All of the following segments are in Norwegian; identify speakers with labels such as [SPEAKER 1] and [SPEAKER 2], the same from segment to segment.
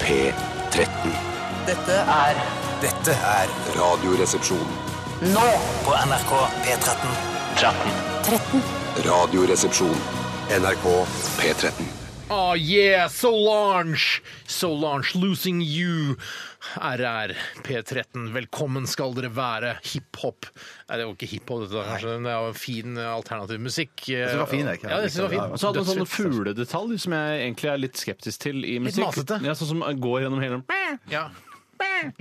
[SPEAKER 1] P13.
[SPEAKER 2] Dette er
[SPEAKER 3] Dette er
[SPEAKER 1] Radioresepsjon.
[SPEAKER 2] nå
[SPEAKER 3] på NRK P13.
[SPEAKER 1] Radioresepsjon. NRK P13.
[SPEAKER 4] Oh yeah, Solange! Solange, losing you. RR, P13, velkommen skal dere være. Hiphop. Nei, det var ikke hiphop, dette, kanskje. Det er jo fin eh, alternativ musikk. Jeg
[SPEAKER 5] synes det var fin, jeg.
[SPEAKER 4] Ja, jeg synes det var
[SPEAKER 5] Ja,
[SPEAKER 4] fin.
[SPEAKER 6] Og så hadde man sånne
[SPEAKER 4] Dødsfint.
[SPEAKER 6] fugledetaljer som jeg egentlig er litt skeptisk til i musikk.
[SPEAKER 4] masete.
[SPEAKER 6] Ja, sånn som går gjennom hele
[SPEAKER 4] Ja.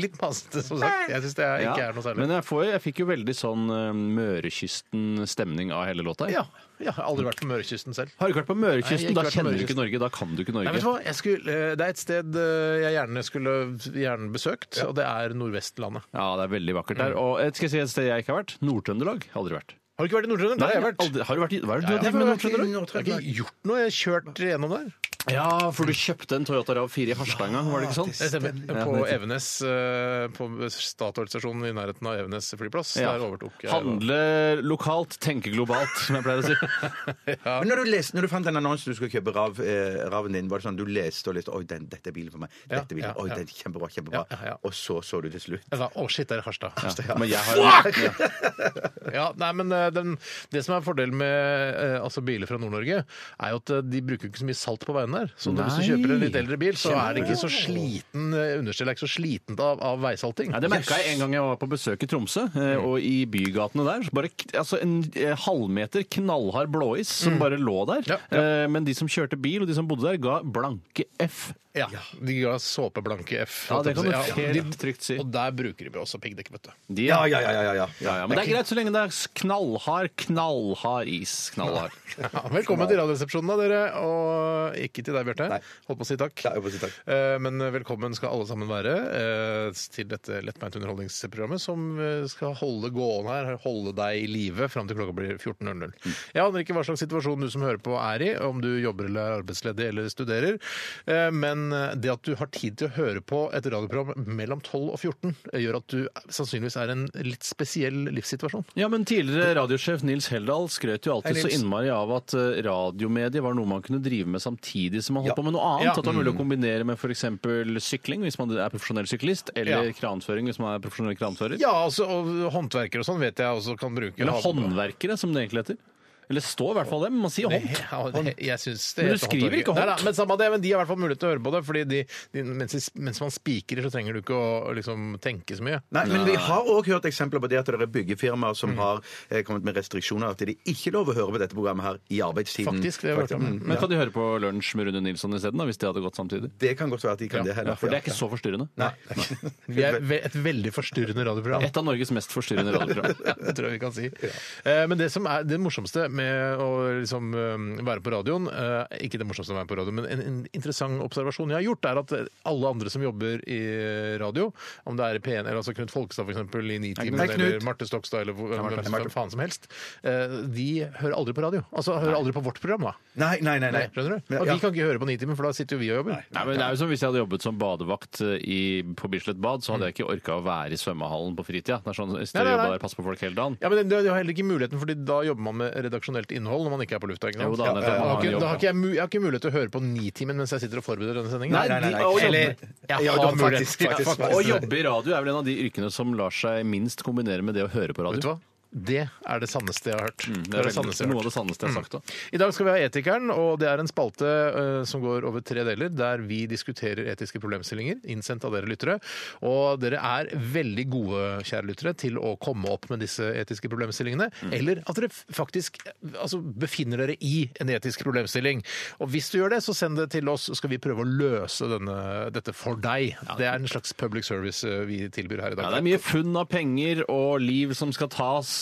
[SPEAKER 4] Litt masete, som sagt. Jeg syns det er, ikke er noe særlig.
[SPEAKER 6] Men jeg, får, jeg fikk jo veldig sånn eh, Mørekysten-stemning av hele låta. jeg.
[SPEAKER 4] ja, ja, jeg har aldri vært på Mørekysten selv.
[SPEAKER 6] Har du ikke vært på
[SPEAKER 4] Nei, jeg har
[SPEAKER 6] Mørekysten?
[SPEAKER 4] ikke
[SPEAKER 6] Da
[SPEAKER 4] vært på
[SPEAKER 6] kjenner du
[SPEAKER 4] Mørekysten.
[SPEAKER 6] ikke Norge. Da kan du ikke
[SPEAKER 4] Nei,
[SPEAKER 6] Norge.
[SPEAKER 4] vet du hva? Jeg skulle, eh, det er et sted eh, jeg gjerne skulle gjerne besøkt, og det er Nordvestlandet.
[SPEAKER 6] ja, det er veldig vakkert
[SPEAKER 4] Mm.
[SPEAKER 6] der. Og et- skal jeg si et sted jeg ikke har vært? Nord-Trøndelag. Aldri vært.
[SPEAKER 4] Har du ikke vært i Nord-Trøndelag? Der har jeg vært.
[SPEAKER 6] Aldri, har du vært i, hva er
[SPEAKER 4] Ja,
[SPEAKER 6] det du har
[SPEAKER 4] jeg
[SPEAKER 6] drevet med i
[SPEAKER 4] har vært i
[SPEAKER 6] Nord-Trøndelag?
[SPEAKER 4] Nord-Trøndelag. Jeg har ikke gjort noe, jeg har kjørt gjennom der.
[SPEAKER 6] Ja, for du kjøpte en Toyota Rav 4 i Harstanga, var det ikke sånn?
[SPEAKER 4] Det stemmer. På Evenes, eh, på Statoil-stasjonen i nærheten av Evenes flyplass.
[SPEAKER 6] Ja.
[SPEAKER 4] Der overtok jeg.
[SPEAKER 6] Handle lokalt, tenke globalt, som jeg pleier å si.
[SPEAKER 5] Men når du, leste, når du fant den annonsen du skulle kjøpe rav, eh, raven din, var det sånn du leste og leste Oi, den, dette er bilen for meg.
[SPEAKER 4] Ja,
[SPEAKER 5] Dette er bilen.
[SPEAKER 4] ja,
[SPEAKER 5] Oi,
[SPEAKER 4] ja.
[SPEAKER 5] den er kjempebra, kjempebra.
[SPEAKER 4] Ja, ja, ja.
[SPEAKER 5] Og så så du til slutt.
[SPEAKER 4] Jeg sa, Å, shit, det er Harstad. Harstad, ja.
[SPEAKER 6] Men jeg har en, ja.
[SPEAKER 4] Ja, nei, men eh, den, Det som er fordelen med eh, altså biler fra Nord-Norge, er jo at eh, de bruker ikke så mye salt på veiene der. Så hvis du
[SPEAKER 6] Nei.
[SPEAKER 4] kjøper en litt eldre bil, så er det ikke så sliten eh, understellet er ikke så slitent av, av veisalting.
[SPEAKER 6] Ja, det merka jeg en gang jeg var på besøk i Tromså, eh, og i bygatene der. så Bare k- altså en eh, halvmeter knallhard blåis som bare lå der.
[SPEAKER 4] Ja,
[SPEAKER 6] Eh, Men de som kjørte bil, og de som bodde der, ga blanke F.
[SPEAKER 4] Ja, De ga såpeblanke F.
[SPEAKER 6] Ja, det kan du
[SPEAKER 4] de-
[SPEAKER 6] helt trygt si.
[SPEAKER 4] Og der bruker de også piggdekk, vet du.
[SPEAKER 6] De,
[SPEAKER 5] Ja, ja, ja. ja, ja, ja.
[SPEAKER 6] Ja, ja, men det er greit så lenge det er knallhard, knallhard is. Knallhard.
[SPEAKER 4] Ja, velkommen til Radioresepsjonen, da, dere. Og ikke til deg, Bjarte.
[SPEAKER 5] Nei.
[SPEAKER 4] Holdt på å si takk.
[SPEAKER 5] Ja, jeg får si takk.
[SPEAKER 4] Eh, Men velkommen skal alle sammen være eh, til dette lettbeint underholdningsprogrammet som eh, skal holde gående her, holde deg i live fram til klokka blir 14.00. Jeg aner ikke hva slags situasjon du som hører på er i, om du jobber eller er arbeidsledig eller studerer, eh, men det at du har tid til å høre på et radioprogram mellom 12 og 14, eh, gjør at du sannsynligvis er i en litt spesiell livssituasjon.
[SPEAKER 6] Ja, men Tidligere radiosjef Nils Heldal skrøt jo alltid
[SPEAKER 5] Hei,
[SPEAKER 6] så
[SPEAKER 5] Nils.
[SPEAKER 6] innmari av at eh, radiomediet var noe man kunne drive med samtidig som man holdt
[SPEAKER 5] Ja.
[SPEAKER 6] på med noe annet.
[SPEAKER 4] Ja.
[SPEAKER 6] At det var mulig å kombinere med f.eks. sykling hvis man er profesjonell syklist, eller
[SPEAKER 4] Ja.
[SPEAKER 6] kranføring hvis man er profesjonell kranfører.
[SPEAKER 4] Ja, altså, og håndverkere og sånn vet jeg også kan bruke.
[SPEAKER 6] Eller håndverkere, som det egentlig heter. Eller står i hvert fall det, men man sier
[SPEAKER 4] Nei,
[SPEAKER 6] hånd.
[SPEAKER 4] ja, det- jeg synes det
[SPEAKER 6] Men du
[SPEAKER 4] heter
[SPEAKER 6] skriver
[SPEAKER 4] håndverker.
[SPEAKER 6] ikke
[SPEAKER 4] Nei,
[SPEAKER 6] hånd.
[SPEAKER 4] da, men samme det, men de har i hvert fall mulighet til å høre på det. fordi de, de, mens, de- mens man spikrer, så trenger du ikke å å liksom, tenke så mye.
[SPEAKER 5] Nei, men vi har òg hørt eksempler på det at det er
[SPEAKER 4] Mm.
[SPEAKER 5] byggefirmaer som har eh, kommet med restriksjoner. At det ikke er lov å høre på dette programmet her i arbeidstiden.
[SPEAKER 4] Faktisk, det har jeg hørt om.
[SPEAKER 5] Mm.
[SPEAKER 6] Men kan de høre på Lunsj med Rune Nilsson isteden, da, hvis det hadde gått samtidig?
[SPEAKER 5] Det kan godt være at de kan
[SPEAKER 4] Ja,
[SPEAKER 5] det
[SPEAKER 6] Ja,
[SPEAKER 5] heller.
[SPEAKER 6] for det er ikke så forstyrrende.
[SPEAKER 4] Vi er ve et veldig forstyrrende radioprogram.
[SPEAKER 6] Et av Norges mest forstyrrende radioprogram.
[SPEAKER 4] Ja, det tror jeg vi kan si. Eh, Men det som er det morsomste med å liksom eh, være på radioen eh, Ikke det morsomste med å være på radioen, men en, en interessant observasjon jeg har gjort, er at alle andre som jobber i radio, om det er i P1 eller altså Knut Folkestad f.eks. i Nitimen
[SPEAKER 5] Hei, Knut.
[SPEAKER 4] eller Marte Stokstad eller hvor- hvem som-
[SPEAKER 5] Marte.
[SPEAKER 4] faen som helst, eh, de hører aldri på radio. Altså hører aldri på vårt program, da.
[SPEAKER 5] Nei, nei, nei. nei.
[SPEAKER 4] Skjønner du?
[SPEAKER 5] Ja,
[SPEAKER 4] Og
[SPEAKER 5] ja.
[SPEAKER 4] vi kan ikke høre på Nitimen, for da sitter jo vi og jobber.
[SPEAKER 6] Nei, men det er jo som Hvis jeg hadde jobbet som badevakt eh, i, på Bislett bad, så hadde jeg ikke orka å være i svømmehallen på fritida. Det er sånn, Hvis
[SPEAKER 4] Nei,
[SPEAKER 6] dere
[SPEAKER 4] nei, nei.
[SPEAKER 6] jobba der, passe på folk hele dagen.
[SPEAKER 4] Ja, men det, det har heller ikke muligheten, fordi da jobber man med redaksjonelt innhold når man ikke er på lufta. ikke sant?
[SPEAKER 6] Jo da, nettopp,
[SPEAKER 4] da, har
[SPEAKER 6] man har
[SPEAKER 4] ikke,
[SPEAKER 6] en jobb,
[SPEAKER 4] da har ikke jeg, mu- jeg har ikke mulighet til å høre på Nitimen mens jeg sitter og forbereder denne sendingen.
[SPEAKER 6] Nei,
[SPEAKER 5] nei, nei, nei.
[SPEAKER 4] Eller
[SPEAKER 5] Eller-
[SPEAKER 4] jeg
[SPEAKER 5] Ja,
[SPEAKER 4] har
[SPEAKER 5] da,
[SPEAKER 4] mulighet
[SPEAKER 5] faktisk,
[SPEAKER 4] til-
[SPEAKER 5] faktisk,
[SPEAKER 4] ja,
[SPEAKER 5] faktisk.
[SPEAKER 6] Å jobbe i radio er vel en av de yrkene som lar seg minst kombinere med det å høre på radio.
[SPEAKER 4] Vet du hva? Det er det sanneste jeg har hørt.
[SPEAKER 6] Mm, Det er veldig,
[SPEAKER 4] sanneste jeg har hørt. Mm.
[SPEAKER 6] noe av det sanneste jeg har sagt. Da.
[SPEAKER 4] I dag skal vi ha Etikeren, og det er en spalte eh, som går over tre deler, der vi diskuterer etiske problemstillinger, innsendt av dere lyttere. Og dere er veldig gode, kjære lyttere, til å komme opp med disse etiske problemstillingene. Eller at dere f- faktisk eh, altså, befinner dere i en etisk problemstilling. Og hvis du gjør det, så send det til oss, så skal vi prøve å løse denne, dette for deg. Det er en slags public service eh, vi tilbyr her i
[SPEAKER 6] Ja,
[SPEAKER 4] dag.
[SPEAKER 6] det er mye funn av penger og liv som skal tas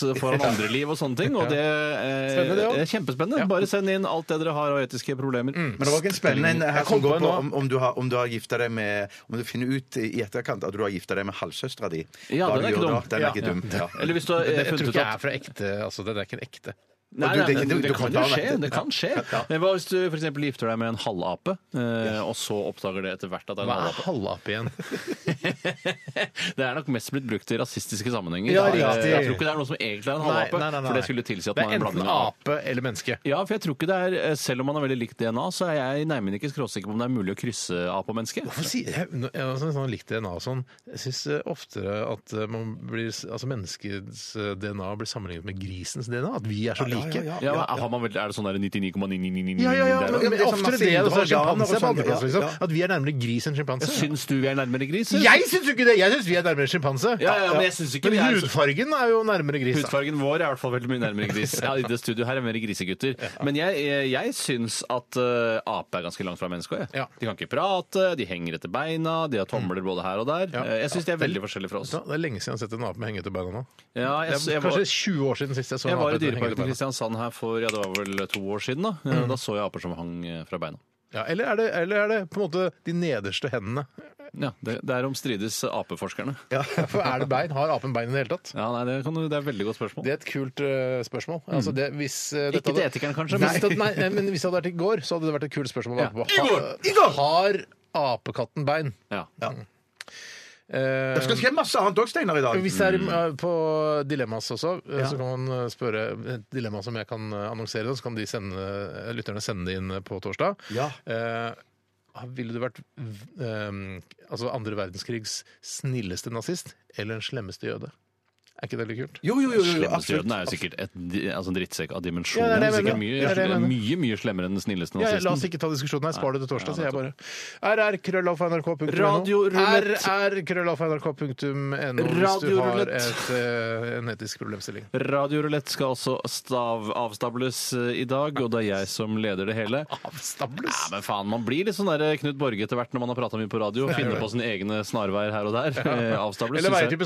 [SPEAKER 6] foran andre liv og sånne ting. Og det, eh,
[SPEAKER 4] Spennende, det også. Mm.
[SPEAKER 6] er kjempespennende. Bare send inn alt det dere har av etiske problemer.
[SPEAKER 5] Men det var også en spennende en her
[SPEAKER 4] Jeg
[SPEAKER 5] som
[SPEAKER 4] kom på
[SPEAKER 5] går
[SPEAKER 4] en
[SPEAKER 5] på
[SPEAKER 4] nå.
[SPEAKER 5] om, om, du har, om du har gifta deg med Om du finner ut i etterkant at du har gifta deg med halvsøstera di.
[SPEAKER 6] Ja, den
[SPEAKER 5] Da
[SPEAKER 6] er
[SPEAKER 5] du
[SPEAKER 6] ikke
[SPEAKER 5] gjør
[SPEAKER 6] dum.
[SPEAKER 5] det, Den er
[SPEAKER 4] Ja.
[SPEAKER 5] ikke dum. Ja.
[SPEAKER 6] Eller hvis du har eh,
[SPEAKER 4] Jeg tror
[SPEAKER 6] funnet
[SPEAKER 4] ikke
[SPEAKER 6] ut
[SPEAKER 4] jeg
[SPEAKER 6] at
[SPEAKER 4] er fra ekte, altså det er ikke en ekte.
[SPEAKER 6] Nei,
[SPEAKER 5] Og du-
[SPEAKER 6] nei,
[SPEAKER 5] det-
[SPEAKER 6] men
[SPEAKER 5] du-
[SPEAKER 6] det,
[SPEAKER 5] du
[SPEAKER 6] kan
[SPEAKER 5] kan
[SPEAKER 6] jo
[SPEAKER 5] ta-
[SPEAKER 6] skje. det kan skje. Men Hva hvis du for eksempel gifter deg med en halvape, eh, og så oppdager det etter hvert at det er en
[SPEAKER 4] Hva er
[SPEAKER 6] halvape?
[SPEAKER 4] halvapp igjen?
[SPEAKER 6] Det er nok mest blitt brukt i rasistiske sammenhenger.
[SPEAKER 4] Ja,
[SPEAKER 6] Eh,
[SPEAKER 4] riktig.
[SPEAKER 6] Jeg tror ikke det er noe som egentlig er en halvape, for det skulle tilsi at
[SPEAKER 4] det
[SPEAKER 6] man
[SPEAKER 4] er
[SPEAKER 6] er en blanding
[SPEAKER 4] enten
[SPEAKER 6] av
[SPEAKER 4] ape eller menneske.
[SPEAKER 6] Ja, for jeg tror ikke det er, eh, Selv om man har veldig likt DNA, så er jeg nærmere ikke skråsikker på om det er mulig å krysse ape og menneske.
[SPEAKER 4] Hvorfor sier jeg, nå- jeg har sånn, sånn likt DNA og sånn. Jeg syns oftere at eh, man blir, altså menneskets eh, DNA blir sammenlignet med grisens DNA. At vi er så like.
[SPEAKER 5] ja,
[SPEAKER 6] Ja, men har man vel, Er det sånn der 99,999
[SPEAKER 4] Ja, ja, ja,
[SPEAKER 6] der, da?
[SPEAKER 4] men,
[SPEAKER 5] men det er sånn
[SPEAKER 4] oftere
[SPEAKER 5] masse
[SPEAKER 4] det enn altså
[SPEAKER 5] indre organer og
[SPEAKER 4] sjimpanse.
[SPEAKER 5] sånn, ja,
[SPEAKER 4] liksom.
[SPEAKER 5] ja.
[SPEAKER 4] At vi er nærmere gris enn sjimpanse.
[SPEAKER 6] Syns du vi er nærmere gris? eller?
[SPEAKER 4] Jeg syns jo ikke det! Jeg syns vi er nærmere sjimpanse.
[SPEAKER 6] Ja, ja, men jeg synes ikke vi er så-
[SPEAKER 4] hudfargen er jo nærmere gris. da.
[SPEAKER 6] Hudfargen vår er i hvert fall veldig mye nærmere gris. Ja, i det studio her er mer grisegutter. Men jeg, eh, jeg syns at eh, ape er ganske langt fra mennesket. Jeg.
[SPEAKER 4] Ja. Mm.
[SPEAKER 6] De kan ikke prate, de henger etter beina, de har tomler både her og der.
[SPEAKER 4] Ja.
[SPEAKER 6] Eh, Jeg syns de er veldig forskjellige fra oss.
[SPEAKER 4] Ja, Det er lenge siden jeg har sett en ape med hengete bein nå.
[SPEAKER 6] Ja,
[SPEAKER 4] Det
[SPEAKER 6] jeg,
[SPEAKER 4] er
[SPEAKER 6] jeg,
[SPEAKER 4] kanskje
[SPEAKER 6] var,
[SPEAKER 4] 20 år siden sist jeg så en
[SPEAKER 6] jeg var i
[SPEAKER 4] ape med hengete
[SPEAKER 6] Dyreparken i
[SPEAKER 4] bein.
[SPEAKER 6] Kristiansand her for ja, det var vel to år siden. Da
[SPEAKER 4] Mm.
[SPEAKER 6] Eh, Da så jeg aper som hang eh, fra beina.
[SPEAKER 4] Ja, eller, er det, eller er det på en måte de nederste hendene?
[SPEAKER 6] Ja, det, Derom strides apeforskerne.
[SPEAKER 4] For er det bein? Har apen bein i det hele tatt?
[SPEAKER 6] Ja, nei, det, kan, du- det er et veldig godt spørsmål.
[SPEAKER 4] Det er et kult eh, spørsmål. Altså, det, hvis, eh, dette
[SPEAKER 6] Mm. Ikke til etikeren, kanskje,
[SPEAKER 4] Nei.
[SPEAKER 6] men-
[SPEAKER 4] Hvis det, nei, nei, men hvis det hadde vært i går, så hadde det vært et kult spørsmål. å være
[SPEAKER 6] Ja.
[SPEAKER 4] på. Har, har apekatten bein?
[SPEAKER 6] Ja.
[SPEAKER 4] Eh,
[SPEAKER 5] Det skal skje masse annet òg, Steinar, i dag.
[SPEAKER 4] hvis det er i- eh, på Dilemmas også, eh, så kan man eh, spørre et dilemma som jeg kan eh, annonsere, da, så kan de sende, eh, lytterne sende det inn eh, på torsdag.
[SPEAKER 5] Ja.
[SPEAKER 4] Eh, ville du vært v- eh, altså andre verdenskrigs snilleste nazist eller den slemmeste jøde? Er ikke det litt kult?
[SPEAKER 5] Jo, jo, jo, jo, jo
[SPEAKER 6] Slemmeste
[SPEAKER 5] absolutt.
[SPEAKER 6] jøden er jo sikkert et, altså en drittsekk av
[SPEAKER 4] Ja, det
[SPEAKER 6] dimensjoner.
[SPEAKER 4] er det jeg
[SPEAKER 6] sikkert
[SPEAKER 4] mener.
[SPEAKER 6] mye,
[SPEAKER 4] Det er det jeg mener.
[SPEAKER 6] mye mye slemmere enn den snilleste
[SPEAKER 4] Ja, la
[SPEAKER 6] nazisten.
[SPEAKER 4] oss ikke ta diskusjonen her. Spar det til torsdag,
[SPEAKER 6] Nei,
[SPEAKER 4] sier jeg bare. rr.krøllalfa.nrk.no.
[SPEAKER 6] Radiorulett.
[SPEAKER 4] rr.krøllalfa.nrk.no hvis du har
[SPEAKER 6] Radiorulett.
[SPEAKER 4] et, eh, en etisk problemstilling.
[SPEAKER 6] Radiorulett skal altså stav, avstables eh, i dag, og det er jeg som leder det hele.
[SPEAKER 4] Avstables?
[SPEAKER 6] Ja, men faen, Man blir litt sånn der Knut Borge etter hvert når man har prata mye på radio. Finner på sine egne snarveier her og der. Eh, Avstables.
[SPEAKER 4] Eller
[SPEAKER 6] synes jeg.
[SPEAKER 4] veier til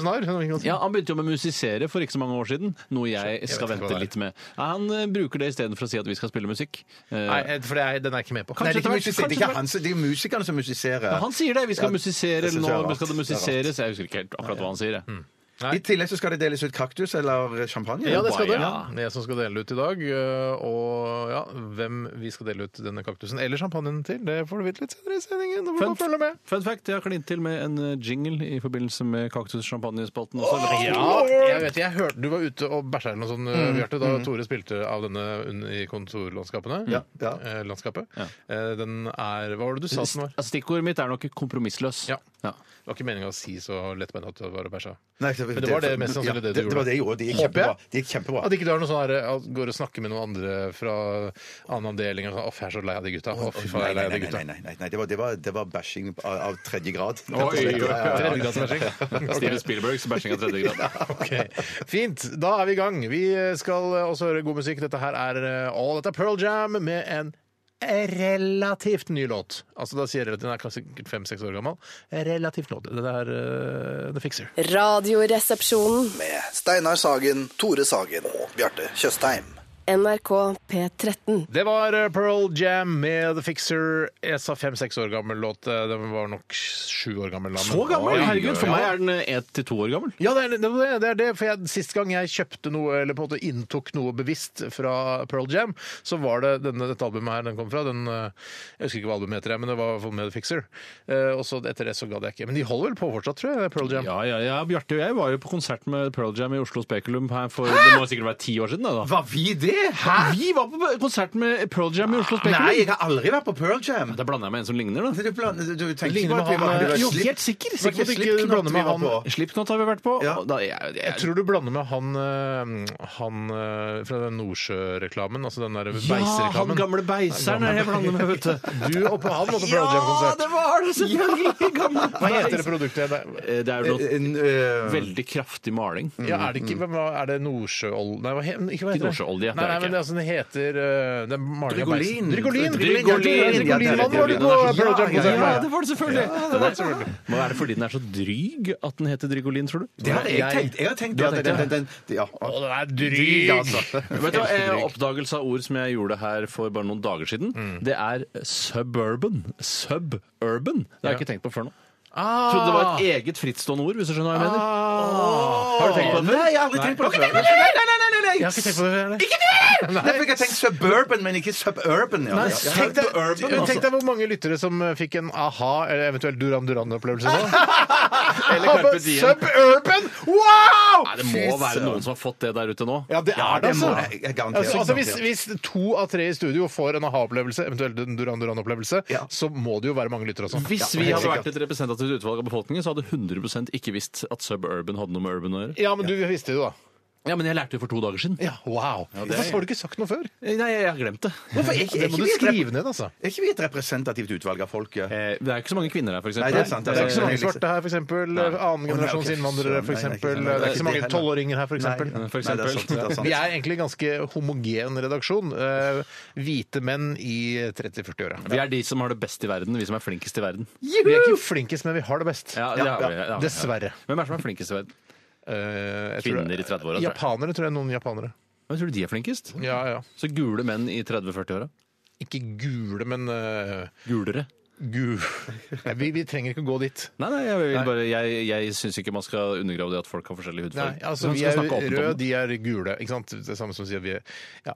[SPEAKER 4] besnar?
[SPEAKER 6] Ja, Han begynte jo med å musisere for ikke så mange år siden, noe jeg skal
[SPEAKER 4] vet ikke hva det
[SPEAKER 6] vente
[SPEAKER 4] er.
[SPEAKER 6] litt med. Ja, Han eh, bruker det istedenfor å si at vi skal spille musikk. Eh,
[SPEAKER 4] Nei, eh, for det er, den er jeg ikke med på.
[SPEAKER 5] Nei, det er
[SPEAKER 6] Kanskje etter hvert-
[SPEAKER 5] ikke musiser- det er
[SPEAKER 6] kanskje
[SPEAKER 5] ikke han, som- det er musikerne som musiserer.
[SPEAKER 6] Han sier det! Vi skal
[SPEAKER 5] Ja,
[SPEAKER 6] musisere, eller
[SPEAKER 5] det synes jeg er
[SPEAKER 6] nå
[SPEAKER 5] rart.
[SPEAKER 6] skal det
[SPEAKER 5] Det er
[SPEAKER 6] musiseres. Jeg husker ikke helt akkurat hva han sier. jeg.
[SPEAKER 4] Mm.
[SPEAKER 5] I tillegg så skal det deles ut kaktus eller champagne.
[SPEAKER 4] Ja, det skal det. Ja.
[SPEAKER 6] Baia.
[SPEAKER 4] Det er jeg som skal dele ut i dag. øh, Og ja, hvem vi skal dele ut denne kaktusen eller champagnen til, det får du vite litt senere i sendingen. Da får
[SPEAKER 6] Fun,
[SPEAKER 4] du følge med.
[SPEAKER 6] fun fact, jeg har klint til med en eh, jingle i forbindelse med kaktus-champagnespalten. også.
[SPEAKER 4] Ja, jeg vet jeg hørte Du var ute og bæsja eller noe sånt, øh,
[SPEAKER 5] Mm,
[SPEAKER 4] Bjarte, da Tore spilte av denne un- i kontorlandskapene.
[SPEAKER 5] ja.
[SPEAKER 4] Eh, landskapet. Eh, Den er Hva var det du sa
[SPEAKER 6] St-
[SPEAKER 4] den var?
[SPEAKER 6] Stikkordet mitt er nok kompromissløs.
[SPEAKER 4] Ja. Det var ikke meninga å si så lettbeint at det var å bæsja.
[SPEAKER 5] Nei,
[SPEAKER 4] Men det var det mest sannsynlig det du
[SPEAKER 5] Det
[SPEAKER 4] gjorde.
[SPEAKER 5] var det jeg gjorde. Det gikk
[SPEAKER 4] Håper jeg.
[SPEAKER 5] kjempebra. Det gikk kjempebra.
[SPEAKER 4] At ikke du har noe sånn her, at går og snakker med noen andre fra annen avdeling og sånn 'Å, jeg er så lei av de gutta'. Å, fy faen, jeg
[SPEAKER 5] Nei,
[SPEAKER 4] er lei
[SPEAKER 5] nei,
[SPEAKER 4] av de
[SPEAKER 5] nei,
[SPEAKER 4] gutta.
[SPEAKER 5] nei, nei, nei, nei. Det var, det var, det var bashing av, av tredje grad.
[SPEAKER 6] Oi, oi, oi.
[SPEAKER 4] Tredjegradsbæsjing.
[SPEAKER 6] Steven Spielbergs bæsjing av tredje grad.
[SPEAKER 4] Ok, Fint. Da er vi i gang. Vi skal også høre god musikk. Dette her er eh, All Dette er Pearl Jam med en relativt ny låt. Altså da sier jeg relativt, Den er kanskje sikkert fem-seks år gammel. Relativt låt. Dette er eh, The Fixer.
[SPEAKER 7] Radioresepsjonen.
[SPEAKER 8] med Steinar Sagen, Tore Sagen og Bjarte Tjøstheim.
[SPEAKER 7] NRK P13.
[SPEAKER 4] Det var eh, Pearl Jam med The Fixer. Jeg sa fem-seks år gammel låt. Eh, Den var nok sju år gammel. da, men-
[SPEAKER 6] Så gammel!
[SPEAKER 4] Oi,
[SPEAKER 6] Herregud, for
[SPEAKER 4] ja.
[SPEAKER 6] meg er den eh, ett til to år gammel.
[SPEAKER 4] Ja, det er det. Er, det, er det for jeg, Sist gang jeg kjøpte noe, eller på en måte inntok noe bevisst fra Pearl Jam, så var det denne, dette albumet her den kom fra. Den, eh, jeg husker ikke hva albumet heter, jeg, men det var i hvert fall med The Fixer. Eh, og så etter det så gadd jeg ikke. Men de holder vel på fortsatt, tror jeg, Pearl Jam.
[SPEAKER 6] Ja, ja, ja. Bjarte og jeg var jo på konsert med Pearl Jam i Oslo Spekulum her for det må sikkert være ti år siden. da, da.
[SPEAKER 5] Var vi det? Hæ?
[SPEAKER 6] Vi var på konsert med Pearl Jam i Oslo
[SPEAKER 5] Nei,
[SPEAKER 6] Spekulum!
[SPEAKER 5] jeg har aldri vært på Pearl Jam.
[SPEAKER 6] Da blander jeg med en som ligner, da. eh,
[SPEAKER 5] Du, bland- du tenker
[SPEAKER 4] Ligner
[SPEAKER 5] ikke på at vi
[SPEAKER 4] med
[SPEAKER 5] var,
[SPEAKER 4] han,
[SPEAKER 5] det var
[SPEAKER 4] jo,
[SPEAKER 5] slipp-
[SPEAKER 6] helt sikker.
[SPEAKER 5] det var
[SPEAKER 6] Sikker på at
[SPEAKER 4] du
[SPEAKER 5] ikke
[SPEAKER 4] ikke
[SPEAKER 5] slippknott
[SPEAKER 4] blander med
[SPEAKER 5] vi var
[SPEAKER 4] han.
[SPEAKER 5] på.
[SPEAKER 6] Slipknot har vi vært på.
[SPEAKER 5] Ja.
[SPEAKER 6] og Da, jeg, jeg,
[SPEAKER 4] Jeg tror du blander med han, eh, han eh, fra den Nordsjø-reklamen, altså den der
[SPEAKER 6] ja, han
[SPEAKER 4] beisereklamen.
[SPEAKER 6] gamle beiseren er jeg blander med, vet du.
[SPEAKER 4] Du og på han var på Pearl Jam-konsert.
[SPEAKER 6] var det! Selvfølgelig! Gamle
[SPEAKER 4] Hva heter det produktet? Det-
[SPEAKER 6] Det er jo noe
[SPEAKER 5] En, eh,
[SPEAKER 6] veldig kraftig maling.
[SPEAKER 4] Ja, er det ikke hvem var- Er det Nordsjøolje Nei, hva he, ikke hva heter det?
[SPEAKER 6] Mm, Nordsjøolje, det er
[SPEAKER 4] Nei, nei, men
[SPEAKER 6] det
[SPEAKER 4] det, er altså, det heter eh, det er maling av
[SPEAKER 5] Drygolin.
[SPEAKER 4] beisen. Drygolin!
[SPEAKER 5] Drygolin,
[SPEAKER 4] ja,
[SPEAKER 5] ja,
[SPEAKER 4] Drygolin, Drygolinmannen var du på
[SPEAKER 5] Ja,
[SPEAKER 4] Pearl Jam konsert
[SPEAKER 5] ja,
[SPEAKER 4] med.
[SPEAKER 6] var det selvfølgelig!
[SPEAKER 4] Det var selvfølgelig.
[SPEAKER 6] Men er det fordi den er så dryg at den heter Drygolin, tror du?
[SPEAKER 5] Det hadde jeg
[SPEAKER 4] Jeg-
[SPEAKER 5] tenkt. Jeg har tenkt det. at Den, den, den, ja.
[SPEAKER 4] Å, den er dryg, altså.
[SPEAKER 6] Vet du, hva, eh, Oppdagelse av ord som jeg gjorde her for bare noen dager siden, det er suburban. Suburban. Det har jeg ikke tenkt på før nå. Jeg trodde det var et eget frittstående ord, hvis du skjønner hva jeg mener.
[SPEAKER 4] Ah.
[SPEAKER 6] Har du tenkt på det?
[SPEAKER 5] Nei, jeg har aldri tenkt på det før. Nei, nei, nei, nei, nei, nei, jeg!
[SPEAKER 4] Jeg har ikke tenkt på det. eller?
[SPEAKER 5] Ikke det! Derfor fikk jeg tenkt suburban, men ikke suburban. Ja.
[SPEAKER 4] Nei,
[SPEAKER 5] Ja.
[SPEAKER 4] tenk, deg,
[SPEAKER 6] Suburban, altså.
[SPEAKER 4] tenk deg hvor mange lyttere som eh, fikk en aha, eller eventuelt Duran Duran-opplevelse nå.
[SPEAKER 6] Eller Carpe Diem.
[SPEAKER 4] Suburban! Wow!
[SPEAKER 6] Nei, det må være noen som har fått det der ute nå.
[SPEAKER 4] Ja, det er det,
[SPEAKER 5] det må
[SPEAKER 4] altså.
[SPEAKER 5] jeg- jeg garanterer.
[SPEAKER 4] altså, altså hvis, hvis to av tre i studio får en aha-opplevelse, eventuelt en Duran Duran-opplevelse,
[SPEAKER 5] Ja.
[SPEAKER 4] så må det jo være mange lyttere også.
[SPEAKER 6] Hvis
[SPEAKER 5] Ja,
[SPEAKER 6] vi
[SPEAKER 5] helt
[SPEAKER 6] hadde
[SPEAKER 5] sikkert.
[SPEAKER 6] vært et representativt utvalg av befolkningen, så hadde 100 ikke visst at suburban hadde noe med urban å gjøre.
[SPEAKER 4] Ja, men du visste det jo, da.
[SPEAKER 6] Ja, men jeg lærte det for to dager siden.
[SPEAKER 4] Ja, wow.
[SPEAKER 6] det er-
[SPEAKER 4] Hvorfor har du ikke sagt noe før?
[SPEAKER 6] Nei, jeg har glemt det.
[SPEAKER 5] Hvorfor er ikke- er
[SPEAKER 4] Det må
[SPEAKER 5] ikke
[SPEAKER 4] du
[SPEAKER 5] vi et rep-
[SPEAKER 4] skrive ned, altså.
[SPEAKER 5] er ikke vi et representativt utvalg av folket?
[SPEAKER 6] Eh, Det er ikke så mange kvinner her, for eksempel.
[SPEAKER 5] Nei, det er sant,
[SPEAKER 4] Det er ikke så mange svarte her, f.eks. Annen
[SPEAKER 5] Å, nei,
[SPEAKER 4] generasjons
[SPEAKER 5] ok.
[SPEAKER 4] innvandrere,
[SPEAKER 5] Så, nei,
[SPEAKER 4] f.eks.
[SPEAKER 5] nei,
[SPEAKER 4] Det
[SPEAKER 5] nei, nei,
[SPEAKER 4] er ikke
[SPEAKER 5] det er
[SPEAKER 4] så mange
[SPEAKER 5] det heller.
[SPEAKER 4] tolvåringer her, f.eks.
[SPEAKER 5] Nei,
[SPEAKER 6] For
[SPEAKER 5] nei, det er
[SPEAKER 6] eksempel.
[SPEAKER 5] sant, det er sant.
[SPEAKER 4] Vi er egentlig en ganske homogen redaksjon. eh, hvite menn i 30-40-åra.
[SPEAKER 6] Vi er de som har det best i verden, vi som er flinkest i verden.
[SPEAKER 4] Vi er ikke flinkest, men vi har det best.
[SPEAKER 6] Ja, det har vi, ja, ja.
[SPEAKER 4] Dessverre.
[SPEAKER 6] Hvem er det som er flinkest i verden?
[SPEAKER 4] Eh, jeg tror det-
[SPEAKER 6] Kvinner i altså. 30-åra. tror jeg.
[SPEAKER 4] Japanere, tror jeg. Noen japanere.
[SPEAKER 6] Hvem tror du de er flinkest?
[SPEAKER 4] Ja, ja.
[SPEAKER 6] Så gule menn i 30-40-åra?
[SPEAKER 4] Ikke gule, men uh,
[SPEAKER 6] Gulere?
[SPEAKER 4] gu... Nei, vi, vi trenger ikke gå dit.
[SPEAKER 6] Nei, nei, jeg, vil bare, jeg, jeg syns ikke man skal undergrave det at folk har forskjellig
[SPEAKER 4] Nei,
[SPEAKER 6] hudfarge.
[SPEAKER 4] altså,
[SPEAKER 6] Man
[SPEAKER 4] vi
[SPEAKER 6] skal
[SPEAKER 4] er
[SPEAKER 6] snakke åpent om
[SPEAKER 4] røde,
[SPEAKER 6] det.
[SPEAKER 4] de er gule. Ikke sant? Det er samme som sier vi er ja.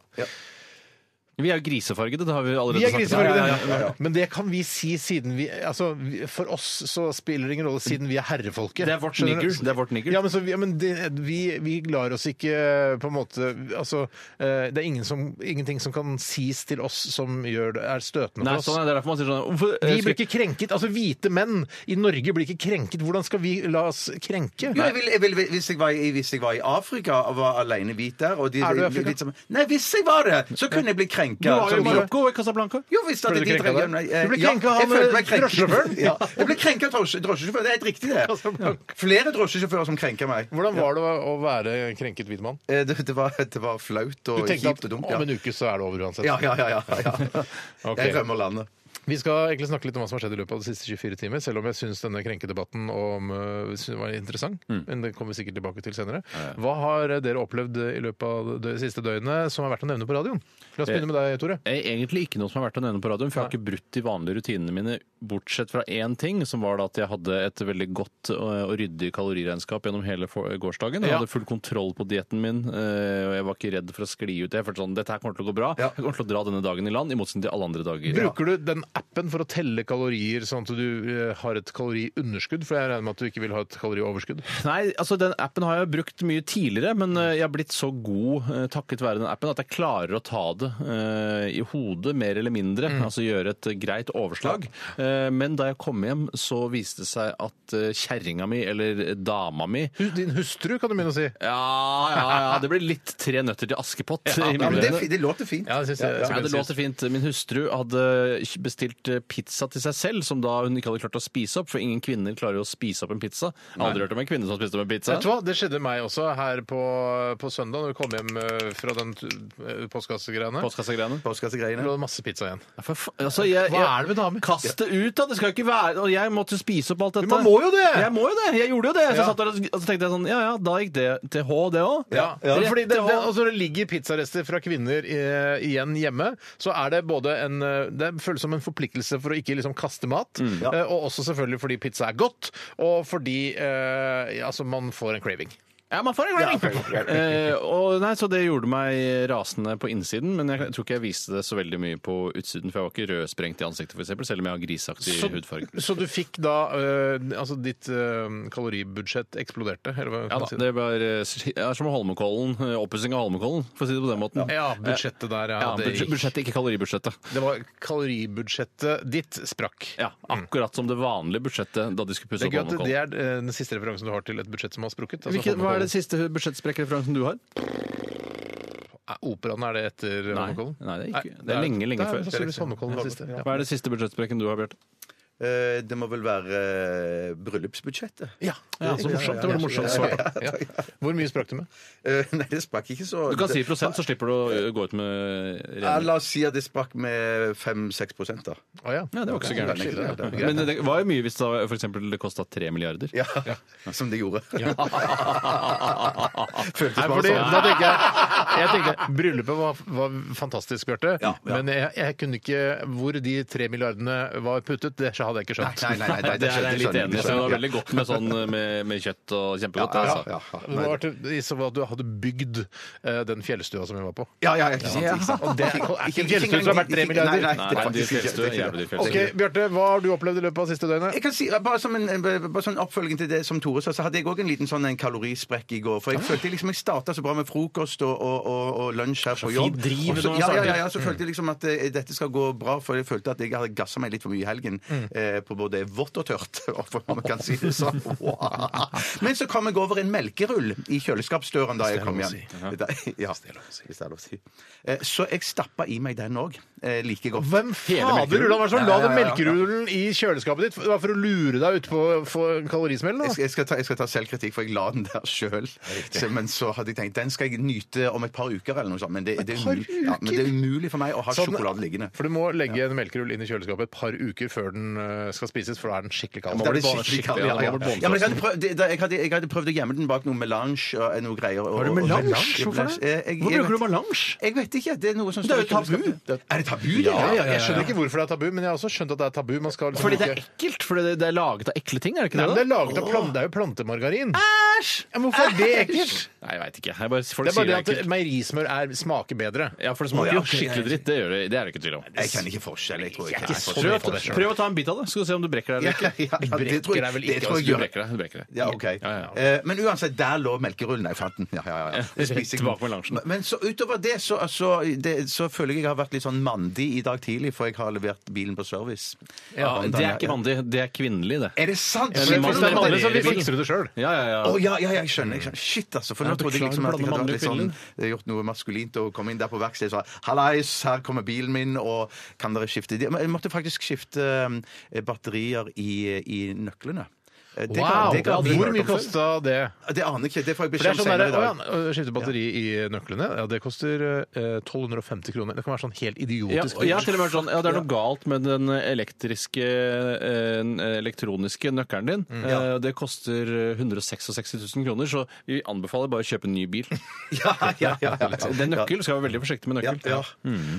[SPEAKER 6] Vi er jo grisefargede, det har vi allerede
[SPEAKER 4] Vi er
[SPEAKER 6] snakket om.
[SPEAKER 4] grisefargede.
[SPEAKER 6] Ja, ja, ja.
[SPEAKER 4] Men det kan vi si siden vi Altså, vi- for oss så spiller det ingen rolle siden vi er herrefolket.
[SPEAKER 6] Det er vårt
[SPEAKER 4] Skjønner du?
[SPEAKER 6] nigger, det er vårt nigger.
[SPEAKER 4] Ja, men, så, vi- ja, men det, vi, vi lar oss ikke på en måte Altså, eh, det er ingen som, ingenting som kan sies til oss som gjør det, er støtende
[SPEAKER 6] Nei,
[SPEAKER 4] for oss.
[SPEAKER 6] sånn er det. det er derfor man sier sånn hvorfor, eh,
[SPEAKER 4] Vi
[SPEAKER 6] skal-
[SPEAKER 4] blir ikke krenket. Altså, hvite menn i Norge blir ikke krenket. Hvordan skal vi la oss krenke?
[SPEAKER 5] Jo, jeg vil, jeg vil, hvis, jeg var i, hvis jeg var i Afrika og var alene hvit der og de,
[SPEAKER 4] Er du i Afrika?
[SPEAKER 5] hvit som- Nei, hvis jeg var det, så kunne jeg bli krenka.
[SPEAKER 6] Du var jo
[SPEAKER 5] Som-
[SPEAKER 6] i Marokko og sånn i Casablanca.
[SPEAKER 5] Jo, hvis
[SPEAKER 4] Ble
[SPEAKER 5] at
[SPEAKER 4] du
[SPEAKER 5] de
[SPEAKER 4] krenka
[SPEAKER 5] tre-
[SPEAKER 4] der?
[SPEAKER 5] Nei, eh,
[SPEAKER 4] Du ble
[SPEAKER 5] ja,
[SPEAKER 4] krenka av,
[SPEAKER 5] jeg følte meg
[SPEAKER 4] eh,
[SPEAKER 5] krenket.
[SPEAKER 4] drosjesjåføren?
[SPEAKER 5] Ja, jeg ble krenka av drosje- drosjesjåføren. Det er helt riktig, det.
[SPEAKER 4] Casablanca.
[SPEAKER 5] Flere drosjesjåfører som krenker meg.
[SPEAKER 4] Hvordan var det å være krenket hvit mann?
[SPEAKER 5] Eh, Det, det, var, det var flaut
[SPEAKER 4] Du
[SPEAKER 5] og
[SPEAKER 4] tenkte at
[SPEAKER 5] kjipt og dumt.
[SPEAKER 4] om en uke så er det over uansett.
[SPEAKER 5] Ja, ja, ja. ja, ja.
[SPEAKER 4] Ok.
[SPEAKER 5] Jeg rømmer landet.
[SPEAKER 4] Vi skal egentlig snakke litt om hva som har skjedd i løpet av de siste 24 timer, selv om jeg syns denne krenkedebatten om, øh, synes den var interessant. Men det kommer vi sikkert tilbake til senere. Hva har dere opplevd i løpet av det siste døgnet som er verdt å nevne på radioen? La oss begynne med deg, Tore.
[SPEAKER 6] Eh, Egentlig ikke noe som er verdt å nevne på radioen, for jeg har ikke brutt de vanlige rutinene mine, bortsett fra én ting, som var da at jeg hadde et veldig godt eh, og ryddig kaloriregnskap gjennom hele for- gårsdagen. Jeg
[SPEAKER 4] Ja.
[SPEAKER 6] hadde full kontroll på dietten min, eh, og jeg var ikke redd for å skli ut. Jeg følte sånn, dette her kommer til å gå bra.
[SPEAKER 5] Ja.
[SPEAKER 6] Jeg kommer til å dra denne dagen i land, i motsetning til alle andre dager.
[SPEAKER 4] Bruker du den appen for å telle kalorier, sånn at du øh, har et kaloriunderskudd? For jeg regner med at du ikke vil ha et kalorioverskudd.
[SPEAKER 6] Nei, altså den appen har jeg brukt mye tidligere, men eh, jeg har blitt så god eh, takket være den appen at jeg klarer å ta det eh, i hodet mer eller mindre,
[SPEAKER 5] Mm.
[SPEAKER 6] altså gjøre et eh, greit overslag. Eh, Men da jeg kom hjem så viste det seg at eh, kjerringa mi, eller dama mi,
[SPEAKER 4] Hus- Din hustru, kan du begynne å si.
[SPEAKER 6] ja, ja, ja, det ble litt tre nøtter til Askepott. i
[SPEAKER 5] Ja, men det,
[SPEAKER 6] mine øyne.
[SPEAKER 5] fi- det låter fint.
[SPEAKER 4] Ja, det synes jeg- jeg
[SPEAKER 6] Ja,
[SPEAKER 4] skulle
[SPEAKER 6] det
[SPEAKER 4] si.
[SPEAKER 6] låter fint. Min hustru hadde eh, bestilt pizza til seg selv, som da hun ikke hadde klart å spise opp, for ingen kvinner klarer jo å spise opp en pizza. Jeg har aldri hørt om en kvinne som har spist opp en pizza.
[SPEAKER 4] Vet du hva? Det skjedde meg også her på, på søndag når vi kom hjem øh, fra den øh, postkassegreiene.
[SPEAKER 6] Postkassegreiene.
[SPEAKER 4] Det
[SPEAKER 5] Postkassegreiene.
[SPEAKER 4] lå masse pizza igjen.
[SPEAKER 6] Ja, for fa- Altså, jeg,
[SPEAKER 4] Hva er det med damer?
[SPEAKER 6] Kast det ut, da! Det skal jo ikke være Og jeg måtte jo spise opp alt dette.
[SPEAKER 4] man må jo det!
[SPEAKER 6] Jeg må jo det! Jeg gjorde jo det! Så
[SPEAKER 4] Ja.
[SPEAKER 6] satt der og og så tenkte jeg sånn Ja ja, da gikk det til H, det òg.
[SPEAKER 4] Ja, Men fordi det, det, altså, når det ligger pizzarester fra kvinner eh, igjen hjemme, så er det både en eh, Det føles som en forpliktelse for å ikke liksom kaste mat,
[SPEAKER 6] Mm,
[SPEAKER 4] eh, og også selvfølgelig fordi pizza er godt, og fordi eh, ja, altså, man får en craving.
[SPEAKER 6] Ja, man får en gang! Eh, og nei, så det gjorde meg rasende på innsiden, men jeg tror ikke jeg viste det så veldig mye på utsiden, for jeg var ikke rødsprengt i ansiktet, for eksempel, selv om jeg har grisaktig
[SPEAKER 4] Så,
[SPEAKER 6] hudfarge.
[SPEAKER 4] så du fikk da eh, Altså, ditt eh, kaloribudsjett eksploderte, eller hva
[SPEAKER 6] Ja
[SPEAKER 4] kan
[SPEAKER 6] da,
[SPEAKER 4] man si?
[SPEAKER 6] det var eh, sk- ja, som Holmenkollen. eh, Oppussing av Holmenkollen, for å si det på den måten.
[SPEAKER 4] Ja, budsjettet der, ja.
[SPEAKER 6] Ja,
[SPEAKER 4] det,
[SPEAKER 6] budsj-
[SPEAKER 4] gikk.
[SPEAKER 6] budsjettet, ikke kaloribudsjettet.
[SPEAKER 4] det var kaloribudsjettet ditt sprakk.
[SPEAKER 6] Ja, Akkurat som det vanlige budsjettet da de skulle pusse
[SPEAKER 4] Det er gøy at
[SPEAKER 6] opp
[SPEAKER 4] det
[SPEAKER 6] Holmenkollen.
[SPEAKER 4] er eh, den siste referansen du har til et budsjett som har sprukket. altså
[SPEAKER 6] Hvilken- hva
[SPEAKER 4] Holmenkollen.
[SPEAKER 6] er det siste budsjettsprekkreferansen du har?
[SPEAKER 4] Er Operaen, er det etter Holmenkollen?
[SPEAKER 6] nei, det er ikke- det er lenge, lenge før.
[SPEAKER 4] Det er sannsynligvis Holmenkollen var siste. Ja.
[SPEAKER 6] Hva er det siste budsjettsprekken du har, Bjarte?
[SPEAKER 5] Eh, Det må vel være eh, bryllupsbudsjettet.
[SPEAKER 4] Ja,
[SPEAKER 6] Ja, så morsomt. Det var det morsomt svar.
[SPEAKER 4] Hvor mye sprakk du med?
[SPEAKER 5] Eh, Nei, det sprakk ikke så
[SPEAKER 6] Du kan si prosent, så slipper du å ø, gå ut med
[SPEAKER 5] Ja,
[SPEAKER 6] regning.
[SPEAKER 5] La oss si at det sprakk med 5-6 prosent, da.
[SPEAKER 4] Å ja.
[SPEAKER 6] Ja, det var ikke så gærent.
[SPEAKER 5] Det er ikke så gærent.
[SPEAKER 6] Men det var jo mye hvis da, for eksempel, det kosta tre milliarder.
[SPEAKER 5] Ja, Som det gjorde.
[SPEAKER 4] Nei,
[SPEAKER 5] Føltes
[SPEAKER 4] fordi,
[SPEAKER 5] bare sånn.
[SPEAKER 4] da tenker jeg, jeg tenker, Bryllupet var, var fantastisk, Bjarte.
[SPEAKER 5] Ja, ja.
[SPEAKER 4] Men jeg, jeg kunne ikke hvor de tre milliardene var puttet. Det har hadde jeg ikke skjønt.
[SPEAKER 5] Nei, nei, nei, nei,
[SPEAKER 6] Det
[SPEAKER 5] det
[SPEAKER 6] her er jeg
[SPEAKER 5] skjønner jeg,
[SPEAKER 6] litt enig
[SPEAKER 5] skjønner jeg,
[SPEAKER 6] i. så Det var
[SPEAKER 5] skjønner
[SPEAKER 6] veldig godt med, sånn, med, med kjøtt og kjempegodt.
[SPEAKER 5] Ja, ja,
[SPEAKER 6] altså.
[SPEAKER 5] ja, ja.
[SPEAKER 4] Det var til- I så fall at du hadde bygd eh, den fjellstua som vi var på.
[SPEAKER 5] Ja, ja, ikke sant. Ikke, sant.
[SPEAKER 4] Og det er ikke- er ikke en fjellstue som er verdt tre
[SPEAKER 5] Ikke-
[SPEAKER 4] milliarder.
[SPEAKER 5] Nei,
[SPEAKER 6] Nei,
[SPEAKER 5] nei, det er
[SPEAKER 6] dyr
[SPEAKER 5] faktisk ikke-
[SPEAKER 6] fjellstue,
[SPEAKER 5] det er ikke
[SPEAKER 6] jævlig dyr
[SPEAKER 5] det.
[SPEAKER 6] fjellstue.
[SPEAKER 4] Ok, Bjarte, hva har du opplevd i løpet av siste døgnet?
[SPEAKER 5] Jeg kan si, bare som en bare som en oppfølging til det som Tore sa, så hadde jeg òg en liten sånn en kalorisprekk i går. For jeg følte liksom jeg starta så bra med frokost og, og, og, og lunsj her på jobb.
[SPEAKER 6] fint driv
[SPEAKER 5] Og så-
[SPEAKER 6] når man
[SPEAKER 5] ja, ja,
[SPEAKER 6] starter.
[SPEAKER 5] ja, ja, så følte jeg liksom at eh, dette skal gå bra, for jeg følte at jeg hadde gassa meg litt for mye i helgen eh, på både vått og tørt. For man kan si det sånn. Wow. Men så kom jeg over en melkerull i kjøleskapsdøren da jeg kom hjem. Ja. Hvis det er lov å si. Eh, Så jeg stappa i meg den òg. Like godt.
[SPEAKER 4] Hvem fader Ulan, hva er det som la den melkerullen i kjøleskapet ditt? Det var for å lure deg utpå kalorismellen? da?
[SPEAKER 5] Jeg skal, jeg, skal ta, jeg skal ta selvkritikk, for jeg la den der sjøl. Men så hadde jeg tenkt den skal jeg nyte om et par uker, eller noe sånt. Men det, det, er,
[SPEAKER 4] par
[SPEAKER 5] umulig, ja, men det er umulig for meg å ha
[SPEAKER 4] Sånn-
[SPEAKER 5] sjokolade liggende.
[SPEAKER 4] For du må legge en melkerull inn i kjøleskapet et par uker før den eh, skal spises, for da er den skikkelig kald.
[SPEAKER 5] Da blir det skikkelig kaldt, ja, ja.
[SPEAKER 4] Da må det
[SPEAKER 5] Ja, men
[SPEAKER 4] båndsøs.
[SPEAKER 5] jeg hadde prøvd, det, da- jeg, hadde, jeg hadde prøvd å gjemme den bak noe melange og eh, noe greier. Og,
[SPEAKER 4] Har du
[SPEAKER 5] og-
[SPEAKER 4] melange?
[SPEAKER 5] og-
[SPEAKER 4] Hvorfor det?
[SPEAKER 5] Eh, jeg-
[SPEAKER 6] Hvorfor bruker
[SPEAKER 5] jeg
[SPEAKER 6] du
[SPEAKER 5] vet-
[SPEAKER 6] melange?
[SPEAKER 5] Jeg vet ikke. Det er noe som
[SPEAKER 6] Det er jo
[SPEAKER 5] står i
[SPEAKER 6] tabu.
[SPEAKER 5] kjøleskapet. Er det tabu, det?
[SPEAKER 4] Ja, ja, jeg skjønner ikke hvorfor det er tabu, men jeg har også skjønt at det er tabu. Man skal liksom
[SPEAKER 6] Fordi det er
[SPEAKER 4] ikke-
[SPEAKER 6] ekkelt, for det, det er laget av ekle ting, er det ikke
[SPEAKER 4] Nei, men det
[SPEAKER 6] det?
[SPEAKER 4] er laget av plan- det er jo plantemargarin. Ja, men hvorfor er det ekkelt?
[SPEAKER 6] da? Nei, jeg veit ikke. Jeg bare, folk
[SPEAKER 4] Det er bare
[SPEAKER 6] sier
[SPEAKER 4] det
[SPEAKER 6] det er
[SPEAKER 4] at
[SPEAKER 6] ekkelt.
[SPEAKER 4] meierismør er, smaker bedre.
[SPEAKER 6] Ja, for det smaker jo
[SPEAKER 5] ok,
[SPEAKER 6] skikkelig dritt. Det, gjør det, det er det ikke tvil om.
[SPEAKER 5] Jeg kjenner ikke forskjell. Jeg tror ikke
[SPEAKER 4] ikke
[SPEAKER 5] jeg
[SPEAKER 4] så
[SPEAKER 5] kjenner
[SPEAKER 4] mye
[SPEAKER 6] Prøv,
[SPEAKER 5] forskjell.
[SPEAKER 4] på det selv.
[SPEAKER 6] prøv å ta en bit av det, så skal du se om du brekker deg eller ikke.
[SPEAKER 5] Ja, ja, ja, det tror
[SPEAKER 4] brekker
[SPEAKER 5] jeg-
[SPEAKER 4] deg vel ikke,
[SPEAKER 5] det tror jeg
[SPEAKER 6] Du
[SPEAKER 5] gjør.
[SPEAKER 6] brekker deg. du brekker deg.
[SPEAKER 5] Ja, ok.
[SPEAKER 6] ja, ja.
[SPEAKER 5] Eh, Men uansett, der lå melkerullen. Jeg fant den. Ja, ja, ja.
[SPEAKER 6] Ja,
[SPEAKER 5] Jeg spiser
[SPEAKER 6] tilbake med
[SPEAKER 5] den.
[SPEAKER 6] lunsjen.
[SPEAKER 5] Men så utover det så, så, det, så føler jeg jeg har vært litt sånn mandig i dag tidlig, for jeg har levert bilen på service.
[SPEAKER 6] Ja, det er ikke
[SPEAKER 5] mandig.
[SPEAKER 6] vanlig. Det er kvinnelig, det.
[SPEAKER 5] Er det sant?
[SPEAKER 6] Ja,
[SPEAKER 5] Så
[SPEAKER 6] men
[SPEAKER 5] jeg
[SPEAKER 6] hvis
[SPEAKER 5] får
[SPEAKER 6] det er
[SPEAKER 5] lov til å
[SPEAKER 6] mandig,
[SPEAKER 5] reparere
[SPEAKER 4] så vi
[SPEAKER 5] bilen.
[SPEAKER 4] fikser du det sjøl.
[SPEAKER 6] Ja, ja, ja.
[SPEAKER 5] Eh, Å ja, ja, ja, jeg skjønner. jeg skjønner. Shit, altså. For nå
[SPEAKER 6] Jeg
[SPEAKER 5] trodde jeg liksom
[SPEAKER 6] beklager,
[SPEAKER 5] at jeg
[SPEAKER 6] blander
[SPEAKER 5] hadde vært litt
[SPEAKER 6] mandag
[SPEAKER 5] sånn, eh, gjort noe maskulint og kom inn der på verkstedet og sa hallais, her kommer bilen min, og kan dere skifte de?» Men Jeg måtte faktisk skifte eh, batterier i, i nøklene. Eh, det ga-
[SPEAKER 4] Wow!
[SPEAKER 5] det ga bilen-
[SPEAKER 4] Hvor mye kosta det?
[SPEAKER 5] Det aner jeg ikke. Det får
[SPEAKER 4] For det
[SPEAKER 5] jeg
[SPEAKER 4] er
[SPEAKER 5] beskjed om
[SPEAKER 4] sånn der,
[SPEAKER 5] senere i
[SPEAKER 4] å,
[SPEAKER 5] dag.
[SPEAKER 4] ja, å, Skifte batteri i nøklene, ja, det koster eh, 1250 kroner. Det kan være sånn helt
[SPEAKER 6] Ja,
[SPEAKER 4] idiotisk.
[SPEAKER 6] og jeg har til og med hørt sånn, ja, Det er noe galt med den elektriske, eh, elektroniske nøkkelen din.
[SPEAKER 5] Mm,
[SPEAKER 6] Eh, Det koster eh, 166 000 kroner, så vi anbefaler bare å kjøpe en ny bil.
[SPEAKER 5] Ja, ja, ja, ja, ja.
[SPEAKER 6] Den nøkkel skal være veldig forsiktig med
[SPEAKER 5] Ja,
[SPEAKER 6] nøkkel.
[SPEAKER 5] ja.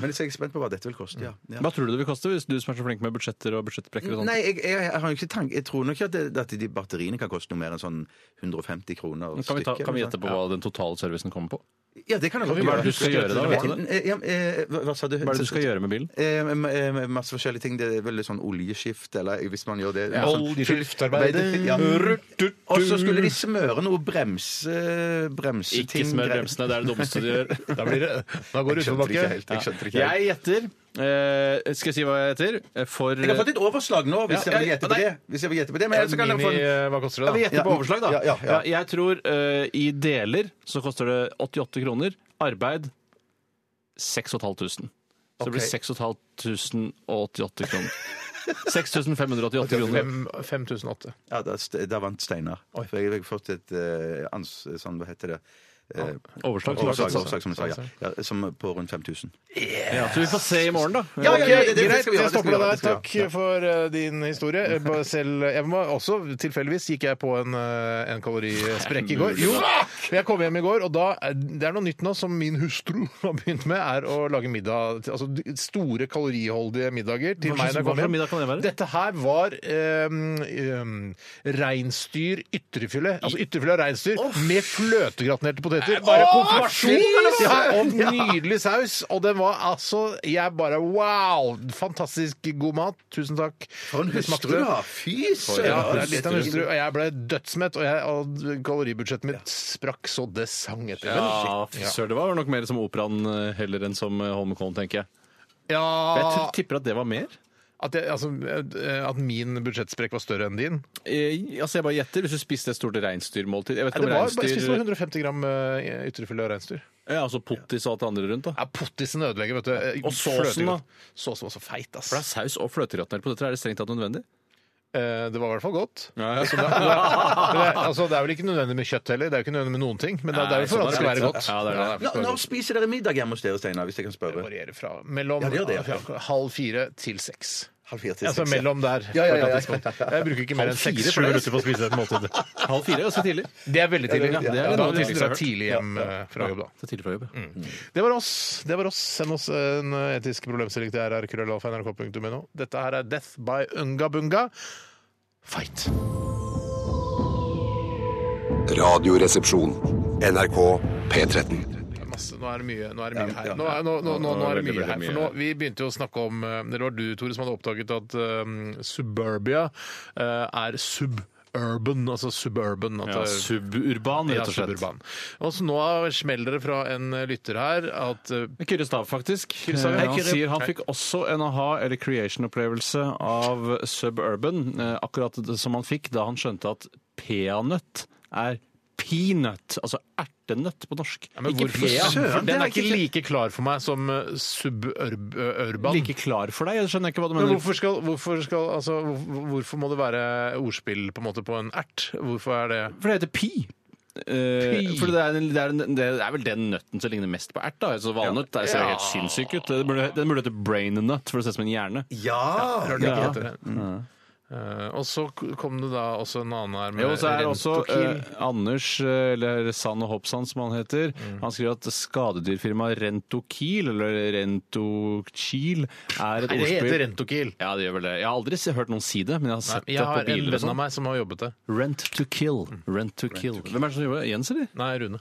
[SPEAKER 5] Men så er jeg spent på hva dette vil koste. Ja.
[SPEAKER 6] Mm.
[SPEAKER 5] Ja.
[SPEAKER 6] Hva tror du det vil koste, hvis du som er så flink med budsjetter og budsjettbrekker? og sånt?
[SPEAKER 5] Nei, jeg, jeg, jeg, har jo ikke tank, jeg tror nok ikke at, det, at de batteriene kan koste noe mer enn sånn 150 kroner
[SPEAKER 6] Kan vi, ta,
[SPEAKER 5] stykket,
[SPEAKER 6] kan vi
[SPEAKER 5] eller
[SPEAKER 6] gjette på hva den totale servicen kommer på?
[SPEAKER 5] sånn. Ja, det kan jeg
[SPEAKER 6] Hva
[SPEAKER 5] godt
[SPEAKER 6] er det du skal gjøre da? Vet du det?
[SPEAKER 5] Eh, ja, eh, hva- Hva sa du?
[SPEAKER 6] Hva er det du skal gjøre med bilen?
[SPEAKER 5] Eh, eh, masse forskjellige ting. Det er vel sånn oljeskift, eller hvis man gjør det sånn-
[SPEAKER 4] Oljeskiftarbeid.
[SPEAKER 5] Ja. Og så skulle de smøre noe bremse...
[SPEAKER 6] Ikke
[SPEAKER 5] bremseting.
[SPEAKER 6] smør
[SPEAKER 5] greier.
[SPEAKER 6] bremsene, det er det dummeste du gjør.
[SPEAKER 4] Da blir det Da går
[SPEAKER 5] Jeg
[SPEAKER 4] det
[SPEAKER 5] skjønte det ikke
[SPEAKER 4] utoverbakke.
[SPEAKER 5] helt. Jeg skjønte det ikke helt.
[SPEAKER 6] Jeg gjetter eh, Skal jeg si hva jeg gjetter? Eh, For
[SPEAKER 5] Jeg har fått et overslag nå, hvis
[SPEAKER 6] Ja,
[SPEAKER 5] jeg vil
[SPEAKER 6] ja,
[SPEAKER 5] gjette
[SPEAKER 6] nei.
[SPEAKER 5] på det. Hvis jeg vil gjette på det, men ellers så kan jeg få
[SPEAKER 4] Mini,
[SPEAKER 5] en...
[SPEAKER 4] eh, hva koster det,
[SPEAKER 6] Vi
[SPEAKER 4] da?
[SPEAKER 6] gjetter på overslag, da.
[SPEAKER 5] Ja, ja, ja.
[SPEAKER 6] jeg tror eh, i deler så koster det 88 kroner. Arbeid 6500. Så det blir
[SPEAKER 5] Ok.
[SPEAKER 6] 6588 kroner. 6588 kroner.
[SPEAKER 4] Fem- 5008.
[SPEAKER 5] Ja, da, st- da vant Steinar. For jeg har fått et eh, ans... Sånn, hva heter det? Eh,
[SPEAKER 6] Overslag.
[SPEAKER 5] Overslag, overslag, som du sa, ja. ja. Som på rundt 5000.
[SPEAKER 6] Ja, så vi får se i morgen, da.
[SPEAKER 5] Ja, ja, ja, det- det- det
[SPEAKER 4] Greit,
[SPEAKER 5] skal vi gjøre,
[SPEAKER 4] jeg
[SPEAKER 5] det skal
[SPEAKER 4] stopper
[SPEAKER 5] vi
[SPEAKER 4] deg
[SPEAKER 5] gjøre,
[SPEAKER 4] der.
[SPEAKER 5] det skal vi
[SPEAKER 4] Takk for eh, din historie. Jeg bare Selv, jeg må også tilfeldigvis gikk jeg på en, eh, en kalorisprekk i går. Jo, jeg kom hjem i går, og da er- Det er noe nytt nå som min hustru har begynt med, er å lage middag til- Altså d- store kaloriholdige middager til
[SPEAKER 6] Hva
[SPEAKER 4] meg
[SPEAKER 6] slags-
[SPEAKER 4] når jeg
[SPEAKER 6] hva slags middag
[SPEAKER 4] kommer
[SPEAKER 6] kan
[SPEAKER 4] hjem.
[SPEAKER 6] det være?
[SPEAKER 4] Dette her var um, um, reinsdyr ytterfylle. Altså ytterfylle av reinsdyr med fløtegratinerte poteter. Bare konfirmasjon! Ja, og nydelig saus. Og den var altså Jeg bare wow! Fantastisk god mat. Tusen takk.
[SPEAKER 5] For en
[SPEAKER 4] Det
[SPEAKER 5] hustru,
[SPEAKER 4] smakte.
[SPEAKER 5] da! Fy
[SPEAKER 4] Ja, det
[SPEAKER 5] søren!
[SPEAKER 4] er litt av en hustru. Og jeg ble dødsmett, og, jeg, og kaloribudsjettet mitt sprakk så det sang etter.
[SPEAKER 6] Ja, fy søren, det var nok mer som operaen eh, heller enn som eh, Holmenkollen, tenker jeg. Jeg
[SPEAKER 4] Ja,
[SPEAKER 6] tror- tipper at det var mer.
[SPEAKER 4] at, jeg, altså, eh, at min budsjettsprekk var større enn din?
[SPEAKER 6] Eh, altså, jeg bare gjetter. Hvis du spiste et stort reinsdyrmåltid Jeg vet
[SPEAKER 4] Nei,
[SPEAKER 6] ikke
[SPEAKER 4] det
[SPEAKER 6] om
[SPEAKER 4] var, jeg spiste bare
[SPEAKER 6] reinsdyr
[SPEAKER 4] 150 gram eh, ytterfylle av reinsdyr.
[SPEAKER 6] Ja, altså pottis og alt det andre rundt, da.
[SPEAKER 4] Ja, Pottisen ødelegger, vet du. Eh,
[SPEAKER 6] Og såsen,
[SPEAKER 4] Fløtegodt.
[SPEAKER 6] da?
[SPEAKER 4] Såsen var så feit, ass.
[SPEAKER 6] For det er saus og fløtegratinert på dette. Er det strengt tatt nødvendig?
[SPEAKER 4] Eh, Det var i hvert fall godt.
[SPEAKER 6] Ja, ja.
[SPEAKER 4] Så det, er, det, er, det, er, altså, det er vel ikke nødvendig med kjøtt heller. Det er jo ikke nødvendig med noen ting. Men det er, det er jo for at det skal være godt.
[SPEAKER 6] Ja, det er det.
[SPEAKER 5] Nå- Når spiser dere middag hjemme hos dere, Steinar? Hvis jeg kan
[SPEAKER 4] Det
[SPEAKER 5] spørre.
[SPEAKER 4] varierer fra mellom
[SPEAKER 5] Ja, det gjør det, ja.
[SPEAKER 4] halv fire til seks.
[SPEAKER 5] Halv fire til
[SPEAKER 4] Altså
[SPEAKER 5] seks, ja.
[SPEAKER 4] mellom der. på
[SPEAKER 5] Ja, ja,
[SPEAKER 4] et
[SPEAKER 5] ja, ja.
[SPEAKER 4] eller annet tidspunkt. Jeg bruker ikke mer
[SPEAKER 6] Halv
[SPEAKER 4] enn seks sju
[SPEAKER 6] fire pleier jeg.
[SPEAKER 4] minutter på å spise et måltid.
[SPEAKER 6] Halv fire, altså tidlig.
[SPEAKER 4] Det er veldig tidlig.
[SPEAKER 5] Ja, det
[SPEAKER 4] Ja,
[SPEAKER 5] er-
[SPEAKER 6] det
[SPEAKER 4] da
[SPEAKER 6] er noe
[SPEAKER 4] må du
[SPEAKER 6] tidligst jeg har
[SPEAKER 4] dra
[SPEAKER 6] hørt.
[SPEAKER 4] tidlig hjem eh, fra jobb, da.
[SPEAKER 6] Så tidlig fra jobb, ja.
[SPEAKER 4] Det var oss. Det var oss. Send oss en eh, etisk problemstilling til rrkrøllalfa.nrk.no. Dette her er Death by Ungabunga. Fight!
[SPEAKER 1] Radioresepsjon. NRK P13.
[SPEAKER 4] Det er Masse, nå er det mye, nå er det mye her.
[SPEAKER 5] ja.
[SPEAKER 4] Nå, er- nå, nå, nå, nå er det
[SPEAKER 6] Veldig,
[SPEAKER 4] mye
[SPEAKER 6] veldig
[SPEAKER 4] her. For nå,
[SPEAKER 6] mye.
[SPEAKER 4] vi begynte jo å snakke om eh, Det var du, Tore, som hadde oppdaget at eh, suburbia eh, er suburban, altså suburban. At
[SPEAKER 6] ja.
[SPEAKER 4] det-
[SPEAKER 6] Suburban,
[SPEAKER 4] Ja,
[SPEAKER 6] rett og slett.
[SPEAKER 4] suburban. Og så nå smeller det fra en lytter her at eh,
[SPEAKER 6] Kyrre Stav, faktisk.
[SPEAKER 4] Stav,
[SPEAKER 6] Eh,
[SPEAKER 4] hei,
[SPEAKER 6] han
[SPEAKER 4] Kyrre.
[SPEAKER 6] sier han
[SPEAKER 4] Hei.
[SPEAKER 6] fikk også en aha- eller creation-opplevelse av Suburban, eh, akkurat det som han fikk da han skjønte at peanøtt er peanut, altså ertenøtt på norsk.
[SPEAKER 4] ja, men
[SPEAKER 6] ikke
[SPEAKER 4] hvorfor
[SPEAKER 6] pea,
[SPEAKER 4] søren?
[SPEAKER 6] for
[SPEAKER 4] Den
[SPEAKER 6] den er ikke
[SPEAKER 4] ikke like klar for meg som eh, suburban.
[SPEAKER 6] like klar for deg. Jeg skjønner ikke hva du
[SPEAKER 4] Men
[SPEAKER 6] mener.
[SPEAKER 4] hvorfor, skal, hvorfor, skal, altså, hvor- hvorfor må det være ordspill på en måte på en ert? Hvorfor er det
[SPEAKER 6] For det heter pi. Eh,
[SPEAKER 4] Pi.
[SPEAKER 6] for det er, en- det, er, en- det er vel den nøtten som ligner mest på ert. da altså Valnøtt det ser jo helt sinnssyk ut. Den burde, den burde hete brain nut, for det ser ut som en hjerne.
[SPEAKER 5] Ja!
[SPEAKER 4] Rart det ikke
[SPEAKER 6] Ja.
[SPEAKER 4] heter det. Eh, og så k- kom det da også en annen her med
[SPEAKER 6] Jo, så er det også
[SPEAKER 4] Rentokil.
[SPEAKER 6] eh, Anders, eh, eller Sand og Hoppsand som han heter,
[SPEAKER 4] Mm.
[SPEAKER 6] han skriver at skadedyrfirmaet Rentokil, eller Rentokil, er et
[SPEAKER 4] Nei, det heter
[SPEAKER 6] ordspill.
[SPEAKER 4] Rentokil.
[SPEAKER 6] Ja, det gjør vel det. Jeg har aldri se- hørt noen si det, men jeg har
[SPEAKER 4] Nei,
[SPEAKER 6] sett
[SPEAKER 4] jeg har Mm.
[SPEAKER 6] det på
[SPEAKER 4] en
[SPEAKER 6] biler og
[SPEAKER 4] venn av
[SPEAKER 6] sånn.
[SPEAKER 4] meg som har jobbet det.
[SPEAKER 6] Rent to kill. Rent to kill. Hvem er det som jobber? Jens, eller?
[SPEAKER 4] Nei, Rune.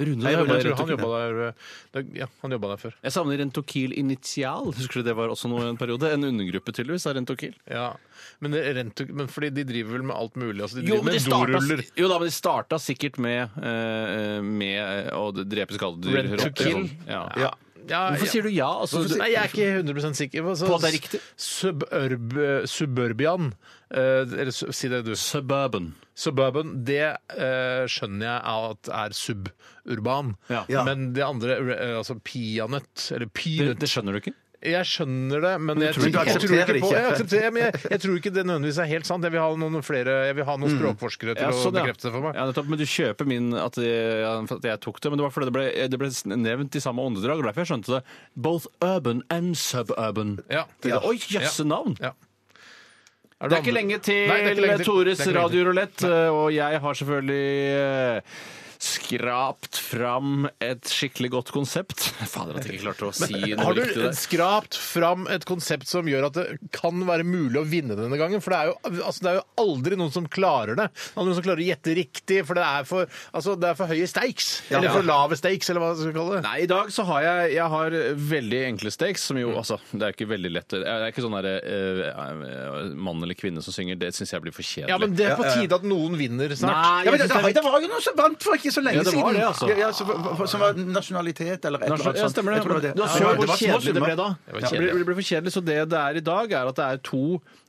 [SPEAKER 6] Rune?
[SPEAKER 4] Nei, jeg,
[SPEAKER 6] jobber i
[SPEAKER 4] tror
[SPEAKER 6] Rent to
[SPEAKER 4] han
[SPEAKER 6] Kill.
[SPEAKER 4] jobba der, eh, da- ja, han jobba der før.
[SPEAKER 6] Jeg savner Rentokil Initial. Husker du det var også noe i en periode? En undergruppe tydeligvis av Rentokil.
[SPEAKER 4] Ja. Men, det- Rento- men fordi de driver vel med alt mulig? Altså, de driver
[SPEAKER 6] Jo, men de
[SPEAKER 4] med
[SPEAKER 6] starta,
[SPEAKER 4] doruller.
[SPEAKER 6] jo da, men de starta sikkert med, eh, med å drepe skadedyr.
[SPEAKER 4] Rent to
[SPEAKER 6] rotter og
[SPEAKER 4] kill.
[SPEAKER 6] sånn. Ja.
[SPEAKER 4] Ja. Ja,
[SPEAKER 6] Hvorfor
[SPEAKER 4] ja.
[SPEAKER 6] sier du ja? Altså,
[SPEAKER 4] Hvorfor
[SPEAKER 6] du-
[SPEAKER 4] si- Nei, jeg er ikke 100 sikker. Altså,
[SPEAKER 6] På at det er riktig?
[SPEAKER 4] Suburb, suburbian, eh, eller su- si det du.
[SPEAKER 6] Suburban.
[SPEAKER 4] Suburban, det eh, skjønner jeg at er suburban.
[SPEAKER 6] Ja.
[SPEAKER 5] Ja.
[SPEAKER 4] Men det andre, eh, altså peanøtt, eller
[SPEAKER 6] Det,
[SPEAKER 4] peanøtt
[SPEAKER 6] det skjønner du ikke?
[SPEAKER 4] Jeg skjønner det, men jeg
[SPEAKER 5] tror
[SPEAKER 4] tror, jeg
[SPEAKER 5] ikke-
[SPEAKER 4] tror
[SPEAKER 5] aksepterer
[SPEAKER 4] ikke
[SPEAKER 5] det
[SPEAKER 4] på
[SPEAKER 5] ikke.
[SPEAKER 4] jeg, aksepterer, men jeg, jeg tror ikke det nødvendigvis er helt sant. Jeg vil ha noen, flere, jeg vil ha noen språkforskere til
[SPEAKER 6] Ja,
[SPEAKER 4] å
[SPEAKER 6] sånn, ja.
[SPEAKER 4] bekrefte det for meg.
[SPEAKER 6] Ja, nettopp, men du kjøper min at jeg, at jeg tok det, men det var fordi det ble, det ble nevnt i samme åndedrag, og derfor jeg skjønte det. Both urban and suburban.
[SPEAKER 4] Ja.
[SPEAKER 6] Tenkte jeg, Oi, jøsse navn!
[SPEAKER 4] Ja.
[SPEAKER 6] Det er ikke lenge til, eh,
[SPEAKER 4] Nei, det er ikke lenge til.
[SPEAKER 6] Tores
[SPEAKER 4] Det er ikke lenge til.
[SPEAKER 6] radiorulett, eh, og jeg har selvfølgelig eh, skrapt fram et skikkelig godt konsept. Fader, at jeg ikke klarte å si noe
[SPEAKER 4] Har
[SPEAKER 6] riktig
[SPEAKER 4] du
[SPEAKER 6] der.
[SPEAKER 4] skrapt fram et konsept som gjør at det kan være mulig å vinne denne gangen? For det er jo, altså, det er jo aldri noen som klarer det. Det er Noen som klarer å gjette riktig, for det er for, altså, det er for høye stakes. Eller for lave stakes, eller hva man skal kalle det.
[SPEAKER 6] Nei, i dag så har jeg, jeg har veldig enkle stakes, som
[SPEAKER 4] Mm.
[SPEAKER 6] jo altså Det er ikke veldig lett Det er ikke sånn derre eh, mann eller kvinne som synger. Det syns jeg blir for kjedelig.
[SPEAKER 4] Ja, men det er på tide at noen vinner
[SPEAKER 6] Nei,
[SPEAKER 4] snart.
[SPEAKER 5] Ja, men
[SPEAKER 6] jeg
[SPEAKER 5] det,
[SPEAKER 6] synes det er
[SPEAKER 5] det var jo noe som vant for ikke så lenge
[SPEAKER 6] Ja, det var
[SPEAKER 5] siden.
[SPEAKER 6] det, altså.
[SPEAKER 5] Ja, ja, som, som var nasjonalitet eller et eller annet.
[SPEAKER 6] Ja,
[SPEAKER 5] sånt.
[SPEAKER 6] stemmer det.
[SPEAKER 5] Jeg tror det.
[SPEAKER 6] Du har
[SPEAKER 5] Ja,
[SPEAKER 6] sett
[SPEAKER 5] det
[SPEAKER 6] hvor
[SPEAKER 5] var små
[SPEAKER 6] kjedelig det ble
[SPEAKER 5] summer.
[SPEAKER 6] da.
[SPEAKER 4] var
[SPEAKER 6] Ja, Det
[SPEAKER 4] kjedelig.
[SPEAKER 6] blir, blir for kjedelig, så det det er i dag, er at det er to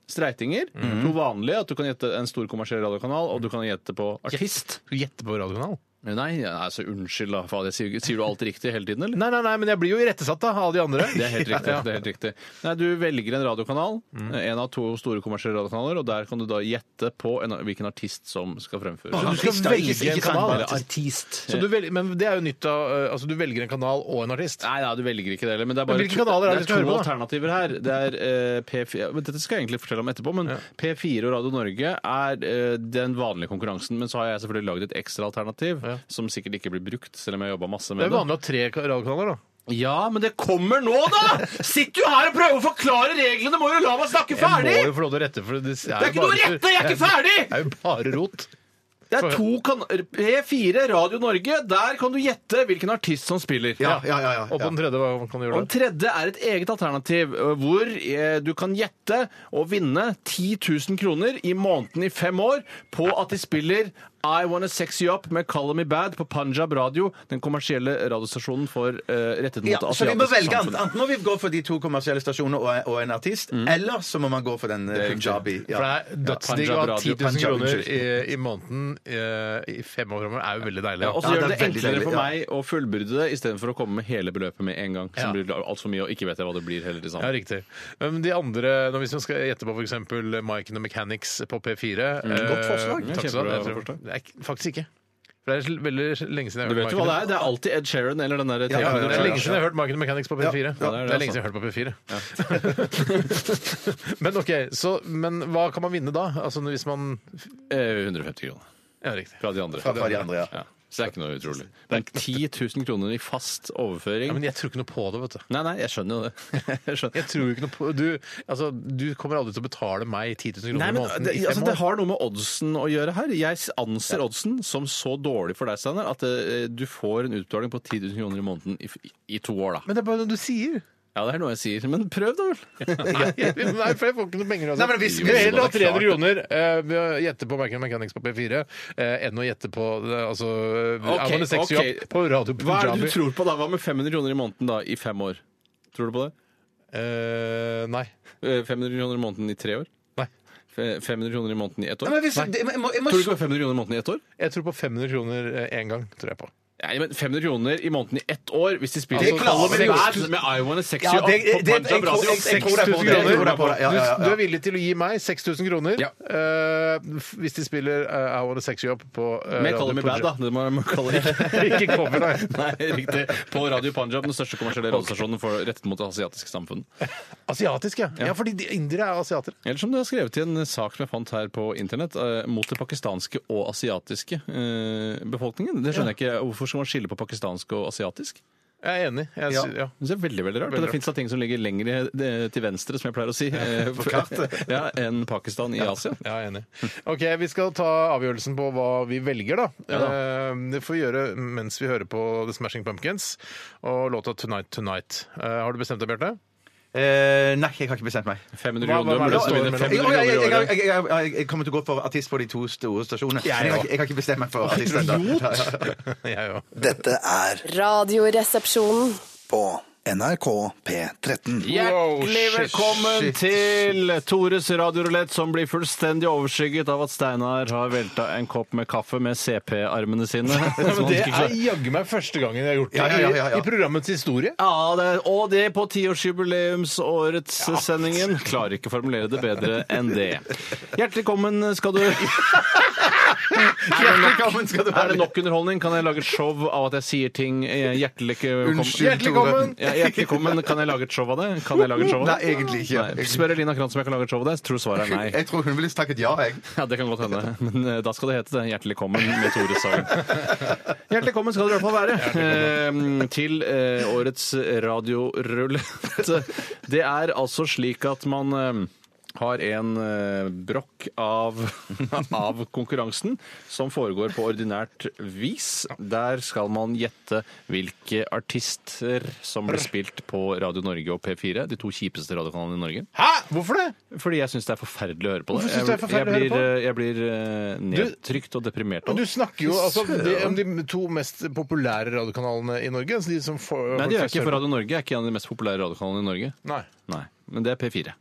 [SPEAKER 6] streitinger. To vanlige. At du kan gjette en stor kommersiell radiokanal, og du kan gjette på artist.
[SPEAKER 4] Skal du gjette på radiokanal?
[SPEAKER 6] Nei, ja, altså unnskyld, da. Faen, jeg sier, sier du alt riktig hele tiden, eller?
[SPEAKER 4] Nei, nei, nei, men jeg blir jo irettesatt da, av de andre.
[SPEAKER 6] Det er helt riktig.
[SPEAKER 4] Ja.
[SPEAKER 6] det er helt riktig. Nei, Du velger en radiokanal, en av to store kommersielle radiokanaler, og der kan du da gjette på en, hvilken artist som skal fremføres.
[SPEAKER 4] Så du skal
[SPEAKER 5] Artist, da, ikke-
[SPEAKER 4] velge en
[SPEAKER 5] ikke sang,
[SPEAKER 4] kanal?
[SPEAKER 5] bare
[SPEAKER 6] artist.
[SPEAKER 4] Så du velger, men det er jo nytt av eh, Altså, du velger en kanal og en artist.
[SPEAKER 6] Nei, nei, du velger ikke det heller. Men det er bare
[SPEAKER 4] Men hvilke kanaler er det vi
[SPEAKER 6] to
[SPEAKER 4] skal høre på, da?
[SPEAKER 6] alternativer her. Det er eh, P4 ja, men Dette skal jeg egentlig fortelle om etterpå, men P4 og Radio Norge er eh, den vanlige konkurransen. Men så har jeg selvfølgelig laget et ekstra alternativ,
[SPEAKER 4] Ja.
[SPEAKER 6] som sikkert ikke blir brukt, selv om jeg har jobba masse
[SPEAKER 4] Det
[SPEAKER 6] med
[SPEAKER 4] er vanlig å ha tre ka- radiokanaler, da.
[SPEAKER 6] Ja, men det kommer nå, da! Sitter jo her og prøver å forklare reglene! Må jo la meg snakke
[SPEAKER 4] Jeg
[SPEAKER 6] ferdig!
[SPEAKER 4] må jo få lov til å rette, for det
[SPEAKER 6] Det er ikke noe å rette! Jeg er ikke ferdig!
[SPEAKER 4] Det er jo bare rot.
[SPEAKER 6] Det er to kan P4, Radio Norge. Der kan du gjette hvilken artist som spiller.
[SPEAKER 5] Ja, ja, ja, ja,
[SPEAKER 4] Og på
[SPEAKER 5] ja.
[SPEAKER 4] den tredje, hva kan du gjøre
[SPEAKER 6] Og den
[SPEAKER 4] da?
[SPEAKER 6] tredje er et eget alternativ, ø, hvor eh, du kan gjette og vinne 10 000 kroner i måneden i fem år på at de spiller I Wanna Sex You Up med Call Me Bad på Punjab Radio, den kommersielle radiostasjonen for eh, rettet mot
[SPEAKER 5] Ja, så vi må
[SPEAKER 6] asiatisk
[SPEAKER 5] velge
[SPEAKER 6] samfunn.
[SPEAKER 5] ant- Enten må vi gå for de to kommersielle stasjonene og, og en artist, eller så må man gå for den eh, punjabi. Ja.
[SPEAKER 4] For det er dødsdigg å
[SPEAKER 6] Punjab
[SPEAKER 4] ha
[SPEAKER 6] Radio,
[SPEAKER 4] 10 000
[SPEAKER 5] Punjab,
[SPEAKER 4] kroner i,
[SPEAKER 5] unnskyld.
[SPEAKER 4] i måneden eh, i fem år framover. er jo veldig deilig.
[SPEAKER 6] Ja, og så
[SPEAKER 5] Ja,
[SPEAKER 6] gjør det,
[SPEAKER 5] det er veldig
[SPEAKER 6] enklere
[SPEAKER 5] deilig,
[SPEAKER 6] for
[SPEAKER 5] ja.
[SPEAKER 6] meg å fullbyrde det istedenfor å komme med hele beløpet med en gang.
[SPEAKER 4] Ja.
[SPEAKER 6] Som blir altfor mye, og ikke vet jeg hva det blir heller til
[SPEAKER 4] Ja,
[SPEAKER 6] sammen.
[SPEAKER 4] riktig. Men de andre, når hvis man skal gjette på f.eks. Mike and the Mechanics på P4 eh,
[SPEAKER 5] Godt forslag.
[SPEAKER 6] Mm,
[SPEAKER 4] Takk skal du ha.
[SPEAKER 6] Kjempebra
[SPEAKER 4] Jeg tror-
[SPEAKER 6] forslag.
[SPEAKER 4] Det er ikke- Faktisk ikke. For For det er veldig lenge siden jeg har
[SPEAKER 6] Du vet
[SPEAKER 4] hørt
[SPEAKER 6] jo hva det
[SPEAKER 4] Michael-
[SPEAKER 6] er. Det er alltid Ed Sheeran eller den der
[SPEAKER 5] Ja, ja, ja, ja,
[SPEAKER 4] Det er lenge siden jeg
[SPEAKER 6] ja.
[SPEAKER 4] har hørt Marketing Mechanics på P4.
[SPEAKER 5] Ja,
[SPEAKER 4] det, er lenge siden jeg har hørt på P4. men ok, så, men hva kan man vinne da? Altså hvis man
[SPEAKER 6] Eh, 150 kroner
[SPEAKER 4] Ja, riktig.
[SPEAKER 6] fra de andre.
[SPEAKER 5] Fra de andre, ja.
[SPEAKER 6] Ja. Så det er ikke noe utrolig. Det er 10 000 kroner i fast overføring.
[SPEAKER 4] Ja, men jeg tror ikke noe på det, vet du.
[SPEAKER 6] Nei, nei, jeg skjønner jo det. Jeg skjønner.
[SPEAKER 4] Jeg tror jo ikke noe på Du, altså, du kommer aldri til å betale meg 10 000 kroner
[SPEAKER 6] Nei,
[SPEAKER 4] i
[SPEAKER 6] men
[SPEAKER 4] måneden
[SPEAKER 6] det,
[SPEAKER 4] i fem
[SPEAKER 6] altså, det
[SPEAKER 4] år.
[SPEAKER 6] har noe med oddsen å gjøre her. Jeg anser oddsen som så dårlig for deg, Steinar, at eh, du får en utbetaling på 10 000 kroner i måneden i, f- i to år, da.
[SPEAKER 4] Men det er bare noe du sier.
[SPEAKER 6] Ja, det er noe jeg sier, men prøv da vel!
[SPEAKER 4] Nei, for jeg får ikke noe penger. Altså.
[SPEAKER 5] Nei, men hvis-
[SPEAKER 4] jeg vil heller ha
[SPEAKER 6] hvis-
[SPEAKER 4] 300 kroner eh, ved å gjette på Marketing Mechanics på P4 eh, enn å gjette på eh, altså,
[SPEAKER 6] Ok,
[SPEAKER 4] I'm on a sex job
[SPEAKER 6] ok.
[SPEAKER 4] på Radio Punjabi.
[SPEAKER 6] Hva er det du tror på da? Hva med 500 kroner i måneden da, i fem år? Tror du på det?
[SPEAKER 4] Eh, nei.
[SPEAKER 6] Eh, 500 kroner i måneden i tre år?
[SPEAKER 4] Nei.
[SPEAKER 6] Fe- 500 kroner i måneden i ett
[SPEAKER 5] Nei,
[SPEAKER 6] år?
[SPEAKER 5] men hvis, det, jeg må, jeg må,
[SPEAKER 6] Tror du ikke det var 500 kroner i måneden i ett år?
[SPEAKER 4] Jeg tror på 500 kroner eh, én gang, tror jeg på.
[SPEAKER 6] Nei, men 500 kroner i måneden i ett år hvis de sånn spiller
[SPEAKER 5] Det klarer
[SPEAKER 6] alle
[SPEAKER 5] vi jo.
[SPEAKER 6] hver med I Wanna Sex
[SPEAKER 5] Ja,
[SPEAKER 6] You Up
[SPEAKER 5] det-
[SPEAKER 6] på
[SPEAKER 5] det- jeg
[SPEAKER 6] Punjab
[SPEAKER 5] tror-
[SPEAKER 6] Radio.
[SPEAKER 5] jeg- jeg tror det er
[SPEAKER 4] 6000
[SPEAKER 5] på det, jeg tror det
[SPEAKER 4] kroner.
[SPEAKER 5] er på det. Ja, ja, ja.
[SPEAKER 4] Du, du er villig til å gi meg 6000 kroner
[SPEAKER 6] Ja.
[SPEAKER 4] eh, f- hvis de spiller eh, I Wanna Sex You Up på eh,
[SPEAKER 6] Mer Call
[SPEAKER 4] Radio
[SPEAKER 6] Me Bad, da.
[SPEAKER 4] Punjab.
[SPEAKER 6] Det må må kalle det
[SPEAKER 4] Ikke cover, nei.
[SPEAKER 6] Nei, riktig. På Radio Punjab, den største kommersielle radiostasjonen for rettet mot det asiatiske samfunn.
[SPEAKER 4] Asiatisk, ja. ja. fordi de indere er asiater.
[SPEAKER 6] Eller som det er skrevet i en sak som jeg fant her på internett, eh, mot det pakistanske og asiatiske eh, befolkningen. Det skjønner jeg ikke. Hvorfor skal man skille på pakistansk og asiatisk?
[SPEAKER 4] Jeg er enig. Jeg,
[SPEAKER 5] Ja.
[SPEAKER 4] sy- ja.
[SPEAKER 6] Det er veldig, veldig rart.
[SPEAKER 4] Veldig
[SPEAKER 6] og Det fins da ting som ligger lenger eh, til venstre, som jeg pleier å si, eh, for- ja, enn Pakistan i Asia.
[SPEAKER 4] Ja, jeg er enig. Ok, Vi skal ta avgjørelsen på hva vi velger, da. Eh, Det får vi gjøre mens vi hører på The Smashing Pumpkins og låta 'Tonight Tonight'. Eh, Har du bestemt deg, Bjarte?
[SPEAKER 5] Eh, nei, jeg har ikke bestemt meg.
[SPEAKER 6] 500
[SPEAKER 4] Hva- hva
[SPEAKER 6] kroner
[SPEAKER 4] er det
[SPEAKER 6] burde
[SPEAKER 4] som
[SPEAKER 6] stå
[SPEAKER 4] står
[SPEAKER 6] under
[SPEAKER 4] mellom-
[SPEAKER 6] 500 kroner
[SPEAKER 5] Jeg, jeg,
[SPEAKER 6] i
[SPEAKER 5] jeg,
[SPEAKER 6] året.
[SPEAKER 5] jeg, jeg, jeg, jeg kommer til å gå for artist på de to store stasjonene. Jeg, har ikke- jeg har ikke bestemt meg for artist. ennå.
[SPEAKER 4] Jeg òg.
[SPEAKER 8] Dette er
[SPEAKER 7] Radioresepsjonen.
[SPEAKER 8] på NRK P13.
[SPEAKER 6] Hjertelig
[SPEAKER 4] Wow, shit,
[SPEAKER 6] velkommen til Tores radiorulett, som blir fullstendig overskygget av at Steinar har velta en kopp med kaffe med CP-armene sine. Som han
[SPEAKER 4] Det
[SPEAKER 6] ikke
[SPEAKER 4] er
[SPEAKER 6] klarer.
[SPEAKER 4] jaggu meg første gangen jeg har gjort det
[SPEAKER 5] Ja, ja, ja, ja, ja.
[SPEAKER 4] i- i programmets historie.
[SPEAKER 6] Ja, det er, Og det på tiårsjubileumsårets sendingen. Klarer ikke å formulere det bedre enn det. Hjertelig velkommen skal du Er
[SPEAKER 5] Hjertelig velkommen skal du
[SPEAKER 6] det
[SPEAKER 5] være.
[SPEAKER 6] nok underholdning? Kan jeg lage et show av at jeg sier ting eh, hjertelig velkommen?
[SPEAKER 5] Unnskyld,
[SPEAKER 4] Hjertelig
[SPEAKER 5] Tore.
[SPEAKER 4] velkommen.
[SPEAKER 6] Ja, hjertelig velkommen. Kan jeg lage et show av det? Kan jeg lage et show av det?
[SPEAKER 5] Nei, egentlig ikke.
[SPEAKER 6] Nei. Spør Elina Krantz om jeg kan lage et show av det. Jeg tror svaret er nei.
[SPEAKER 5] Jeg tror hun ville snakket ja, jeg.
[SPEAKER 6] Ja, Det kan godt hende. Men eh, da skal det hete det. Hjertelig kommen med Tore Sagen. Hjertelig kommen skal dere i hvert fall være eh, til eh, årets radiorulett. Det er altså slik at man eh, har en eh, brokk av, av konkurransen som foregår på ordinært vis. Der skal man gjette hvilke artister som blir spilt på Radio Norge og P4, de to kjipeste radiokanalene i Norge.
[SPEAKER 4] Hæ? Hvorfor det?
[SPEAKER 6] Fordi jeg syns det er forferdelig å høre på det.
[SPEAKER 4] Hvorfor synes du det er forferdelig
[SPEAKER 6] jeg, jeg
[SPEAKER 4] å høre
[SPEAKER 6] blir, eh, jeg blir eh, nedtrykt og deprimert
[SPEAKER 4] Og
[SPEAKER 6] av
[SPEAKER 4] du
[SPEAKER 6] det.
[SPEAKER 4] snakker jo altså, de, om de to mest populære radiokanalene i Norge. Altså de som får,
[SPEAKER 6] Nei, det gjør jeg ikke, for Radio Norge er ikke en av de mest populære radiokanalene i Norge.
[SPEAKER 4] Nei.
[SPEAKER 6] Nei, Men det er P4.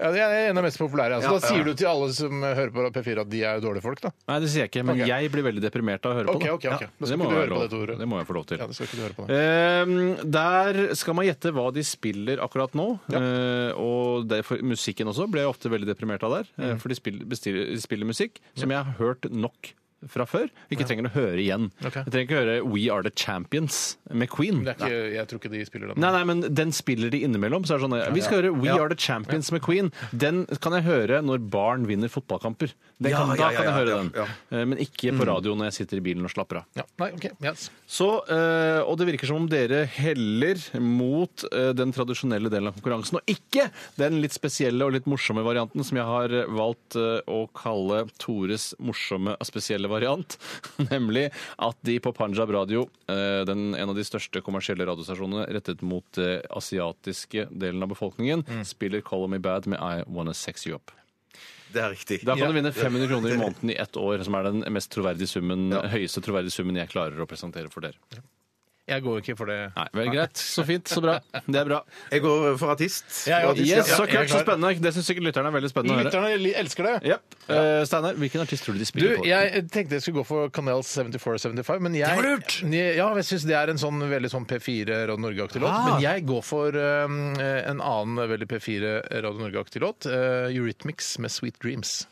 [SPEAKER 4] Ja, det er en av de mest populære. Altså,
[SPEAKER 5] Ja,
[SPEAKER 4] da sier du til alle som hører på P4 at de er dårlige folk, da.
[SPEAKER 6] Nei, det sier jeg ikke, men
[SPEAKER 4] Ok.
[SPEAKER 6] jeg blir veldig deprimert av å høre
[SPEAKER 4] Ok,
[SPEAKER 6] på
[SPEAKER 4] ok, ok. Da skal
[SPEAKER 6] Det
[SPEAKER 4] ikke
[SPEAKER 6] må
[SPEAKER 4] du
[SPEAKER 6] være
[SPEAKER 4] høre på
[SPEAKER 6] lov.
[SPEAKER 4] det, Tore.
[SPEAKER 6] Det må jeg få lov til.
[SPEAKER 4] Ja, det skal ikke du høre på. Da.
[SPEAKER 6] Ehm, der skal man gjette hva de spiller akkurat nå. Eh, og derfor, musikken også ble jeg ofte veldig deprimert av der. eh,
[SPEAKER 4] Mm.
[SPEAKER 6] For de spiller, bestiller, de spiller musikk som jeg har hørt nok fra før. Ikke trenger å høre igjen.
[SPEAKER 4] Ok.
[SPEAKER 6] Jeg trenger ikke høre We Are The Champions med Queen.
[SPEAKER 4] Det er ikke, jeg tror ikke de spiller den.
[SPEAKER 6] Nei, nei, men den spiller de innimellom. Så er det sånn, vi skal høre We Are The Champions med Queen. Den kan jeg høre når barn vinner fotballkamper. Den kan, da
[SPEAKER 5] Ja, ja, ja,
[SPEAKER 6] kan jeg
[SPEAKER 5] ja,
[SPEAKER 6] høre
[SPEAKER 5] ja,
[SPEAKER 6] den.
[SPEAKER 5] ja. Mm.
[SPEAKER 6] Eh, Men ikke på radio når jeg sitter i bilen og slapper av.
[SPEAKER 4] Ja. Nei, ok, yes.
[SPEAKER 6] Så, eh, og det virker som om dere heller mot eh, den tradisjonelle delen av konkurransen, og ikke den litt spesielle og litt morsomme varianten som jeg har eh, valgt eh, å kalle Tores morsomme og spesielle variant, nemlig at de på Panjab Radio, eh, den, en av de største kommersielle radiostasjonene rettet mot det asiatiske delen av befolkningen, spiller Call Me Bad med I Wanna Sex You Up.
[SPEAKER 5] Det er riktig.
[SPEAKER 6] Da kan du vinne 500 kroner i måneden i ett år, som er den mest troverdige summen, høyeste troverdige summen jeg klarer å presentere for dere.
[SPEAKER 4] Jeg går ikke for det.
[SPEAKER 6] Nei, vel greit. Så fint, så bra. Det er bra.
[SPEAKER 5] Jeg går for artist.
[SPEAKER 4] Jeg er artist,
[SPEAKER 5] Ja,
[SPEAKER 6] Yes, Så
[SPEAKER 4] jeg er
[SPEAKER 6] kult, så
[SPEAKER 4] klar.
[SPEAKER 6] spennende. Det syns sikkert lytterne er veldig spennende å høre.
[SPEAKER 4] Lytterne li- elsker det.
[SPEAKER 6] Yep. Eh, Steinar, hvilken artist tror du de
[SPEAKER 4] Du,
[SPEAKER 6] spiller på?
[SPEAKER 4] jeg tenkte jeg skulle gå for Kanel 74-75, men jeg
[SPEAKER 6] Det var lurt!
[SPEAKER 4] Ja, jeg syns det er en sånn veldig sånn P4 Radio Norge-aktig
[SPEAKER 5] Ah.
[SPEAKER 4] låt. Men jeg går for um, en annen veldig P4 Radio Norge-aktig låt, eh, Eurythmics med Sweet Dreams.